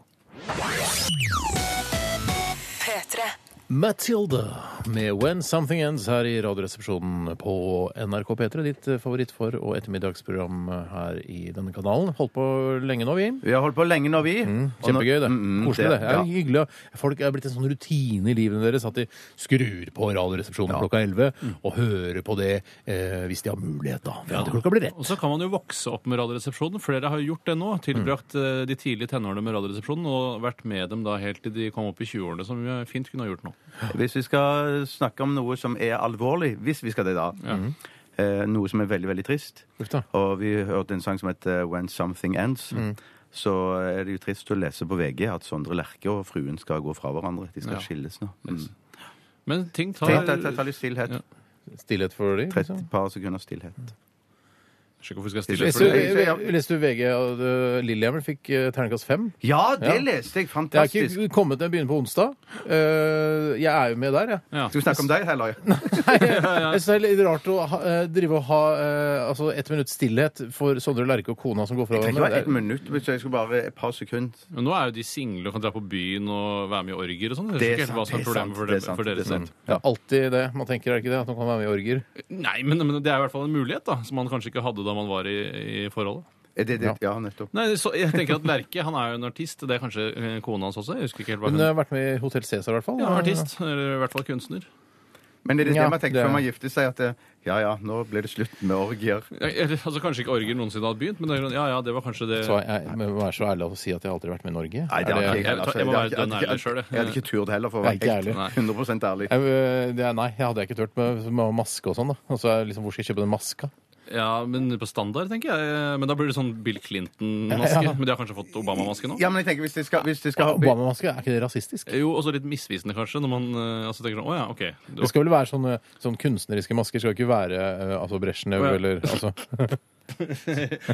Speaker 8: P3.
Speaker 3: Matilda med When Something Ends her i Radioresepsjonen på NRK P3. Ditt eh, favoritt for- og ettermiddagsprogram eh, her i denne kanalen. Holdt på lenge nå, vi.
Speaker 4: vi har holdt på lenge nå, vi. Og nå-
Speaker 3: Kjempegøy, det.
Speaker 4: Mm, mm,
Speaker 3: Koselig, det. det er
Speaker 4: ja.
Speaker 3: jo hyggelig. å- Folk er blitt en sånn rutine i livet deres at de skrur på Radioresepsjonen klokka 11 og hører på det eh, hvis de har mulighet, da. For at klokka blir rett.
Speaker 2: Og så kan man jo vokse opp med Radioresepsjonen. Flere har jo gjort det nå. Tilbrakt
Speaker 4: Mm.
Speaker 2: eh, de tidlige tenårene med Radioresepsjonen og vært med dem da helt til de kom opp i 20-årene, som vi fint kunne ha gjort nå.
Speaker 4: Hvis vi skal snakke om noe som er alvorlig, hvis vi skal det da,
Speaker 2: Mhm.
Speaker 4: eh, noe som er veldig, veldig trist
Speaker 3: Uff da.
Speaker 2: Mhm.
Speaker 4: Og vi hørte en sang som heter When Something Ends. så er det jo trist å lese på VG at Sondre Lerche og fruen skal gå fra hverandre. De skal
Speaker 2: Ja.
Speaker 4: skilles nå. Mm.
Speaker 2: Men ting tar
Speaker 4: Tenk deg ta litt stillhet.
Speaker 2: Ja.
Speaker 3: Stillhet for de.
Speaker 4: Et
Speaker 3: Liksom.
Speaker 4: par sekunder stillhet.
Speaker 2: Jeg skjønner ikke hvorfor vi skal stille
Speaker 3: Leste
Speaker 2: for det.
Speaker 4: det.
Speaker 3: du, leste du VG og uh, Lillehammer fikk uh, terningkast fem?
Speaker 4: Ja, det
Speaker 3: Ja.
Speaker 4: leste jeg!
Speaker 3: Jeg har
Speaker 4: Fantastisk.
Speaker 3: ikke kommet jeg begynner på onsdag. Uh, jeg er jo med der, jeg.
Speaker 2: Ja.
Speaker 4: Skal vi snakke om deg heller?
Speaker 3: Nei, jeg synes det er litt rart å ha, eh, drive og ha eh, altså ett minutts stillhet for Sondre Lerche og kona som går fra
Speaker 4: Det trenger ikke være
Speaker 3: hverandre.
Speaker 4: ett minutt, men så jeg skal bare et par sekunder.
Speaker 2: Men nå er jo de single og kan dra på byen og være med i orger og sånn.
Speaker 4: Det
Speaker 2: Det
Speaker 4: er
Speaker 2: er ikke helt hva som er
Speaker 4: sant, det er
Speaker 2: problemet for,
Speaker 4: sant, det
Speaker 2: dem,
Speaker 4: er sant,
Speaker 2: for
Speaker 4: det
Speaker 2: deres
Speaker 4: er sant.
Speaker 2: del.
Speaker 3: Det er alltid det man tenker, er det ikke det? At man kan være med i orger.
Speaker 2: Nei, men, men det er i hvert fall en mulighet, da, som man kanskje ikke hadde da man var i, i forholdet.
Speaker 4: Er det, det? Ja, nettopp.
Speaker 2: Nei, så jeg tenker at Lerke han er jo en artist. Det er kanskje eh, kona hans også. Jeg husker ikke helt hva
Speaker 3: Hun
Speaker 2: hun
Speaker 3: har vært med i Hotell Cæsar, i hvert fall.
Speaker 2: Ja, artist. Eller i hvert fall kunstner.
Speaker 4: Men er det det
Speaker 3: Ja,
Speaker 4: man tenker
Speaker 3: det-
Speaker 4: før man gifter seg? At eh, ja ja, nå ble det slutt med orgier.
Speaker 2: Ja, eller, altså Kanskje ikke orger noensinne hadde begynt, men det er sånn, ja, ja, det var kanskje det
Speaker 3: Så jeg må være så ærlig å si at jeg aldri har vært med i Norge.
Speaker 4: Nei, det
Speaker 3: Er
Speaker 4: hadde ikke
Speaker 3: det-
Speaker 4: jeg heller.
Speaker 2: Jeg- jeg må
Speaker 4: Det
Speaker 2: være
Speaker 4: hadde ikke-
Speaker 2: dønn
Speaker 4: jeg hadde ikke-
Speaker 2: ærlig selv, det.
Speaker 4: Jeg hadde ikke turt heller, for å
Speaker 3: Jeg er ikke
Speaker 4: være helt
Speaker 3: ærlig.
Speaker 4: 100 ærlig.
Speaker 3: Jeg, eh, det er, nei, jeg hadde ikke turt med, med maske og sånn. da. Og så er det liksom, Hvor skal jeg kjøpe den maska?
Speaker 2: Ja, men på standard, tenker jeg. Men da blir det sånn Bill
Speaker 4: [LAUGHS]
Speaker 2: Clinton-maske. Men de har kanskje fått Obama-maske nå?
Speaker 4: Ja, men jeg tenker hvis de skal, hvis de skal ha
Speaker 3: Obama-maske, er ikke det rasistisk?
Speaker 2: Jo, også litt misvisende, kanskje, når man eh, altså, tenker sånn Å ja, OK. Det
Speaker 3: Det
Speaker 2: var,
Speaker 3: skal vel være sånne, sånn kunstneriske masker, skal ikke være eh, altså Brezjnev
Speaker 2: Å, ja.
Speaker 3: eller altså.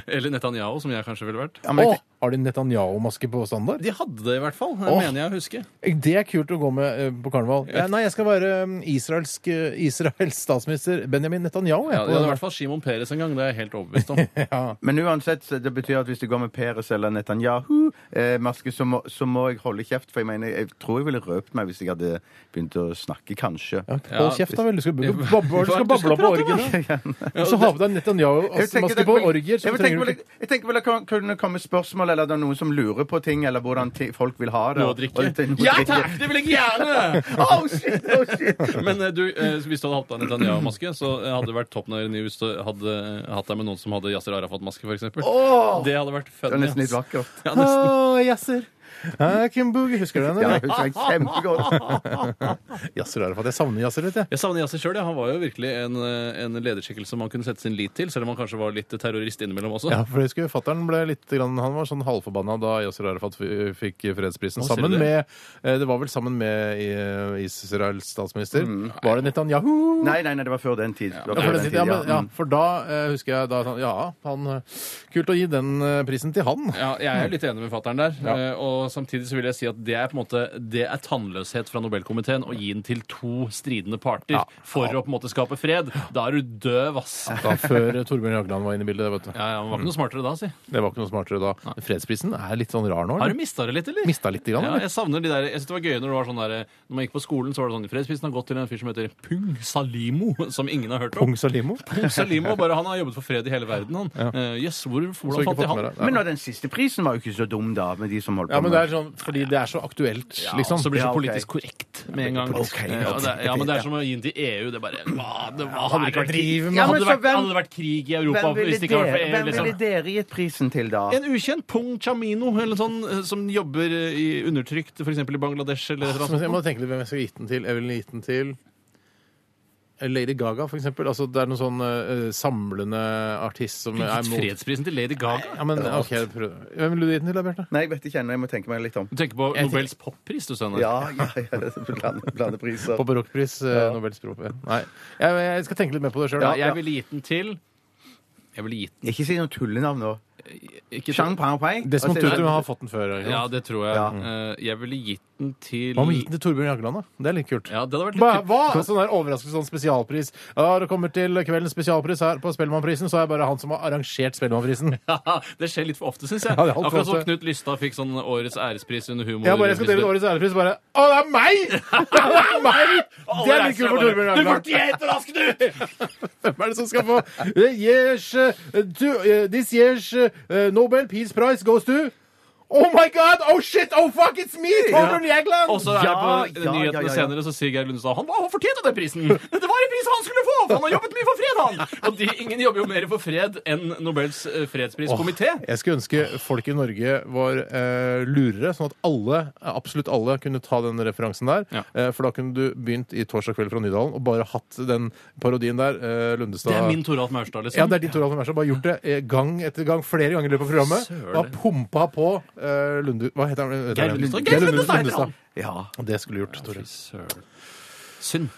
Speaker 2: eller Netanyahu, som jeg kanskje ville vært.
Speaker 4: ja, men
Speaker 3: Å,
Speaker 4: jeg,
Speaker 3: har de Netanyahu-maske på standard?
Speaker 2: De hadde det i hvert fall,
Speaker 3: Åh.
Speaker 2: mener jeg å huske.
Speaker 3: Det er kult å gå med eh, på karneval. Eh, Nei, jeg skal være mm, israelsk, eh, Israels statsminister Benjamin Netanyahu. jeg,
Speaker 2: Ja,
Speaker 3: på
Speaker 2: det
Speaker 3: den
Speaker 2: hadde i hvert fall Shimon Peres en gang, det er jeg helt overbevist
Speaker 4: [LAUGHS]
Speaker 2: om.
Speaker 4: men uansett, så det betyr at hvis det går med Peres eller Netanyahu-maske, så, må- så må jeg holde kjeft. For jeg mener, jeg tror jeg ville røpt meg hvis jeg hadde begynt å snakke, kanskje.
Speaker 3: verden. Hold
Speaker 2: Ja.
Speaker 3: kjeft, da vel. Du skal bable, du skal bable på orgiene. [LAUGHS] Og så ha på deg
Speaker 4: Jeg tenker
Speaker 3: Netanyahu-maske
Speaker 4: det-
Speaker 3: altså, på orgier. Så
Speaker 4: jeg tenker
Speaker 3: trenger
Speaker 4: vel-
Speaker 3: du ikke
Speaker 4: Jeg tenker vel det kan- kunne komme spørsmål, eller det er noen som lurer på ting, eller hvordan ti- folk vil ha det.
Speaker 2: Noe å
Speaker 4: og-
Speaker 2: drikke.
Speaker 4: og det- noe å
Speaker 2: Ja
Speaker 4: drikke.
Speaker 2: takk, det vil jeg gjerne!
Speaker 4: [LAUGHS] Oh, shit, oh, shit.
Speaker 2: Men eh, du, eh, hvis du hadde hatt deg Netanyahu-maske, så eh, hadde det vært topp når du hvis du hadde eh, hatt deg med noen som hadde Yasir Arafat-maske, f.eks. Det hadde vært
Speaker 4: Det er
Speaker 2: funny.
Speaker 4: nesten litt
Speaker 2: ass.
Speaker 4: vakkert.
Speaker 2: Ja, nesten.
Speaker 3: Å, Yasser. I can boogie. Husker du den?
Speaker 4: Ja,
Speaker 3: eller?
Speaker 4: jeg husker jeg kjempegodt.
Speaker 3: Yasser Arafat. Jeg savner Yasser litt, jeg.
Speaker 2: Jeg savner Yasir sjøl. Han var jo virkelig en, eh, en lederskikkelse man kunne sette sin lit til, selv om han kanskje var litt terrorist innimellom også.
Speaker 3: Ja, for jeg husker Fattern ble litt grann, han var sånn halvforbanna da Yasir Arafat f- fikk fredsprisen.
Speaker 2: Å, sier du
Speaker 3: Sammen
Speaker 2: det?
Speaker 3: med eh, Det var vel sammen med eh, Israels statsminister. Var det Netanyahu?
Speaker 4: Nei, nei, nei, det var før den tid. Det var før
Speaker 3: Ja, for,
Speaker 4: den
Speaker 3: den,
Speaker 4: tid,
Speaker 3: ja, men,
Speaker 4: ja.
Speaker 3: ja, for da eh, husker jeg da sånn, Ja, han, eh, kult å gi den eh, prisen til han.
Speaker 2: Ja,
Speaker 3: Mm.
Speaker 2: jeg er litt enig med fatter'n der. eh, Og samtidig så vil jeg si at det er på en måte Det er tannløshet fra Nobelkomiteen å gi den til to stridende parter for å på en måte skape fred. Da er du døv, ass. Ja,
Speaker 3: Da Før eh, Torbjørn Jagland var inne i bildet. Vet du.
Speaker 2: ja, Han var ikke noe smartere da, si.
Speaker 3: Det var ikke noe smartere da. Fredsprisen er litt sånn rar nå.
Speaker 2: Har
Speaker 3: eller?
Speaker 2: du mista det litt, eller?
Speaker 3: Mista litt, grann,
Speaker 2: Ja,
Speaker 3: eller?
Speaker 2: jeg savner de der, jeg synes det var gøy når det var sånn der Når man gikk på skolen, så var det sånn Fredsprisen har gått til en fyr som heter Pung Salimo, som ingen har hørt om.
Speaker 3: Pung Salimo?
Speaker 2: Pung Salimo, bare Han har jobbet for fred i hele verden, han. Eh, Jøss, hvor,
Speaker 3: Så
Speaker 2: hvordan
Speaker 3: ikke
Speaker 2: fant de
Speaker 3: fått
Speaker 2: han?
Speaker 3: med
Speaker 4: Men
Speaker 3: det.
Speaker 4: nå, den siste prisen var jo ikke så dum, da, med de som holdt
Speaker 3: Ja,
Speaker 4: på
Speaker 3: men
Speaker 4: med
Speaker 3: det er sånn, fordi det er så aktuelt,
Speaker 2: Ja,
Speaker 3: liksom.
Speaker 2: Så blir det
Speaker 4: Ja,
Speaker 2: så
Speaker 4: ok.
Speaker 2: politisk korrekt med en gang. Eh, og det, ja, men det er som å gi den til EU. Det er bare hva, det, hva,
Speaker 3: Hadde
Speaker 2: er
Speaker 3: ikke vært
Speaker 2: det-
Speaker 3: drive med-
Speaker 2: Ja, men
Speaker 4: Hadde
Speaker 2: så
Speaker 4: det vært-
Speaker 2: hvem- Hadde det vært krig i Europa
Speaker 4: Hvem ville
Speaker 2: hvis det ikke var for
Speaker 4: dere,
Speaker 2: EU?
Speaker 4: hvem ville
Speaker 2: Liksom.
Speaker 4: dere gitt prisen til, da?
Speaker 2: En ukjent Pung Chamino eller sånn, eh, som jobber eh, i undertrykt f.eks. i Bangladesh. Eller et eller
Speaker 3: Så
Speaker 2: annet.
Speaker 3: jeg må tenke litt hvem jeg skal gitt den til. Jeg ville gitt den til eh, Lady Gaga, for eksempel. Altså, det er noen sånn eh, samlende artist som er
Speaker 2: Gitt
Speaker 3: mot
Speaker 2: fredsprisen til Lady Gaga?
Speaker 3: ja, men, ok, jeg prøver. Hvem ville du gitt den til, da, Bjarte?
Speaker 4: Nei, jeg vet ikke ennå. Jeg må tenke meg litt om.
Speaker 2: Du tenker på Nobels poppris, du, Steinar?
Speaker 4: Ja, ja, ja, det er blande, blande priser.
Speaker 3: På barokkpris, eh, Nobels språk. Nei, jeg, jeg skal tenke litt mer på det sjøl.
Speaker 2: Ja, jeg ville gitt den til Jeg ville gitt
Speaker 4: Ikke si noe tullenavn nå.
Speaker 2: den ikke
Speaker 4: Chang Pang Pei.
Speaker 3: Desmond
Speaker 4: Altså,
Speaker 3: Tutu har fått den før. ikke sant?
Speaker 2: Ja, det tror jeg.
Speaker 4: Ja.
Speaker 2: Eh, Jeg ville gitt den til
Speaker 3: Hva med gitt den til Torbjørn Jagland, da? Det er litt kult.
Speaker 2: Ja, det hadde vært
Speaker 3: Hva?
Speaker 2: litt kult.
Speaker 3: hva? Sånn der overraskelse, sånn spesialpris. Ja, det kommer til kveldens spesialpris her på Spellemannprisen, så er jeg bare han som har arrangert Spellemannprisen.
Speaker 2: Haha, det skjer litt for ofte, syns jeg.
Speaker 3: Ja, det er alt for
Speaker 2: Akkurat som
Speaker 3: ofte.
Speaker 2: Knut Lystad fikk sånn årets ærespris under humor.
Speaker 3: Jeg bare jeg skal dele ut årets ærespris, og bare Å, det er
Speaker 2: [LAUGHS]
Speaker 3: meg! Det er meg! Det er litt kult for Torbjørn
Speaker 2: Du
Speaker 3: Jagland.
Speaker 2: fortjente det, Askepott!
Speaker 3: [LAUGHS] Hvem er det som skal få Eh, years, eh, to, eh, This year's eh, Nobel Peace Prize goes to Oh my god! Oh shit! Oh fuck, it's me! Torbjørn Jægland!
Speaker 2: Og så er det
Speaker 4: Ja,
Speaker 2: på
Speaker 4: ja,
Speaker 2: nyhetene
Speaker 4: ja, ja.
Speaker 2: senere så sier Geir Lundestad han, han fortjente den prisen! Dette var en pris han skulle få! For han har jobbet mye for fred, han! Og de, ingen jobber jo mer for fred enn Nobels eh, fredspriskomité.
Speaker 3: Jeg skulle ønske folk i Norge var eh, lurere, sånn at alle, absolutt alle kunne ta den referansen der.
Speaker 2: Ja.
Speaker 3: Eh, for da kunne du begynt i Torsdag kveld fra Nydalen og bare hatt den parodien der. Eh, Lundestad
Speaker 2: Det er min Toralf Maurstad, liksom.
Speaker 3: Ja, det er de to Ralf Mersen. Bare gjort det eh, gang etter gang, flere ganger i løpet av programmet.
Speaker 2: Søren.
Speaker 3: Bare pumpa på eh, Lunde... Hva heter han?
Speaker 2: Geir Lundestad.
Speaker 3: Geir
Speaker 2: Geir
Speaker 3: Lundestad.
Speaker 2: Lundestad heter han.
Speaker 4: Ja.
Speaker 3: Og Det skulle gjort, Tore.
Speaker 2: Søren. Synd.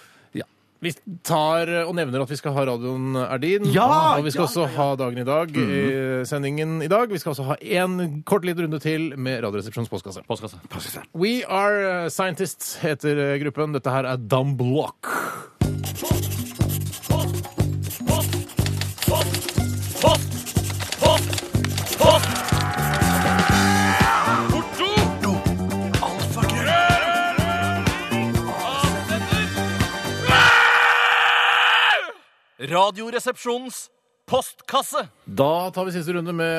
Speaker 3: Vi tar eh, og nevner at vi skal ha radioen eh, er din.
Speaker 4: Ja,
Speaker 3: og vi skal
Speaker 4: ja,
Speaker 3: også ha dagen i dag i sendingen i dag. Vi skal også ha en kort liten runde til med Radioresepsjonens postkasse.
Speaker 2: Postkasse.
Speaker 3: We Are eh, Scientists heter eh, gruppen. Dette her er Dumb Block.
Speaker 7: Radioresepsjonens postkasse.
Speaker 3: Da tar vi siste runde med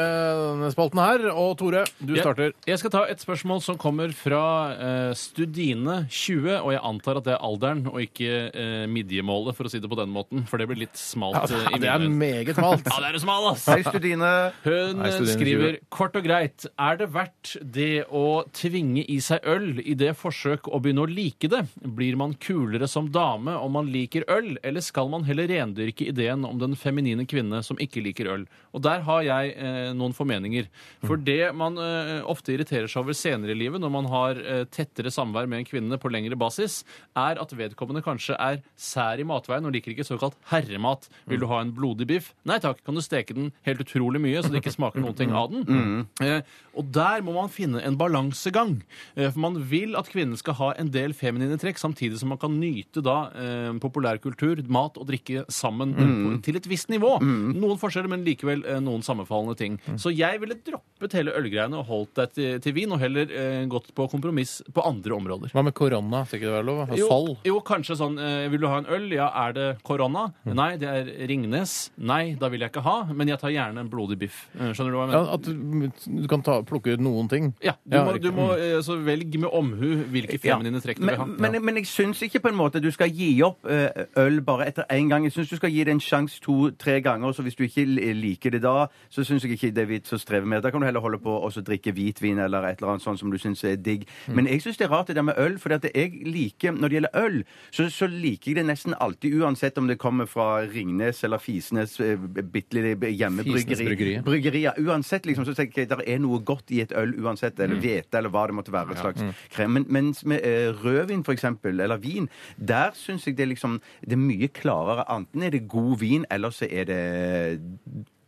Speaker 3: denne spalten her. Og Tore, du
Speaker 2: Jeg-
Speaker 3: starter.
Speaker 2: Jeg skal ta et spørsmål som kommer fra eh, Studine20, og jeg antar at det er alderen og ikke eh, midjemålet, for å si det på den måten, for det blir litt smalt. eh, i
Speaker 3: Det er
Speaker 2: mine øyne.
Speaker 3: meget smalt.
Speaker 2: ja, det er det smal, ass!
Speaker 4: Hei, Studine.
Speaker 2: Hun
Speaker 3: Nei, studien
Speaker 2: skriver
Speaker 3: skriver.
Speaker 2: kort og greit Er det verdt det å tvinge i seg øl i det forsøk å begynne å like det? Blir man kulere som dame om man liker øl, eller skal man heller rendyrke ideen om den feminine kvinne som ikke liker øl? Og der har jeg eh, noen formeninger.
Speaker 3: Mm.
Speaker 2: For det man eh, ofte irriterer seg over senere i livet, når man har eh, tettere samvær med en kvinne på lengre basis, er at vedkommende kanskje er sær i matveien og liker ikke såkalt herremat. Vil du ha en blodig biff? Nei takk, kan du steke den helt utrolig mye så det ikke smaker noen ting av den? Eh, og der må man finne en balansegang. Eh, for man vil at kvinnen skal ha en del feminine trekk, samtidig som man kan nyte da eh, populærkultur, mat og drikke sammen men på, til et visst nivå. Noen forskjeller, men likevel eh, noen sammenfallende ting. Så jeg ville droppet hele ølgreiene og holdt deg til, til vin, og heller eh, gått på kompromiss på andre områder.
Speaker 3: Hva med korona? Skal ikke det være lov? da?
Speaker 2: Jo,
Speaker 3: Fall?
Speaker 2: jo, kanskje sånn eh, Vil du ha en øl? Ja, er det korona?
Speaker 4: Mm.
Speaker 2: Nei, det er Ringnes. Nei, da vil jeg ikke ha, men jeg tar gjerne en blodig biff. Eh, Skjønner du hva jeg
Speaker 3: Ja,
Speaker 2: mener?
Speaker 3: at du, du kan ta, plukke ut noen ting.
Speaker 2: Ja, du
Speaker 3: Ja,
Speaker 2: må,
Speaker 3: riktig.
Speaker 2: du må eh, så velg med omhu hvilke feminine trekk du vil
Speaker 4: Mm. men,
Speaker 2: ha.
Speaker 4: men, men jeg syns ikke på en måte du skal gi opp eh, øl bare etter én gang. Jeg syns du skal gi det en sjanse to-tre ganger, så hvis du ikke li- liker det da, så syns jeg ikke det er vits å streve med. Da kan du heller holde på og så drikke hvitvin eller et eller annet sånt som du syns er digg. Men jeg syns det er rart det der med øl, for jeg liker Når det gjelder øl, så, så liker jeg det nesten alltid, uansett om det kommer fra Ringnes eller Fisnes eh, bitte lille
Speaker 3: Fisnes bryggeri.
Speaker 4: hjemmebryggeri. Bryggerier. Uansett, liksom, så tenker jeg der er noe godt i et øl uansett,
Speaker 3: Mm.
Speaker 4: eller hvete, eller hva det måtte være. et slags krem. Men, mens med eh, rødvin, for eksempel, eller vin, der syns jeg det er liksom Det er mye klarere. Enten er det god vin, eller så er det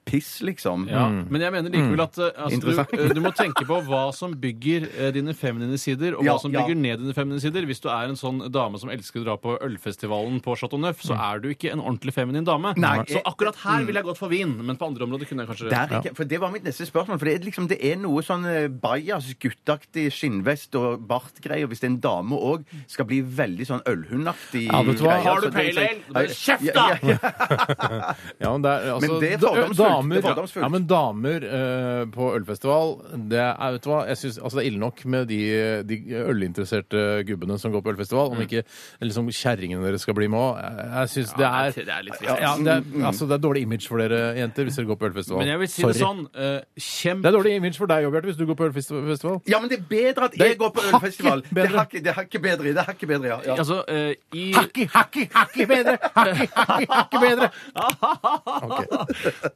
Speaker 4: piss, liksom.
Speaker 2: Ja, Men jeg mener likevel at eh, altså,
Speaker 4: Interessant.
Speaker 2: du, eh, du må tenke på hva som bygger eh, dine feminine sider, og
Speaker 4: Ja,
Speaker 2: hva som
Speaker 4: ja.
Speaker 2: bygger ned dine feminine sider. Hvis du er en sånn dame som elsker å dra på ølfestivalen på Chateau Neuf, så er du ikke en ordentlig feminin dame.
Speaker 4: Mm. Nei. Mm.
Speaker 2: Så akkurat her ville jeg gått for vin, men på andre områder kunne jeg kanskje
Speaker 4: Der, ikke, for Det var mitt neste spørsmål. For Det er, liksom, det er noe sånn eh, bajas, guttaktig skinnvest og bartgreier hvis en dame òg skal bli veldig sånn ølhundaktig.
Speaker 3: Ja, vet du hva?
Speaker 4: greier,
Speaker 3: Har
Speaker 2: du
Speaker 4: så tenker jeg-
Speaker 2: pale ale? Kjeft,
Speaker 4: Ja,
Speaker 2: da!
Speaker 4: sånn- ja, ja.
Speaker 3: Ja, men det er, altså,
Speaker 4: Men det er
Speaker 3: da-
Speaker 4: fordomsfullt.
Speaker 3: Damer,
Speaker 4: Det er fordomsfullt.
Speaker 3: Ja, men damer eh, på ølfestival det er, vet du hva? Jeg synes, altså, det er ille nok med de, de ølinteresserte gubbene som går på
Speaker 2: Mm.
Speaker 3: ølfestival, om ikke liksom, kjerringene deres skal bli med òg. Jeg, jeg synes det
Speaker 2: nei,
Speaker 3: er
Speaker 2: det er litt trist, Mm.
Speaker 3: ja, ja, det, er, altså, det er dårlig image for dere jenter hvis dere går på ølfestival.
Speaker 2: Men jeg vil si
Speaker 3: Sorry.
Speaker 2: det sånn. eh, kjemp
Speaker 3: Det er dårlig image for deg òg, Bjarte, hvis du går på ølfestival.
Speaker 4: Ja, men det er bedre at
Speaker 3: er
Speaker 4: jeg går på ølfestival.
Speaker 3: hakket
Speaker 4: Det
Speaker 3: bedre.
Speaker 4: er hakket, det er hakket bedre. Det er hakket bedre, ja. ja.
Speaker 2: Altså, eh, i
Speaker 3: Hakki, hakki, hakki bedre! Hakki, hakki, hakki bedre!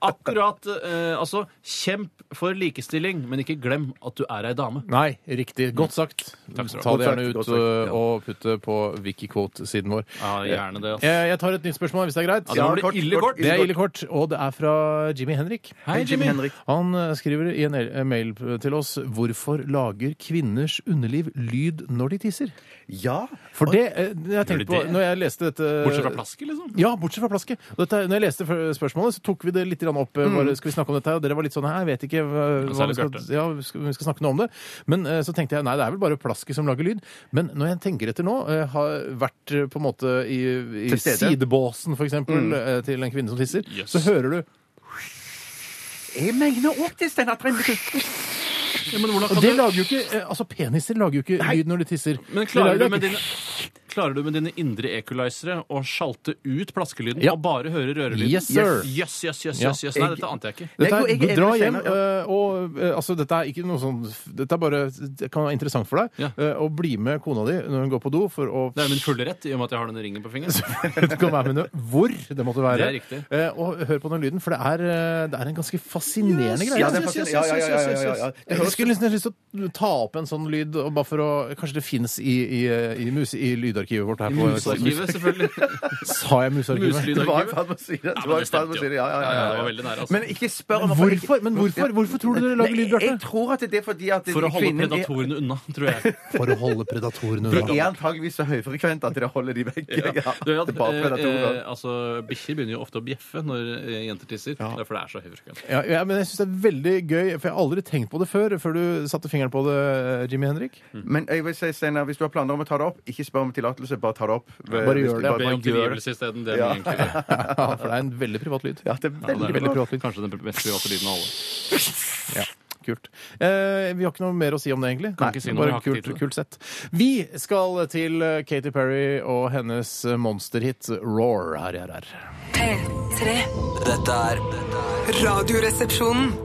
Speaker 2: akkurat eh, Altså, kjemp for likestilling, men ikke glem at du er ei dame.
Speaker 3: Nei, riktig. Godt sagt.
Speaker 2: skal du ha.
Speaker 3: Ta det gjerne ut
Speaker 4: Godt sagt, godt sagt, ja.
Speaker 3: uh, og putt det på Wikiquote-siden vår. Eh,
Speaker 2: Ja, gjerne det. Altså.
Speaker 3: Jeg, jeg tar et nytt spørsmål, hvis det er greit.
Speaker 2: Ja, det blir
Speaker 4: kort,
Speaker 2: ille
Speaker 4: kort,
Speaker 2: kort.
Speaker 3: Det er ille kort, og det er fra Jimmy Henrik.
Speaker 2: Hei, Jimmy.
Speaker 4: Henrik.
Speaker 3: Han uh, skriver i en el- mail til oss hvorfor lager kvinners underliv lyd når de tisser.
Speaker 4: Ja.
Speaker 3: For det, eh, jeg tenkte på,
Speaker 2: det?
Speaker 3: når jeg leste dette
Speaker 2: Bortsett fra plasket, liksom.
Speaker 3: Mm. Ja, bortsett fra plasket. Og Dette, når jeg leste før- spørsmålet, så tok vi det litt grann opp. eh, Bare, skal vi snakke om dette? her? Og dere var litt sånn Jeg vet ikke hva, hva vi,
Speaker 2: Mm. Særlig
Speaker 3: skal,
Speaker 2: Bjarte.
Speaker 3: ja, vi skal, vi skal snakke noe om det. Men eh, så tenkte jeg nei, det er vel bare plasket som lager lyd. Men når jeg tenker etter nå, eh, har vært eh, på en måte i, i
Speaker 4: Til stede.
Speaker 3: sidebåsen f.eks. eksempel eh, til en kvinne som tisser,
Speaker 2: Mm. Yes.
Speaker 3: så hører du
Speaker 4: Jeg mener òg det, Steinar. at det er mye-
Speaker 2: Ja, men hvordan
Speaker 3: Og
Speaker 2: kan
Speaker 3: det
Speaker 2: du-
Speaker 3: lager jo ikke eh, Altså, peniser lager jo ikke lyd når de tisser.
Speaker 2: Men klarer
Speaker 3: De lager
Speaker 2: du, med
Speaker 3: ikke-
Speaker 2: dine, klarer du med dine indre equalizere å sjalte ut plaskelyden
Speaker 3: Ja.
Speaker 2: og bare høre rørelyden?
Speaker 3: Yes, sir.
Speaker 2: Jøss, jøss, jøss,
Speaker 3: Ja.
Speaker 2: jøss, jøss. Nei, dette ante jeg ikke.
Speaker 3: Dette
Speaker 4: Nei,
Speaker 3: er,
Speaker 4: jeg- jeg- jeg
Speaker 3: dra
Speaker 4: vil
Speaker 3: hjem,
Speaker 4: si noe,
Speaker 3: øh, og øh, altså, dette er ikke noe sånn Dette er bare Det kan være interessant for deg
Speaker 2: Ja.
Speaker 3: øh, å bli med kona di når hun går på do for å
Speaker 2: Det er
Speaker 3: [LAUGHS]
Speaker 2: min fulle rett, i og med at jeg har denne ringen på fingeren.
Speaker 3: du kan være med noe, hvor det måtte være.
Speaker 2: Det er riktig.
Speaker 3: Eh, og hør på den lyden, for det er, eh, det er en ganske fascinerende greie.
Speaker 4: ja, det er fascinerende. Ja, ja, ja, ja, ja, ja. Det
Speaker 3: Jeg skulle nesten lyst til å ta opp en sånn lyd, og bare for å Kanskje det fins i, i, i, muse, i lydarkivet vårt her på
Speaker 2: Musearkivet, selvfølgelig.
Speaker 3: Sa jeg musearkivet?
Speaker 4: Det var i
Speaker 2: Muselydarkivet.
Speaker 4: ferd med å si det.
Speaker 2: Ja, men
Speaker 4: Det var i
Speaker 2: det
Speaker 4: ferd
Speaker 2: stemte
Speaker 4: med å
Speaker 2: jo.
Speaker 4: si det. Ja, ja, ja,
Speaker 2: Ja,
Speaker 4: ja.
Speaker 2: det var veldig nære, altså.
Speaker 4: Men ikke spør om
Speaker 3: Hvorfor? Men hvorfor? Hvorfor tror du dere lager lyd,
Speaker 4: Jeg
Speaker 3: Bjarte?
Speaker 4: tror at det er fordi at
Speaker 2: For å holde
Speaker 4: kvinnen er-
Speaker 2: predatorene unna, tror jeg.
Speaker 3: For å holde predatorene
Speaker 4: Det er antageligvis så høyfrekvent at det holder de vekk. Ja.
Speaker 2: Du, vet at,
Speaker 4: Det er bare
Speaker 2: eh,
Speaker 4: predatorer.
Speaker 2: eh, altså, Bikkjer begynner jo ofte å bjeffe når eh, jenter tisser. Derfor det er så høyfrekvent.
Speaker 3: Ja, ja, men jeg syns det er veldig gøy, for jeg har aldri tenkt på det før, før du satte fingeren på det, eh, Jimmy Henrik.
Speaker 2: Mm. eh,
Speaker 4: Men jeg vil si, Steinar, hvis du har planer om å ta det opp, ikke spør om tillatelse, bare ta det opp.
Speaker 3: Bare gjør det.
Speaker 2: Be
Speaker 4: Bare,
Speaker 2: om tilgivelse isteden. Det er
Speaker 4: Ja.
Speaker 2: egentlig det.
Speaker 3: [LAUGHS] Ja, for det er en veldig privat lyd.
Speaker 4: ja, det er
Speaker 2: Ja, det
Speaker 4: veldig
Speaker 2: er
Speaker 4: bra.
Speaker 2: det. Kanskje den mest private lyden av alle.
Speaker 3: Kult. Eh, vi har ikke noe mer å si om det, egentlig.
Speaker 2: Kan ikke si noe, vi
Speaker 3: Bare
Speaker 2: har ikke tid
Speaker 3: kult,
Speaker 2: til det.
Speaker 3: kult sett. Vi skal til eh, Katy Perry og hennes eh, monsterhit Roar her i RR.
Speaker 8: P3.
Speaker 9: Dette er
Speaker 8: Radioresepsjonen.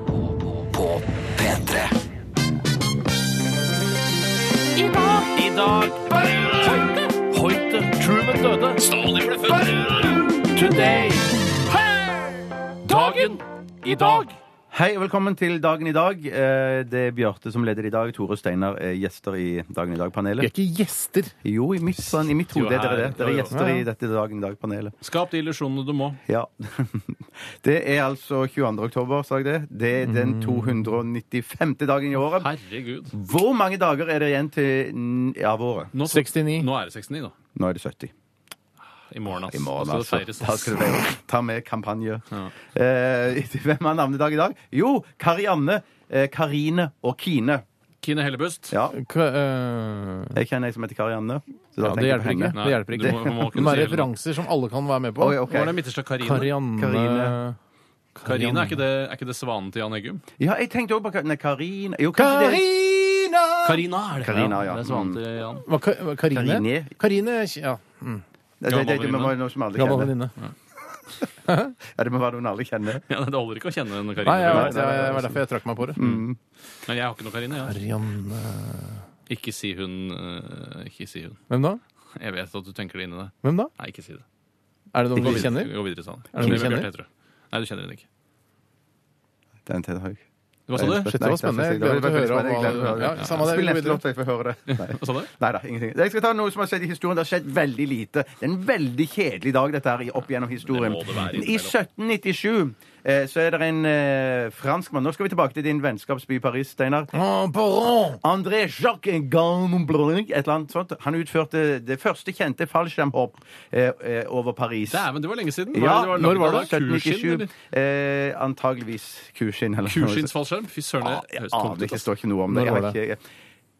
Speaker 9: på P3.
Speaker 5: I dag Hoite Truman døde. Stalin ble født. Today. Dagen i dag.
Speaker 4: Hei og velkommen til Dagen i dag. Eh, Det er Bjarte som leder i dag. Tore og Steinar er gjester i Dagen i
Speaker 3: Vi er
Speaker 4: dag-panelet.
Speaker 3: ikke gjester.
Speaker 4: Jo, i mitt, sånn, i mitt
Speaker 2: Jo,
Speaker 4: hode er dere det.
Speaker 2: her.
Speaker 4: Dere
Speaker 2: Jo,
Speaker 4: er
Speaker 2: jo.
Speaker 4: gjester i dette Dagen i dag-panelet.
Speaker 2: Skap de illusjonene du må.
Speaker 4: Ja. [LAUGHS] Det er altså 22. oktober, sa jeg det. Det er
Speaker 2: Mm.
Speaker 4: den 295. dagen i året.
Speaker 2: Herregud.
Speaker 4: Hvor mange dager er det igjen til n- av året?
Speaker 2: Nå,
Speaker 3: 69.
Speaker 2: nå er det 69, da.
Speaker 4: Nå er det 70.
Speaker 2: I morgen, altså.
Speaker 4: I morgen,
Speaker 2: Da skal det
Speaker 4: altså. Da
Speaker 2: feires.
Speaker 4: skal det feires. Ta med kampanje. Eh, hvem har navnedag i [LAUGHS] dag? Jo, Karianne, eh, Karine og Kine.
Speaker 2: Kine Hellebust.
Speaker 4: Ja,
Speaker 3: K eh,
Speaker 4: jeg kjenner ei som heter Karianne. så da
Speaker 3: ja,
Speaker 4: tenker
Speaker 3: det
Speaker 4: jeg på
Speaker 3: hjelper
Speaker 4: henne.
Speaker 3: ikke. Det hjelper ikke.
Speaker 2: Du må- du må kunne
Speaker 3: Det er
Speaker 2: si hele
Speaker 3: referanser som alle kan være med på.
Speaker 4: Oi, ok.
Speaker 2: Hva er det midterste? Karine?
Speaker 3: Karianne
Speaker 4: Karine.
Speaker 2: Karine, er ikke det, er ikke det svanen til Jan Eggum?
Speaker 4: Ja, jeg tenkte også på Karine. Karine Jo, kanskje det
Speaker 3: Karina! Mm.
Speaker 2: Karina er det.
Speaker 4: Karina, ja.
Speaker 2: Det er svanen til Jan.
Speaker 3: Hva, Ka- Karine?
Speaker 4: Karine.
Speaker 3: Karine Ja. Mm.
Speaker 4: Det, det, det, det må være noe som alle
Speaker 3: Gammel
Speaker 4: kjenner.
Speaker 3: venninne.
Speaker 4: Ja, det må være noen alle kjenner.
Speaker 2: Ja, det holder ikke å kjenne en Karine.
Speaker 3: Nei, jeg vet,
Speaker 4: nei, nei,
Speaker 3: jeg,
Speaker 4: nei.
Speaker 3: det var derfor jeg trakk meg på det.
Speaker 4: Mm.
Speaker 2: Men jeg har ikke noe Karine. Ja.
Speaker 3: Marianne
Speaker 2: Ikke si hun. øh, Ikke si hun.
Speaker 3: Hvem da?
Speaker 2: Jeg vet at du tenker det inni deg.
Speaker 3: Hvem da?
Speaker 2: Nei, ikke si det.
Speaker 3: Er det noen du
Speaker 2: videre-
Speaker 3: kjenner?
Speaker 2: Gå videre, Sander.
Speaker 3: Er det noen du
Speaker 2: Hvem Bjarte
Speaker 3: kjenner?
Speaker 2: heter du? Nei, du kjenner henne ikke.
Speaker 4: Den til Haug.
Speaker 2: Hva sa du?
Speaker 3: Shit, det var spennende. Jeg gleder meg til å høre om hva ja, Samme det, vi
Speaker 4: Spill
Speaker 3: går
Speaker 4: neste låt,
Speaker 3: videre.
Speaker 4: så jeg får høre det. Nei.
Speaker 2: Hva sa du?
Speaker 4: Nei da, ingenting. Jeg skal ta noe som har skjedd i historien. Det har skjedd veldig lite. Det er en veldig kjedelig dag, dette her, i- opp gjennom historien.
Speaker 2: Det må det være
Speaker 4: I
Speaker 2: innimellom.
Speaker 4: 1797 eh, så er det en eh, franskmann Nå skal vi tilbake til din vennskapsby Paris, Steinar.
Speaker 3: Ah, Baron!
Speaker 4: André Jacques Gamblin, et eller annet sånt. Han utførte det første kjente fallskjermhopp eh, eh, over Paris.
Speaker 2: Dæven, det var lenge siden.
Speaker 4: Ja,
Speaker 2: det
Speaker 4: når var det?
Speaker 2: langt- Kurskinn,
Speaker 4: 1797.
Speaker 2: eller?
Speaker 4: Eh, antageligvis kuskinn. eller noe sånt.
Speaker 2: Kurskinnfallskjerm? Fy søren, det
Speaker 4: Ja,
Speaker 2: høres
Speaker 4: Ah, jeg
Speaker 2: tomt
Speaker 4: aner
Speaker 2: ut.
Speaker 4: ikke, det
Speaker 2: altså.
Speaker 4: står ikke noe om det.
Speaker 3: Når
Speaker 4: Jeg
Speaker 3: var
Speaker 4: har ikke,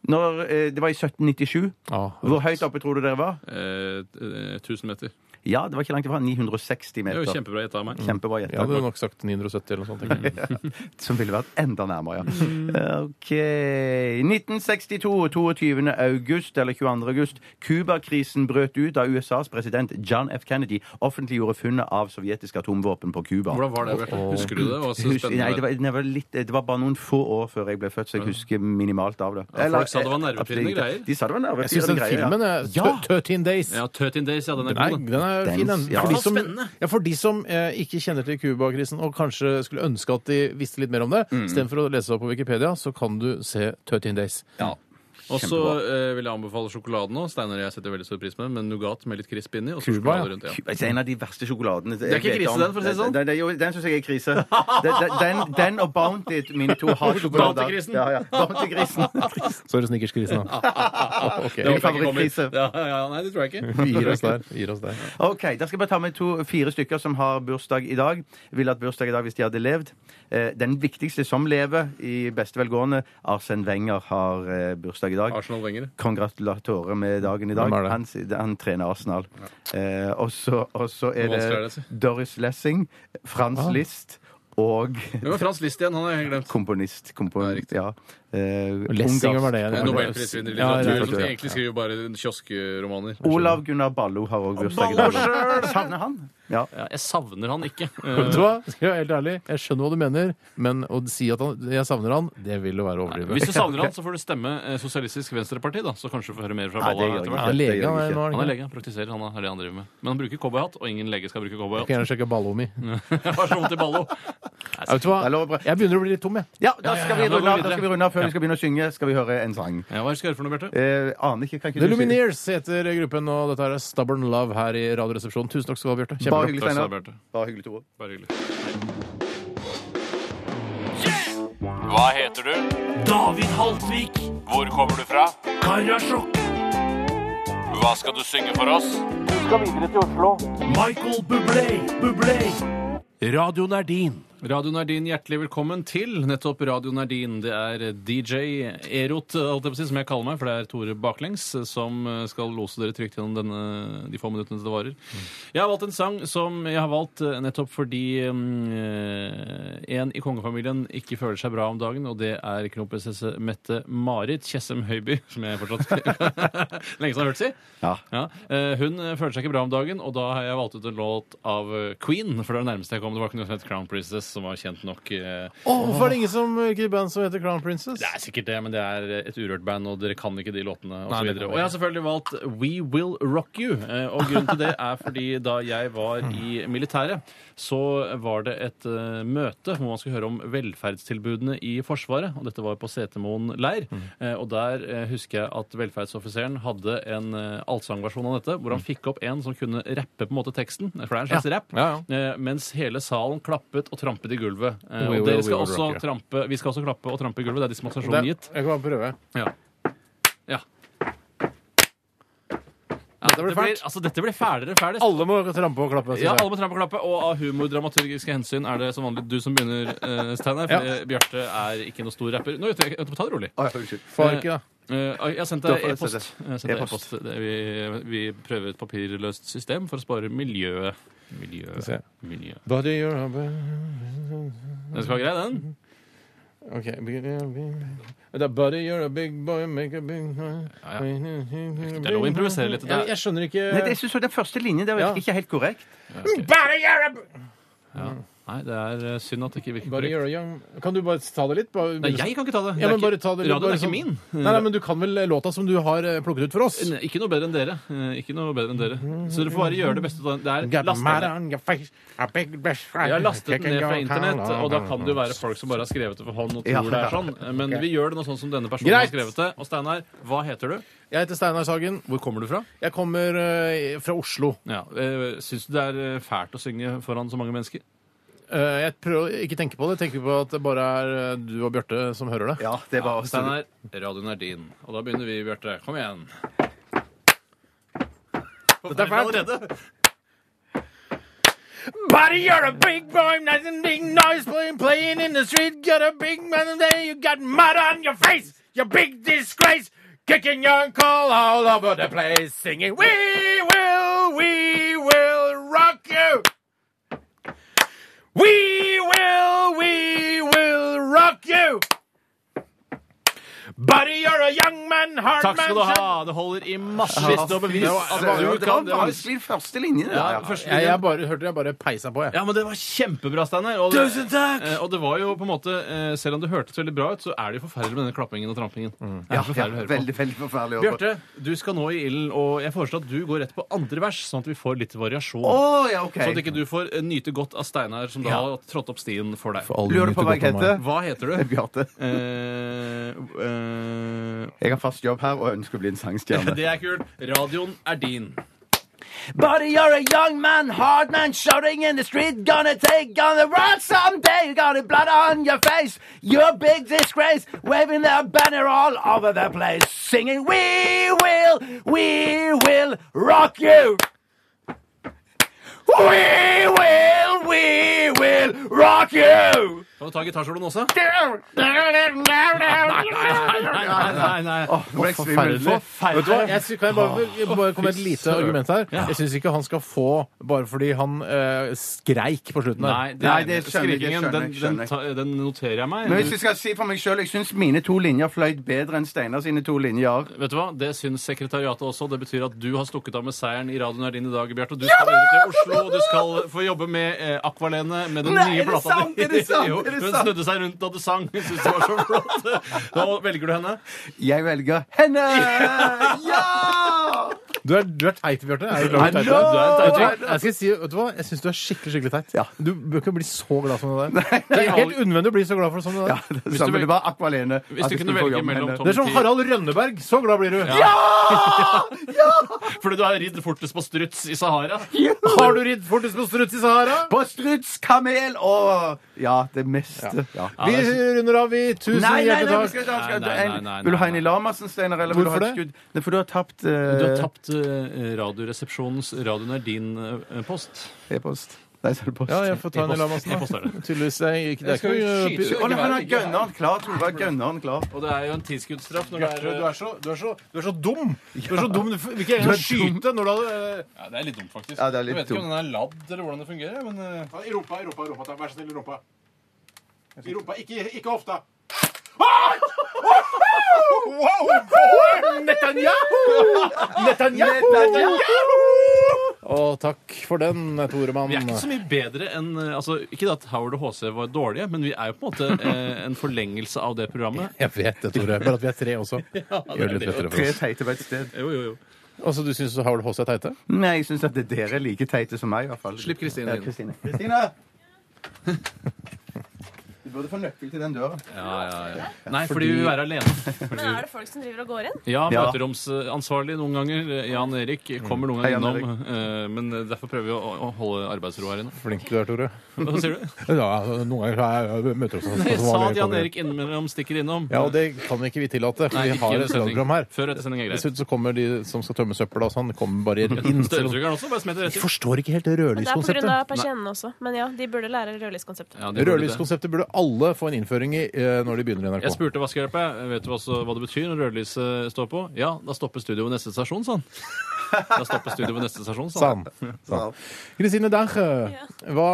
Speaker 4: når, eh, det var i 1797.
Speaker 3: Ah,
Speaker 4: Hvor høyt oppe tror du dere var?
Speaker 2: Eh, eh, 1000 meter.
Speaker 4: Ja, det var ikke langt ifra. 960
Speaker 2: Det er jo
Speaker 4: meter. Mm.
Speaker 2: kjempebra gjetta av meg.
Speaker 4: Kjempebra gjetta.
Speaker 3: jeg hadde
Speaker 4: [LAUGHS]
Speaker 3: nok sagt 970 eller noe [LAUGHS] sånt. tenker jeg.
Speaker 4: Som ville vært enda nærmere, ja. OK 1962, 22. august eller 22. august. Cuba-krisen brøt ut da USAs president John F. Kennedy offentliggjorde funnet av sovjetiske atomvåpen på Cuba.
Speaker 2: Hvordan var det, Bjarte? Husker du det? Det var så
Speaker 4: Hus- Nei,
Speaker 2: spennende.
Speaker 4: det var, det, var litt, det var bare noen få år før jeg ble født, så jeg husker minimalt av det. eh,
Speaker 2: Ja, folk sa det var nervepirrende
Speaker 4: absolutt.
Speaker 2: greier.
Speaker 4: De sa det var
Speaker 3: Jeg
Speaker 4: nervepirrende
Speaker 3: syns den
Speaker 4: greier.
Speaker 3: filmen
Speaker 4: ja.
Speaker 3: er
Speaker 4: Ja!
Speaker 3: 13 Days.
Speaker 2: Ja, 13 Days, ja, den er
Speaker 3: Den er,
Speaker 2: god. den.
Speaker 3: den er
Speaker 4: Den-
Speaker 3: fin, den.
Speaker 4: ja.
Speaker 3: For de
Speaker 4: Så
Speaker 3: som,
Speaker 2: spennende.
Speaker 3: ja, for de som eh, ikke kjenner til Cuba-krisen og kanskje skulle ønske at de visste litt mer om det, istedenfor å lese opp på Wikipedia, så kan du se 13 Days.
Speaker 2: Og så
Speaker 4: Kjempebra.
Speaker 2: eh, vil jeg anbefale sjokoladen nå. Steinar og jeg setter veldig stor pris på den, men Nougat med litt krisp inni. Og så
Speaker 3: Cuba,
Speaker 2: sjokolade
Speaker 3: ja.
Speaker 2: rundt. Ja.
Speaker 4: Cuba- Det er altså, en av de verste sjokoladene Det
Speaker 2: ikke krise, den, for å si det sånn.
Speaker 4: Den, den, den syns jeg er krise. Den, den- den, den og Bounty, mine to hardsjokolader.
Speaker 2: Bounty-krisen.
Speaker 4: Ja, ja. Bounty-krisen.
Speaker 3: Sorry, [LAUGHS] snickerskrisen. da. Ok,
Speaker 4: var- favorittkrise.
Speaker 2: Ja, ja, ja, nei, det tror jeg ikke.
Speaker 3: Vi gir oss der. Vi gir oss der.
Speaker 4: OK. Da skal jeg bare ta med to, fire stykker som har bursdag i dag. Ville hatt bursdag i dag hvis de hadde levd. Eh, den viktigste som lever i beste velgående, Arsen Wenger, har eh, bursdag i dag.
Speaker 2: Arsenal Wenger.
Speaker 4: Kongratulatører med dagen i dag.
Speaker 3: Hvem er det?
Speaker 4: Han, si- han trener Arsenal. Eh, og så og så er
Speaker 2: vanskelig er det, si?
Speaker 4: det Doris Lessing, Frans List og
Speaker 3: Ah.
Speaker 2: Det var Frans List igjen, han har jeg helt glemt.
Speaker 4: komponist. komponist ja. eh,
Speaker 3: Lessinger var det.
Speaker 4: ungarsk-
Speaker 3: det var det.
Speaker 2: Nobelprisvinner i
Speaker 3: Ja,
Speaker 2: litteratur.
Speaker 3: rett og
Speaker 2: som
Speaker 3: slett, ja.
Speaker 2: egentlig skriver bare kioskromaner.
Speaker 4: Olav Gunnar Ballo har òg bursdag i dag. Savner han? Ja.
Speaker 2: Ja, jeg savner han
Speaker 3: [LAUGHS]
Speaker 2: ikke.
Speaker 3: Vet du hva? Eh, Skal jeg være helt ærlig, jeg skjønner hva du mener, men å si at han, jeg savner han, det vil jo være å overdrive.
Speaker 2: Hvis du savner
Speaker 3: [LAUGHS]
Speaker 2: han, så får du stemme eh, Sosialistisk Venstreparti, da. Så kanskje du får høre mer fra
Speaker 4: Nei, det
Speaker 2: Balla
Speaker 4: gjør
Speaker 2: etter
Speaker 4: jeg
Speaker 2: hvert.
Speaker 4: ikke.
Speaker 3: Han er lege,
Speaker 4: Det gjør
Speaker 3: han er
Speaker 4: jeg
Speaker 3: nå, er
Speaker 2: Han er
Speaker 3: han ikke det?
Speaker 2: lege, han praktiserer, han er det han driver med. Men han bruker cowboyhatt, og ingen lege skal bruke
Speaker 3: Jeg kan
Speaker 2: cowboyhatt.
Speaker 3: gjerne sjekke ballo mi.
Speaker 2: [LAUGHS] Har så vondt i ballo.
Speaker 3: Ja, vet du hva?
Speaker 4: Det er lov å bra-
Speaker 3: Jeg begynner å bli litt tom, jeg.
Speaker 4: Ja, da skal vi
Speaker 2: ja, nå
Speaker 4: runde
Speaker 2: går
Speaker 4: av,
Speaker 2: vi
Speaker 4: da skal vi
Speaker 2: videre.
Speaker 4: runde av før vi skal begynne å synge. Skal vi høre en sang?
Speaker 2: Ja, hva skal jeg høre for noe, Bjarte?
Speaker 4: Eh, aner ikke. Kan ikke du
Speaker 3: The
Speaker 4: si det?
Speaker 3: Lumineers heter gruppen, og dette er Stubborn Love her i Radioresepsjonen. Tusen takk skal du ha, Bjarte.
Speaker 4: Bare
Speaker 3: Kjempebra.
Speaker 4: hyggelig,
Speaker 2: Takk skal du ha,
Speaker 4: Steinar.
Speaker 2: Bjarte.
Speaker 4: Bare hyggelig, Tore.
Speaker 2: Bare hyggelig.
Speaker 5: Hva heter du? David Haltvik. Hvor kommer du fra? Karasjok. Hva skal du synge for oss? Du skal videre til Oslo. Michael Bublé, Bublé. Radioen er din.
Speaker 2: Radio Nardin, hjertelig velkommen til nettopp Radio Nardin. Det er DJ Erot, holdt jeg på å si, som jeg kaller meg, for det er Tore Baklengs, som eh, skal lose dere trygt gjennom denne, de få minuttene det varer. Jeg har valgt en sang som jeg har valgt eh, nettopp fordi mm, eh, en i kongefamilien ikke føler seg bra om dagen, og det er kronprinsesse Mette-Marit Tjessem Høiby, som jeg fortsatt [LAUGHS] lenge siden har hørt si.
Speaker 4: Ja.
Speaker 2: Ja. eh, Hun eh, føler seg ikke bra om dagen, og da har jeg valgt ut en låt av eh, Queen. For det var det nærmeste jeg kom. Det var ikke noe som het Crown Princess, som var kjent nok. eh.
Speaker 3: Å, hvorfor er det ingen som ikke band som heter Crown Princess?
Speaker 2: Det er sikkert det, men det er et urørt band, og dere kan ikke de låtene osv. Og, så
Speaker 3: Nei, det kan vi
Speaker 2: videre. og jeg har selvfølgelig valgt We Will Rock You. eh, Og grunnen til det er fordi da jeg var i militæret, så var det et eh, møte hvor man skulle høre om velferdstilbudene i Forsvaret. Og dette var på Setermoen leir.
Speaker 3: Mm.
Speaker 2: Eh, Og der eh, husker jeg at velferdsoffiseren hadde en eh, allsangversjon av dette, hvor han fikk opp en som kunne rappe på en måte teksten, for det er en slags rapp,
Speaker 3: Mm. Ja,
Speaker 2: eh, mens hele salen klappet og trampet i gulvet. Eh, Og
Speaker 3: We will-
Speaker 2: dere
Speaker 3: we
Speaker 2: skal
Speaker 3: will
Speaker 2: også
Speaker 3: rock you.
Speaker 2: trampe, vi skal også klappe og trampe i gulvet. Det er
Speaker 3: Det-
Speaker 2: dispensasjonen
Speaker 3: Jeg
Speaker 2: gitt.
Speaker 3: kan bare prøve.
Speaker 2: Ja. ja.
Speaker 3: Dette blir
Speaker 2: Det blir,
Speaker 3: fælt.
Speaker 2: altså, dette blir fælere enn fælest.
Speaker 3: Alle må trampe og klappe. synes
Speaker 2: Ja,
Speaker 3: jeg.
Speaker 2: alle må trampe og klappe, og av humordramaturgiske hensyn er det som vanlig du som begynner, uh, Steinar. For eh, Bjarte er ikke noe stor rapper. Nå, vet du, jeg, vet du, ta det
Speaker 3: Ah.
Speaker 2: rolig.
Speaker 4: Å, ja, unnskyld.
Speaker 3: Far ikke, da.
Speaker 2: Eh, jeg har sendt
Speaker 4: Da
Speaker 2: deg
Speaker 4: får jeg
Speaker 2: e-post.
Speaker 4: sette.
Speaker 2: Jeg har sendt deg
Speaker 4: E-post.
Speaker 2: e-post. Det- Vi, vi prøver et papirløst system for å spare miljøet. Miljø.
Speaker 3: Skal vi
Speaker 2: Miljø.
Speaker 3: se. Body your hubby.
Speaker 2: Den skal være grei, den.
Speaker 3: Okay. big- Det er Buddy, you're a big boy, make a big
Speaker 2: ja. Det er lov å improvisere litt. Det
Speaker 3: Jeg,
Speaker 2: er,
Speaker 3: jeg skjønner ikke
Speaker 4: Nei, det, jeg synes jo den første linjen der var
Speaker 3: Ja.
Speaker 4: ikke helt korrekt.
Speaker 3: Mm-hmm.
Speaker 2: nei, det er eh, synd at det ikke virker
Speaker 3: Buddy,
Speaker 2: korrekt.
Speaker 3: you're a young Kan du bare ta det litt? Bare,
Speaker 2: Nei, jeg kan ikke ta det. Det
Speaker 3: ja,
Speaker 2: er
Speaker 3: men
Speaker 2: ikke-
Speaker 3: bare ta det litt,
Speaker 2: Radioen
Speaker 3: bare
Speaker 2: er ikke
Speaker 3: sånn-
Speaker 2: min.
Speaker 3: Nei, nei, men du kan vel låta som du har eh, plukket ut for oss?
Speaker 2: Ne- Ikke noe bedre enn dere. Eh, Ikke noe bedre enn dere. Så dere får bare gjøre det beste ut av den. Det er
Speaker 3: Got
Speaker 2: lastet
Speaker 3: mad
Speaker 2: ned.
Speaker 3: on your face, a big best friend.
Speaker 2: Jeg har lastet den ned fra
Speaker 3: Taking your
Speaker 2: internett,
Speaker 3: color.
Speaker 2: og da kan det jo være folk som bare har skrevet det for hånd og tror
Speaker 4: Ja,
Speaker 2: det er
Speaker 4: ja.
Speaker 2: sånn. Men vi gjør det nå sånn som denne personen
Speaker 3: Greit.
Speaker 2: har skrevet det. Og Steinar, hva heter du?
Speaker 3: Jeg heter Steinar Sagen.
Speaker 2: Hvor kommer du fra?
Speaker 3: Jeg kommer eh, fra Oslo.
Speaker 2: Ja. eh, Syns du det er eh, fælt å synge foran så mange mennesker?
Speaker 3: Eh, jeg prøver å ikke tenke på det. Jeg tenker på at det bare er eh, du og Bjarte som hører det.
Speaker 4: Ja, det var
Speaker 2: Steinar, radioen er din. Og da begynner vi, Bjarte. Kom igjen. Dette er fælt. Allerede.
Speaker 3: Buddy, you're a big boy, nothing big noise, playing, playing in the street. Got a big man there, you got mud on your face, you big disgrace. Kicking your call all over the place, singing, We will, we will rock you. We will, we will rock you. Buddy, you're a young man, hard
Speaker 2: Takk skal du
Speaker 3: man.
Speaker 2: ha. Det holder i massevis til å bevise at
Speaker 4: det var,
Speaker 2: du
Speaker 4: det var
Speaker 2: kan det. var-
Speaker 4: vanskelig første linje. det der,
Speaker 2: Ja,
Speaker 4: ja.
Speaker 2: første
Speaker 3: Jeg, jeg bare, hørte jeg bare peisa på, jeg.
Speaker 2: Ja, men det var kjempebra, Steinar. Og, Tusen takk! Eh, Og det var jo på en måte, eh, selv om det hørtes veldig bra ut, så er det jo forferdelig med denne klappingen og trampingen. Det er
Speaker 4: Ja, ja,
Speaker 2: forferdelig å høre på.
Speaker 4: veldig, veldig forferdelig. å høre på.
Speaker 2: Bjarte, du skal nå i ilden, og jeg foreslår at du går rett på andre vers, sånn at vi får litt variasjon.
Speaker 4: Å, ja, OK.
Speaker 2: Sånn at ikke du får eh, nyte godt av Steinar, som da
Speaker 3: Ja.
Speaker 2: har trådt opp stien for deg.
Speaker 4: Lurer du på hva jeg heter?
Speaker 2: Hva heter
Speaker 4: Eh,
Speaker 2: du?
Speaker 4: Bjarte.
Speaker 2: Eh, eh,
Speaker 4: Jeg har fast jobb her og ønsker å bli en sangstjerne.
Speaker 2: det er kult. Radioen er din.
Speaker 4: Buddy, you're a young man, hard man, shouting in the street. Gonna take on the road someday. You got blood on your face. You're a big disgrace. Waving their banner all over the place. Singing, We will, we will rock you. We will, we will will rock you!
Speaker 2: Kan du ta gitarsoloen også?
Speaker 4: Åh, det ble
Speaker 3: Forferdelig.
Speaker 4: svimmel.
Speaker 3: Vet du hva? Jeg sy- kan jeg bare, bare komme med et lite argument her? Jeg syns ikke han skal få bare fordi han eh, skreik på slutten. her.
Speaker 2: Nei, det,
Speaker 4: Nei, det skjønner jeg, det
Speaker 2: skrikingen,
Speaker 4: skjønner jeg,
Speaker 2: den, den,
Speaker 4: skjønner jeg.
Speaker 2: ta- den noterer jeg meg.
Speaker 4: Men hvis jeg skal si for meg sjøl, jeg syns mine to linjer fløyt bedre enn Steinar sine to linjer.
Speaker 2: Vet du hva? Det syns sekretariatet også. Det betyr at du har stukket av med seieren i radioen her inne i dag, Bjarte. Du skal videre til Oslo, og du skal få jobbe med eh, Akvalene med den
Speaker 4: Nei,
Speaker 2: nye
Speaker 4: er det
Speaker 2: plata
Speaker 4: sant? Er det
Speaker 2: [LAUGHS]
Speaker 4: sant?
Speaker 2: Jo,
Speaker 4: Er det
Speaker 2: Hun
Speaker 4: sant?
Speaker 2: snudde seg rundt da du sang. Hun syntes det var så flott. Da velger du henne.
Speaker 4: Jeg velger henne! Ja!
Speaker 3: Du er, du er teit, Bjarte. Er du glad
Speaker 2: Nei,
Speaker 3: i teit?
Speaker 2: du er- du er teit,
Speaker 3: Vet du hva?
Speaker 2: Bjarte.
Speaker 3: Jeg skal si, vet du hva? Jeg syns du er skikkelig skikkelig teit.
Speaker 4: Ja.
Speaker 3: Du bør ikke bli så glad som det der. Det er helt unødvendig å bli så glad for det som det
Speaker 4: Ja,
Speaker 3: der.
Speaker 4: [LAUGHS] det samme, det var Akvalene.
Speaker 2: Hvis du kunne velge mellom Tom
Speaker 3: Det er som
Speaker 2: T
Speaker 3: Harald Rønneberg. Så glad blir du.
Speaker 2: Fordi du har ridd fortest på struts i Sahara.
Speaker 3: Har du ridd fortest på struts i Sahara?
Speaker 4: På struts, kamel og Ja, det meste. Ja.
Speaker 3: Vi runder av, vi. Tusen
Speaker 4: Nei, nei, nei, vi
Speaker 3: hjertelig
Speaker 4: skal
Speaker 3: takk.
Speaker 4: ikke ha skal-
Speaker 2: Nei, nei, nei, nei,
Speaker 4: Vil du ha
Speaker 2: nei.
Speaker 4: en i Lamarsen, Steinar? eller vil du ha
Speaker 3: Hvorfor
Speaker 4: et
Speaker 3: det?
Speaker 4: skudd? Nei, for du har tapt eh,
Speaker 2: Du har tapt eh, Radioresepsjonens Radioen er din eh, post.
Speaker 4: e-post. Nei, så er det post.
Speaker 3: Ja, jeg får ta en i Lamassen.
Speaker 2: E-post er det.
Speaker 3: Tydeligvis det er ikke det er
Speaker 2: skal jo
Speaker 3: ikke
Speaker 2: skyte-
Speaker 4: Å, nei, han har gønneren klar, Tore. Gønneren klar.
Speaker 2: Og det er jo en tilskuddsstraff når det er,
Speaker 3: Bjarte, du er så, du, er så, du er så dum! Du er så dum, Du vil
Speaker 4: Du
Speaker 3: ikke
Speaker 4: er
Speaker 3: engang skyte når du hadde eh,
Speaker 2: ja, det er litt dumt, faktisk.
Speaker 4: Ja, det er litt
Speaker 2: jeg vet ikke om
Speaker 4: dumt.
Speaker 2: den er ladd, eller hvordan det fungerer. men... eh,
Speaker 3: Ja, I rumpa, i rumpa, i rumpa. takk. Vær så snill, i rumpa. I rumpa, ikke, ikke hofta. Å, takk for den, Toremann.
Speaker 2: Vi er ikke så mye bedre enn eh, altså, Ikke at Howard og HC var dårlige, men vi er jo på en måte eh, en forlengelse av det programmet.
Speaker 3: Jeg vet det, Tore. Bare at vi er tre også. Gjør det litt lettere for
Speaker 4: Tre
Speaker 3: oss.
Speaker 4: teite på et sted.
Speaker 2: [LAUGHS] Jo, jo, jo.
Speaker 3: Altså, du syns Howard Håse er teite?
Speaker 4: Nei, jeg syns at det- dere er like teite som meg, i hvert fall.
Speaker 2: Slipp Kristine
Speaker 4: Ja,
Speaker 2: inn.
Speaker 4: Kristine. Kristine! [LAUGHS] Du burde få nøkkel til den døra.
Speaker 2: Ja, ja, ja. Nei, fordi vi vil være alene.
Speaker 10: Men er det folk som driver og går inn?
Speaker 2: Ja,
Speaker 4: Ja.
Speaker 2: møteromsansvarlig noen ganger. eh, Jan Erik kommer noen
Speaker 4: Hei,
Speaker 2: ganger
Speaker 4: Jan
Speaker 2: innom. eh, Men derfor prøver vi å, å holde arbeidsro
Speaker 3: [LAUGHS]
Speaker 2: her inne.
Speaker 3: Flink du er, Tore.
Speaker 2: Hva sier du?
Speaker 3: Ja, noen ganger så er jeg møter oss
Speaker 2: Jeg [LAUGHS] sa at Jan Erik innimellom stikker innom.
Speaker 3: Ja, og det kan ikke vi tillate, for
Speaker 2: Nei,
Speaker 3: vi
Speaker 2: ikke
Speaker 3: har
Speaker 2: under
Speaker 3: et
Speaker 2: sending.
Speaker 3: radioprogram her.
Speaker 2: Før etter sending er greit.
Speaker 3: Dessuten så kommer de som skal tømme søpla, så han kommer
Speaker 2: [LAUGHS]
Speaker 3: bare inn. Jeg
Speaker 2: Støvsugeren også, bare smetter rett i.
Speaker 3: forstår ikke helt det
Speaker 10: Men det er
Speaker 3: rødlyskonseptet.
Speaker 10: pga. persiennene også. Men ja, de burde lære rødlyskonseptet.
Speaker 2: Ja, de burde det.
Speaker 3: Rødlyskonseptet burde alle få en innføring i eh, når de begynner i
Speaker 2: Jeg
Speaker 3: NRK.
Speaker 2: spurte vaskehjelpet vet du også hva det betyr når rødlyset står på. Ja, da stopper studioet ved neste stasjon, [LAUGHS] sa han. Da stopper studioet ved neste stasjon, sa [LAUGHS] han.
Speaker 3: Sann. Sann. Sånn. Kristine Danche, hva,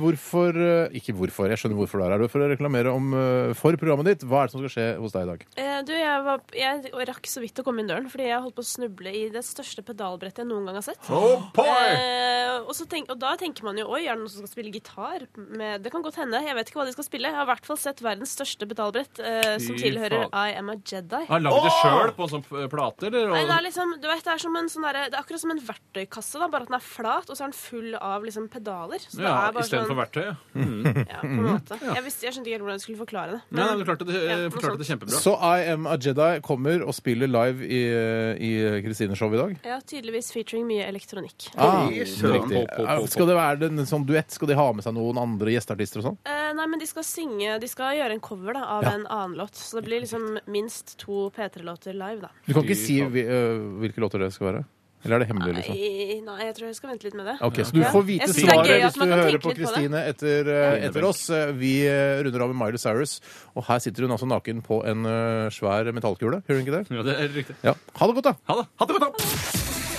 Speaker 3: hvorfor eh, Ikke hvorfor, jeg skjønner hvorfor du er her. Du er For å reklamere om, eh, for programmet ditt, hva er det som skal skje hos deg i dag?
Speaker 10: Eh, du, jeg, var, jeg rakk så vidt å komme inn døren, fordi jeg holdt på å snuble i det største pedalbrettet jeg noen gang har sett.
Speaker 2: Oh,
Speaker 10: Eh, og, så tenk, og da tenker man jo oi, er det noen som skal spille gitar? Med, det kan godt hende. Jeg vet ikke hva de skal spille. Jeg har i hvert fall sett verdens største pedalbrett, eh, som
Speaker 2: Fy
Speaker 10: tilhører
Speaker 2: faen.
Speaker 10: I Am A Jedi.
Speaker 2: Har han lagd det sjøl på en sånn eh, plate, eller?
Speaker 10: Nei, det er
Speaker 2: Og...
Speaker 10: liksom, du vet, det er, som en sånn derre- det er akkurat som en verktøykasse, da, bare at den er flat, og så er den full av liksom, pedaler. Så
Speaker 2: Ja,
Speaker 10: det er bare sånn,
Speaker 2: Istedenfor verktøy. ja.
Speaker 10: Ja, på en måte. Jeg, visste, jeg skjønte ikke helt hvordan jeg skulle forklare det.
Speaker 2: Mhm. Nei, nei, du klarte det, eh,
Speaker 10: Ja, noe
Speaker 2: forklarte det
Speaker 10: sånt.
Speaker 2: kjempebra.
Speaker 3: Så I Am A Jedi kommer og spiller live i, eh, i Kristines show i dag?
Speaker 10: Ja, tydeligvis featuring mye elektronikk.
Speaker 3: Ah,
Speaker 4: Søren.
Speaker 3: riktig. Eh, Skal det være en sånn duett? Skal de ha med seg noen andre gjesteartister og sånn?
Speaker 10: Eh, nei, men de skal synge De skal gjøre en cover da, av en annen låt. Så det blir liksom minst to P3-låter live, da.
Speaker 3: Du kan ikke si hvi- øh, hvilke låter det skal være? Eller er det hemmelig, liksom?
Speaker 10: Nei, nei, jeg tror jeg skal vente litt med det.
Speaker 3: Ok, Så du får vite
Speaker 10: Jeg synes det er
Speaker 3: svaret
Speaker 10: gøy
Speaker 3: hvis
Speaker 10: at
Speaker 3: du
Speaker 10: man kan
Speaker 3: hører på
Speaker 10: tenke litt på det.
Speaker 3: Kristine etter, øh, etter oss. Eh, Vi eh, runder av med Miley Cyrus, og her sitter hun altså naken på en øh, svær metallkule. Hører hun ikke det?
Speaker 2: Ja, det er riktig.
Speaker 3: Ja. Ha det godt, da!
Speaker 2: Ha det! Ha det godt, da!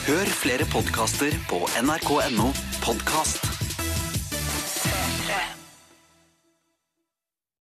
Speaker 9: Hør flere podkaster på nrk.no podkast.